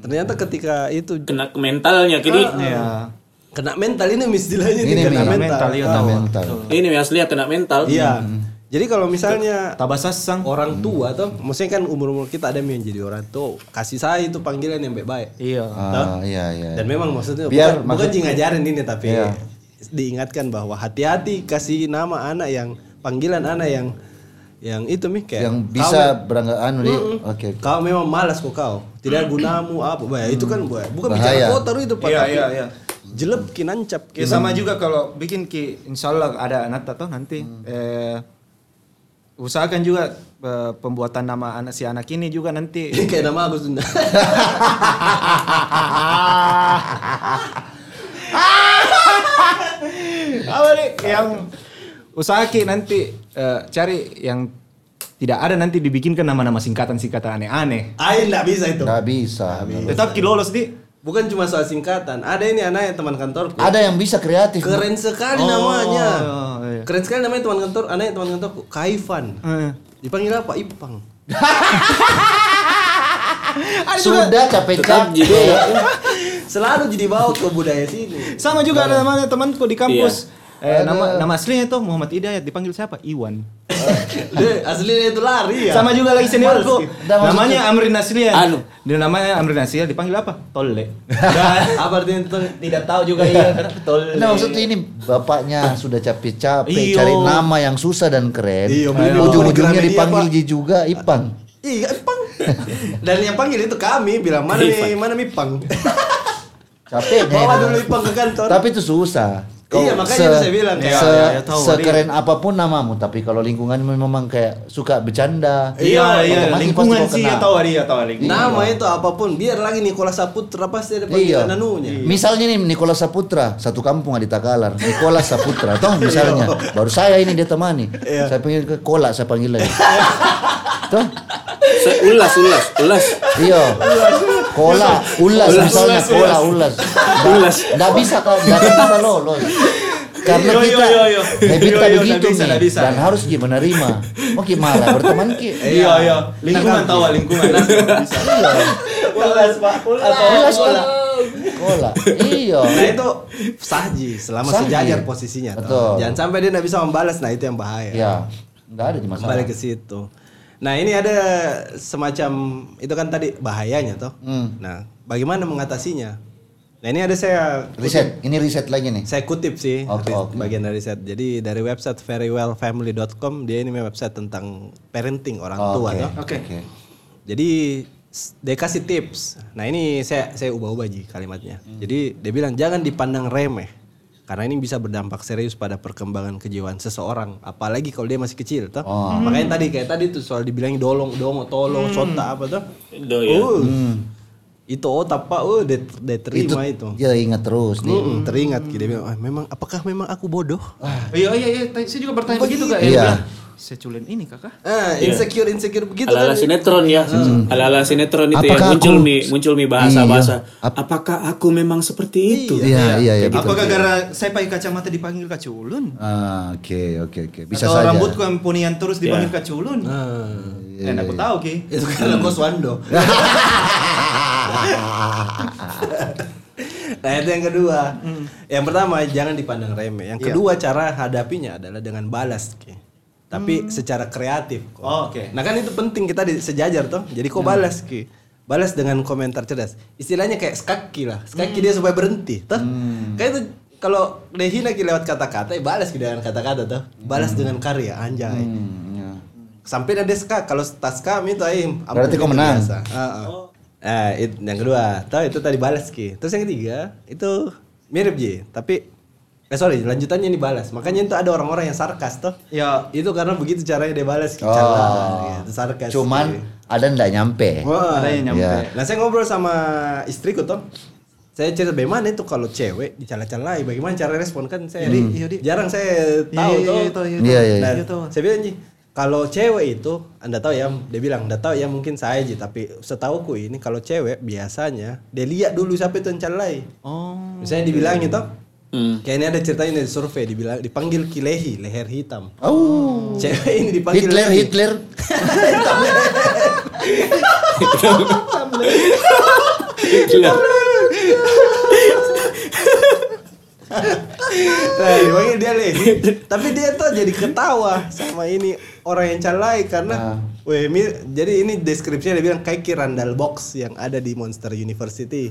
B: Ternyata ketika itu
D: kena ke mentalnya jadi
A: Ah.
B: kena mental ini mis istilahnya
A: Ini,
B: ini kena
A: Mi.
B: mental,
C: Iya,
A: Nah,
C: tahu.
A: mental.
D: ini aslinya kena mental
B: iya
A: Hmm,
B: jadi kalau misalnya
C: Tabasasang.
B: orang tua tuh maksudnya kan umur umur kita ada yang jadi orang tua kasih saya itu panggilan yang baik baik
C: Iya.
A: Ah, iya iya.
B: dan memang maksudnya
A: Biar
B: bukan, bukan
A: maksud-
B: sih ngajarin ini tapi
A: Iya.
B: diingatkan bahwa hati-hati kasih nama anak yang panggilan anak yang yang itu mi kayak
A: yang
B: kau
A: bisa berangkat anu nih. Oke. oke.
B: Kau memang malas kok kau. Tidak gunamu apa. Bah, itu kan bah, bukan bicara
A: Bahaya.
B: kotor itu Pak.
F: Iya,
B: tapi
F: iya, iya.
B: Jelek kinancap.
F: Ya sama juga kalau bikin ki insyaallah ada Nata toh nanti eh, usahakan juga eh, pembuatan nama anak si anak ini juga nanti [LAUGHS]
B: [LAUGHS] kayak nama aku Sunda.
A: [LAUGHS]
F: apa nih yang usaha ki nanti eh, cari yang tidak ada nanti dibikinkan nama-nama singkatan-singkatan aneh-aneh.
B: Ain nggak bisa itu.
A: Nggak bisa.
F: Tetap ki lolos di.
B: Bukan cuma soal singkatan. Ada ini anaknya teman kantorku.
A: Ada yang bisa kreatif.
B: Keren sekali namanya.
F: Oh, iya.
B: Keren sekali namanya teman kantor. Anaknya teman kantorku. Kaifan.
F: Eh,
B: Dipanggil apa? Ipang. [LAUGHS]
A: Sudah
D: Tetap
A: capek-capek.
D: juga
A: [LAUGHS]
D: ya.
B: Selalu jadi bawa ke budaya sini.
F: Sama juga ada namanya temanku di kampus. Eh, nama nama aslinya itu Muhammad Hidayat dipanggil siapa? Iwan.
B: Dia Aslinya itu lari ya.
F: Sama juga lagi [LAUGHS] seniorku.
A: Dah, maksudnya-
F: Namanya Amrin Nasrian.
D: Anu.
F: Dia namanya Amrin Nasrian dipanggil apa? [LAUGHS] Tolle. Dan
B: [LAUGHS] apa artinya itu?
F: tidak tahu juga iya kenapa Tolle.
A: Nah maksudnya ini bapaknya sudah capek-capek
F: Iyo.
A: cari nama yang susah dan keren.
B: Iyo, beli di
A: Ujung-ujungnya
B: Gramedia,
A: dipanggil
B: Pak.
A: Ji juga Ipang.
B: Iya,
A: [LAUGHS]
B: Ipang. Dan yang panggil itu kami bilang mana nih, mana nih
A: [LAUGHS]
B: Ipang.
A: Capek
B: Bawa
A: nih.
B: dulu Ipang ke kantor.
A: Tapi itu susah.
B: Iya, makanya itu saya bilang,
A: se-
B: ya,
F: ya, ya, tahu,
A: sekeren apapun namamu, tapi kalau lingkunganmu memang kayak suka bercanda.
F: Iya, iya,
A: otomatis
F: lingkungan
A: pasti kau
F: sih
A: kena.
F: ya tahu dia tahu lingkungan.
B: Nama itu apapun, biar lagi Nikola Saputra pasti
A: Iya.
B: ada panggilan anunya.
A: Misalnya nih Nikola Saputra, satu kampung ada di Takalar. Nikola Saputra, toh misalnya.
F: Iya.
A: Baru saya ini dia temani. Saya panggil ke Kola, saya panggil lagi. toh?
D: Saya ulas, ulas, ulas.
A: Iya. Kola, ulas misalnya
F: iya.
A: Kola, ulas.
D: Ulas.
A: Enggak bisa kau, enggak bisa lolos. Karena
F: Yo, yo,
A: kita
F: yo, yo.
A: habitnya
F: Yo, yo, nggak
A: begitu
F: bisa,
A: nih
F: nggak bisa.
A: dan harus gimana menerima. Mau gimana berteman ki? Iya.
F: Iya, iya. Lingkungan tahu lingkungan. Iya, Ulas, Pak. Ulas.
A: Ulas Kola. Kola. Iya.
B: Nah itu saji selama
A: Sahji.
B: sejajar posisinya. toh.
A: Betul.
B: Jangan sampai dia nggak bisa membalas. Nah itu yang bahaya.
A: Ya, enggak ada di masalah.
B: Kembali ke situ. Nah ini ada semacam itu kan tadi bahayanya toh.
A: Hmm.
B: Nah bagaimana mengatasinya? Nah ini ada saya
A: Riset, ini riset lagi nih.
B: saya kutip sih
A: Oke,
B: ris-
A: oke.
B: bagian dari riset. Jadi dari website verywellfamily.com dia ini website tentang parenting orang tua toh.
A: Oke. Oke.
B: Jadi s- dia kasih tips. Nah ini saya saya ubah-ubah ji kalimatnya. Jadi dia bilang jangan dipandang remeh karena ini bisa berdampak serius pada perkembangan kejiwaan seseorang, apalagi kalau dia masih kecil, toh. Makanya tadi kayak tadi tuh soal dibilangin dolong, dongo, tolong, sota apa tuh.
D: Do ya.
B: Uh, Itu otak pak, uh, dia, dia terima itu.
A: Ya ingat terus nih.
B: Mm-mm, Teringat gitu. Dia bilang, "Ah, memang apakah memang aku bodoh?
F: Iya, iya, iya. Tadi Saya juga bertanya begitu kak.
A: Iya.
F: Iya. Saya culen ini kakak.
B: Ah, insecure, insecure
A: Gitu
B: begitu
D: Iya. Ala-ala
B: kan.
D: sinetron ya.
A: Hmm.
D: Ala-ala sinetron itu
A: Apakah
D: ya. Muncul
A: aku-
D: mi muncul mi bahasa-bahasa.
A: Iya. Ap-
D: Apakah aku memang seperti itu?
B: ya.
A: Iya, iya, iya betul.
B: gitu.
F: Apakah gara saya pakai kacamata dipanggil kak culun?
A: Ah, Oke, oke, oke. Bisa
F: Atau
A: saja.
F: rambutku yang ponian terus dipanggil kak culun? Eh,
A: Iya,
F: aku tahu ki.
B: Itu kan karena [LAUGHS] Koswando. [LAUGHS] nah itu yang kedua.
F: Hmm.
B: Yang pertama jangan dipandang remeh.
F: Iya.
B: Yang kedua cara hadapinya adalah dengan balas, Ki. tapi secara kreatif. kok.
F: Hmm. Oh, oke. Hmm.
B: Nah kan itu penting kita di- sejajar toh. Jadi kok balas ki, balas dengan komentar cerdas. Istilahnya kayak skaki lah, skaki
F: Hmm.
B: dia supaya berhenti. Toh, kayak itu kalau dia hina ki lewat kata-kata, ya balas ki dengan kata-kata toh. Balas
F: Hmm.
B: dengan karya, anjay. Sampai ada skak kalau tas kami itu aim.
A: Berarti kau menang.
F: Oh.
B: Eh, it- yang kedua, tahu itu tadi balas ki. Terus yang ketiga itu mirip ji, tapi eh sorry lanjutannya ini balas. Makanya itu ada orang-orang yang sarkas toh.
F: Ya.
B: Itu karena begitu caranya dia balas ki.
A: [LAUGHS] Oh.
B: Caranya, gitu, sarkas. Oh.
A: Cuman
B: ki.
A: ada ndak nyampe.
B: Wah,
F: Ada yang nyampe.
A: Iya.
B: Nah saya ngobrol sama istriku tuh. Saya cerita bagaimana itu kalau cewek dicela-celai, bagaimana cara respon kan saya
A: Hmm.
B: jarang saya tahu
F: iya,
B: tuh.
F: iya, tahu, iya,
A: Iya, iya,
B: Nah,
A: iya.
B: saya bilang Ji, kalau cewek itu Anda tahu ya, dia bilang Anda tahu ya mungkin saya Ji, tapi setauku ini kalau cewek biasanya dia lihat dulu siapa itu yang celai.
F: Oh.
B: Misalnya dibilangin tuh.
D: Hmm.
B: Kayak ini ada cerita ini di survei dibilang dipanggil kilehi, leher hitam.
A: Oh.
B: Cewek ini dipanggil
A: Hitler,
B: lehi.
A: Hitler.
D: Gila.
B: Nah, dipanggil dia Lehi.
A: [LAUGHS]
B: Tapi dia tuh jadi ketawa sama ini orang yang
A: Ah.
B: calai karena weh, mi- jadi ini deskripsinya dia bilang kayak Kirandal Box yang ada di Monster University.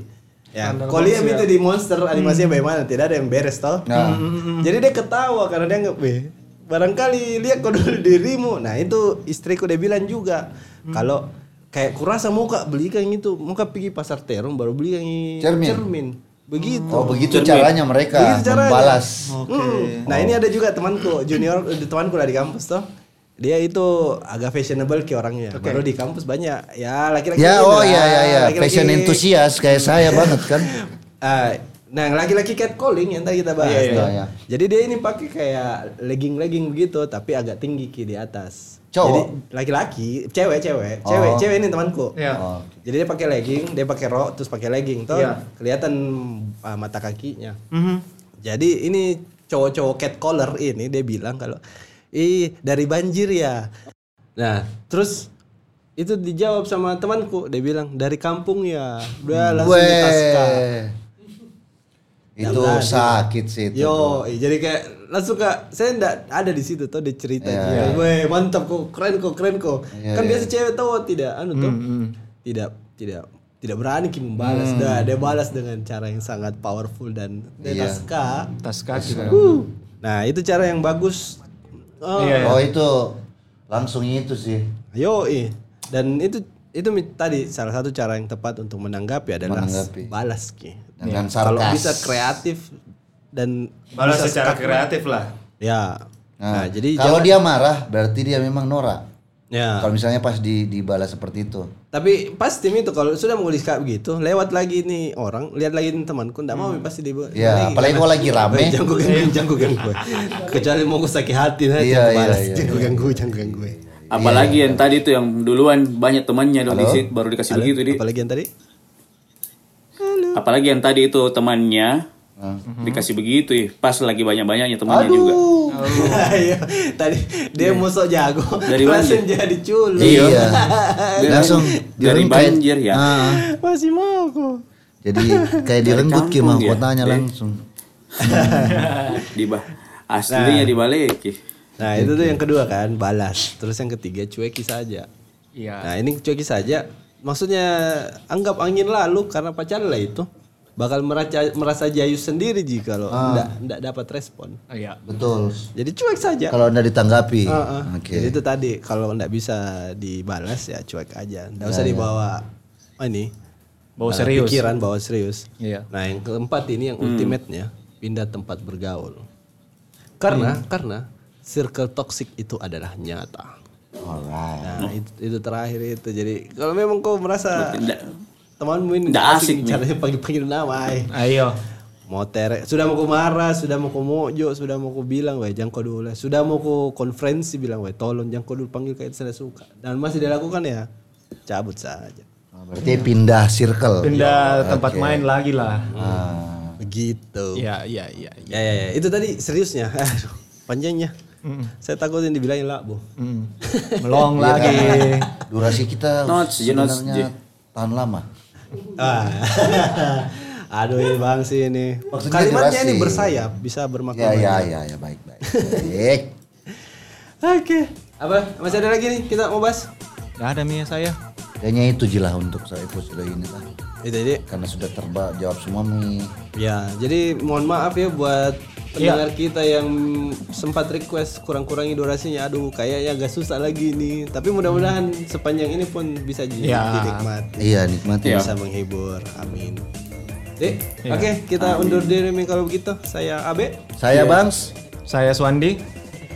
B: Ya, kalau lihat itu di Monster animasinya bagaimana? Tidak ada yang beres tau.
A: Nah.
B: Jadi dia ketawa karena dia nggak weh, barangkali lihat kau dulu dirimu. Nah, itu istriku dia bilang juga kalau kayak kurasa muka beli kan itu, muka pergi pasar terong baru beli yang i-
A: Cermin.
B: Begitu.
A: Oh, begitu
D: Cermin.
A: caranya mereka
B: Begitu caranya.
A: membalas. Hmm.
B: Mm. Nah ini ada juga temanku junior eh, temanku lah di kampus tuh. Dia itu agak fashionable ke orangnya. Baru di kampus banyak ya laki-laki.
A: Ya,
B: ini
A: oh ya
B: lah,
A: ya ya,
B: laki-laki. [LAUGHS]
A: fashion enthusiast kayak saya banget kan.
B: Ah, Nah, yang laki-laki catcalling yang tadi kita bahas.
A: Iya, iya.
B: tuh.
A: Iya.
B: Jadi dia ini pakai kayak legging-legging begitu, tapi agak tinggi ki di atas.
A: Cowok?
B: Jadi laki-laki, cewek, cewek, cewek, cewek ini temanku.
F: Iya.
A: Oh.
B: Jadi dia pakai legging, dia pakai rok, terus pakai legging, tuh
F: Iya.
B: kelihatan ah, mata kakinya.
F: Mm-hmm.
B: Jadi ini cowok-cowok catcaller ini dia bilang kalau ih dari banjir ya. Nah, terus itu dijawab sama temanku, dia bilang dari kampung ya. Udah langsung ditaska.
A: Hmm. Weh. gitu. Itu
B: Yang tadi.
A: sakit sih itu.
B: Yo, eh, jadi kayak langsung kak, saya ndak ada di situ tuh dia cerita
A: Iya.
B: gitu. Weh, mantap kok, keren kok, keren kok.
A: Iya, iya.
B: kan
A: Hmm,
B: biasa cewek tahu tidak anu tuh. Tidak tidak tidak berani Ki membalas dah. Dia balas dengan cara yang sangat powerful dan dia
A: Iya.
B: naskah.
F: Tas kaki.
B: Huh. Nah, itu cara yang bagus. Oh,
A: Oh itu langsung itu sih.
B: Yo, eh. dan itu itu mi- tadi salah satu cara yang tepat untuk menanggapi adalah
A: Menanggapi.
B: balas ki.
A: Dengan
B: Iya. Kalau
A: sarkas.
B: bisa kreatif dan
F: Balas
B: bisa
F: secara
B: skak-
F: kreatif lah.
B: Ya. Nah,
A: Nah,
B: jadi
A: kalau
B: jangan-
A: dia marah berarti dia memang norak.
B: ya.
A: Kalau misalnya pas di dibalas seperti itu.
B: Tapi pas tim itu kalau sudah mengulis kayak begitu, lewat lagi nih orang, lihat lagi nih temanku, enggak mau pasti di
A: Ya, apalagi kalau lagi
B: [LAUGHS]
A: rame.
B: Iya, jangan gue gangguin, jangan gue gangguin. Kecuali mau gue sakit hati nah,
A: Iya,
B: jangan
A: iya,
B: balas,
A: iya.
B: jangan gue gangguin, jangan gue gangguin.
D: Apalagi yang tadi tuh yang duluan banyak temannya dong di situ baru dikasih begitu di.
B: Apalagi yang tadi?
D: Apalagi yang tadi itu temannya
A: Mhm.
D: dikasih begitu, ih. pas lagi banyak-banyaknya temannya juga.
B: [LAUGHS] Iya, tadi dia mau sok jago,
D: Dari
B: langsung jadi culun. [LAUGHS]
A: Iya. Langsung
D: Dari
A: direngkut.
D: banjir ya.
A: Ah,
B: Masih mau kok.
A: jadi kayak direnggut gimana
D: kampung dia.
A: kotanya langsung.
D: di bah aslinya dibalik ih.
B: Nah, itu tuh yang kedua kan, balas. Terus yang ketiga cueki saja.
C: Ya.
F: Iya.
B: Nah, ini cueki saja maksudnya anggap angin lalu karena pacaran lah itu bakal merasa merasa jayus sendiri jika lo ndak ndak dapat respon.
F: Iya.
A: Betul.
B: Jadi cuek saja.
A: Kalau anda ditanggapi.
B: Ah, ah.
A: Oke.
B: Jadi itu tadi kalau ndak bisa dibalas ya cuek aja. Ndak usah dibawa oh, ini
F: Bawa
B: eh,
F: serius.
B: Pikiran bawa serius.
F: Iya.
B: Nah, yang keempat ini yang ultimate-nya pindah tempat bergaul. Karena karena circle toxic itu adalah nyata.
A: Alright.
B: Nah, itu, itu terakhir itu. Jadi kalau memang kau merasa
D: Nggak-
B: temanmu ini
D: Nggak asik nih.
B: caranya panggil-panggil nama, ay.
F: Ayo.
B: Mau tere, sudah mau ku marah, sudah mau ku mojo, sudah mau ku bilang, weh jangan kau dulu lah. Sudah mau ku konferensi bilang, weh tolong jangan kau dulu panggil kayak saya suka. Dan masih dilakukan ya, cabut saja.
A: Oh, Berarti pindah circle.
F: Pindah tempat main lagi lah.
A: Ah.
B: Begitu.
F: Iya, iya, iya.
B: Ya, ya, ya. itu tadi seriusnya, Aduh, panjangnya. Saya takut yang dibilangin lah, bu.
F: Melong
A: Iya,
F: lagi.
A: kan? Durasi kita
D: Notes, je, notes, je.
A: sebenarnya tahan lama.
B: Ah. [LAUGHS] Aduh ini bang sih ini.
A: Maksudnya
B: Kalimatnya
A: durasi.
B: ini bersayap, bisa bermakna
A: Ya, ya,
B: banyak.
A: ya, ya, baik, baik. baik.
B: Oke. Apa? Masih ada lagi nih kita mau bahas?
F: Gak ada Mia saya.
A: Kayaknya itu je lah untuk saya episode ini lah.
B: Itu jadi.
A: Karena sudah terba jawab semua mi.
B: Ya, jadi mohon maaf ya buat pendengar kita yang sempat request kurang-kurangi durasinya. Aduh, kayaknya agak susah lagi nih. Tapi mudah-mudahan sepanjang ini pun bisa jadi
F: Ya.
B: dinikmati.
A: Iya, nikmati.
B: Bisa menghibur. Amin. Jadi, oke kita undur diri nih kalau begitu. Saya Abe.
A: Saya
D: Iya.
A: Bangs,
F: Saya Swandi.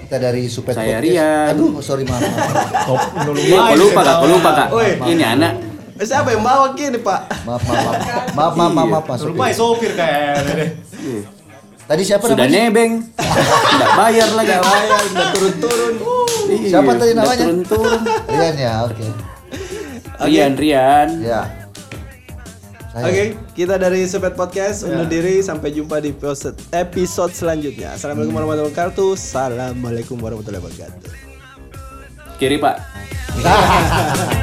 A: kita dari Supet
D: Saya
A: Podcast.
D: Rian.
A: Aduh, oh, sorry maaf. maaf.
F: Kop dulu.
D: Ih, kau lupa kak, kau lupa kak.
B: Oi.
D: Ini anak.
B: Eh, Siapa yang bawa kini, Pak?
A: Maaf, maaf, maaf. Maaf, maaf, maaf, maaf, masuk.
F: Lupa ya, sopir [LAUGHS] kayaknya.
A: Tadi siapa
D: Sudah
A: namanya?
D: nebeng. Tidak bayar lagi.
B: Saya udah turun-turun.
D: Iya,
A: Siapa tadi
D: udah
A: namanya?
D: Turun-turun. Iya,
A: Rian ya, oke.
D: Rian, Rian.
A: Ya. Saya.
B: Oke, kita dari Sepet Podcast undur diri sampai jumpa di episode, episode selanjutnya. Assalamualaikum warahmatullahi wabarakatuh. Assalamualaikum warahmatullahi wabarakatuh.
D: Kiri pak.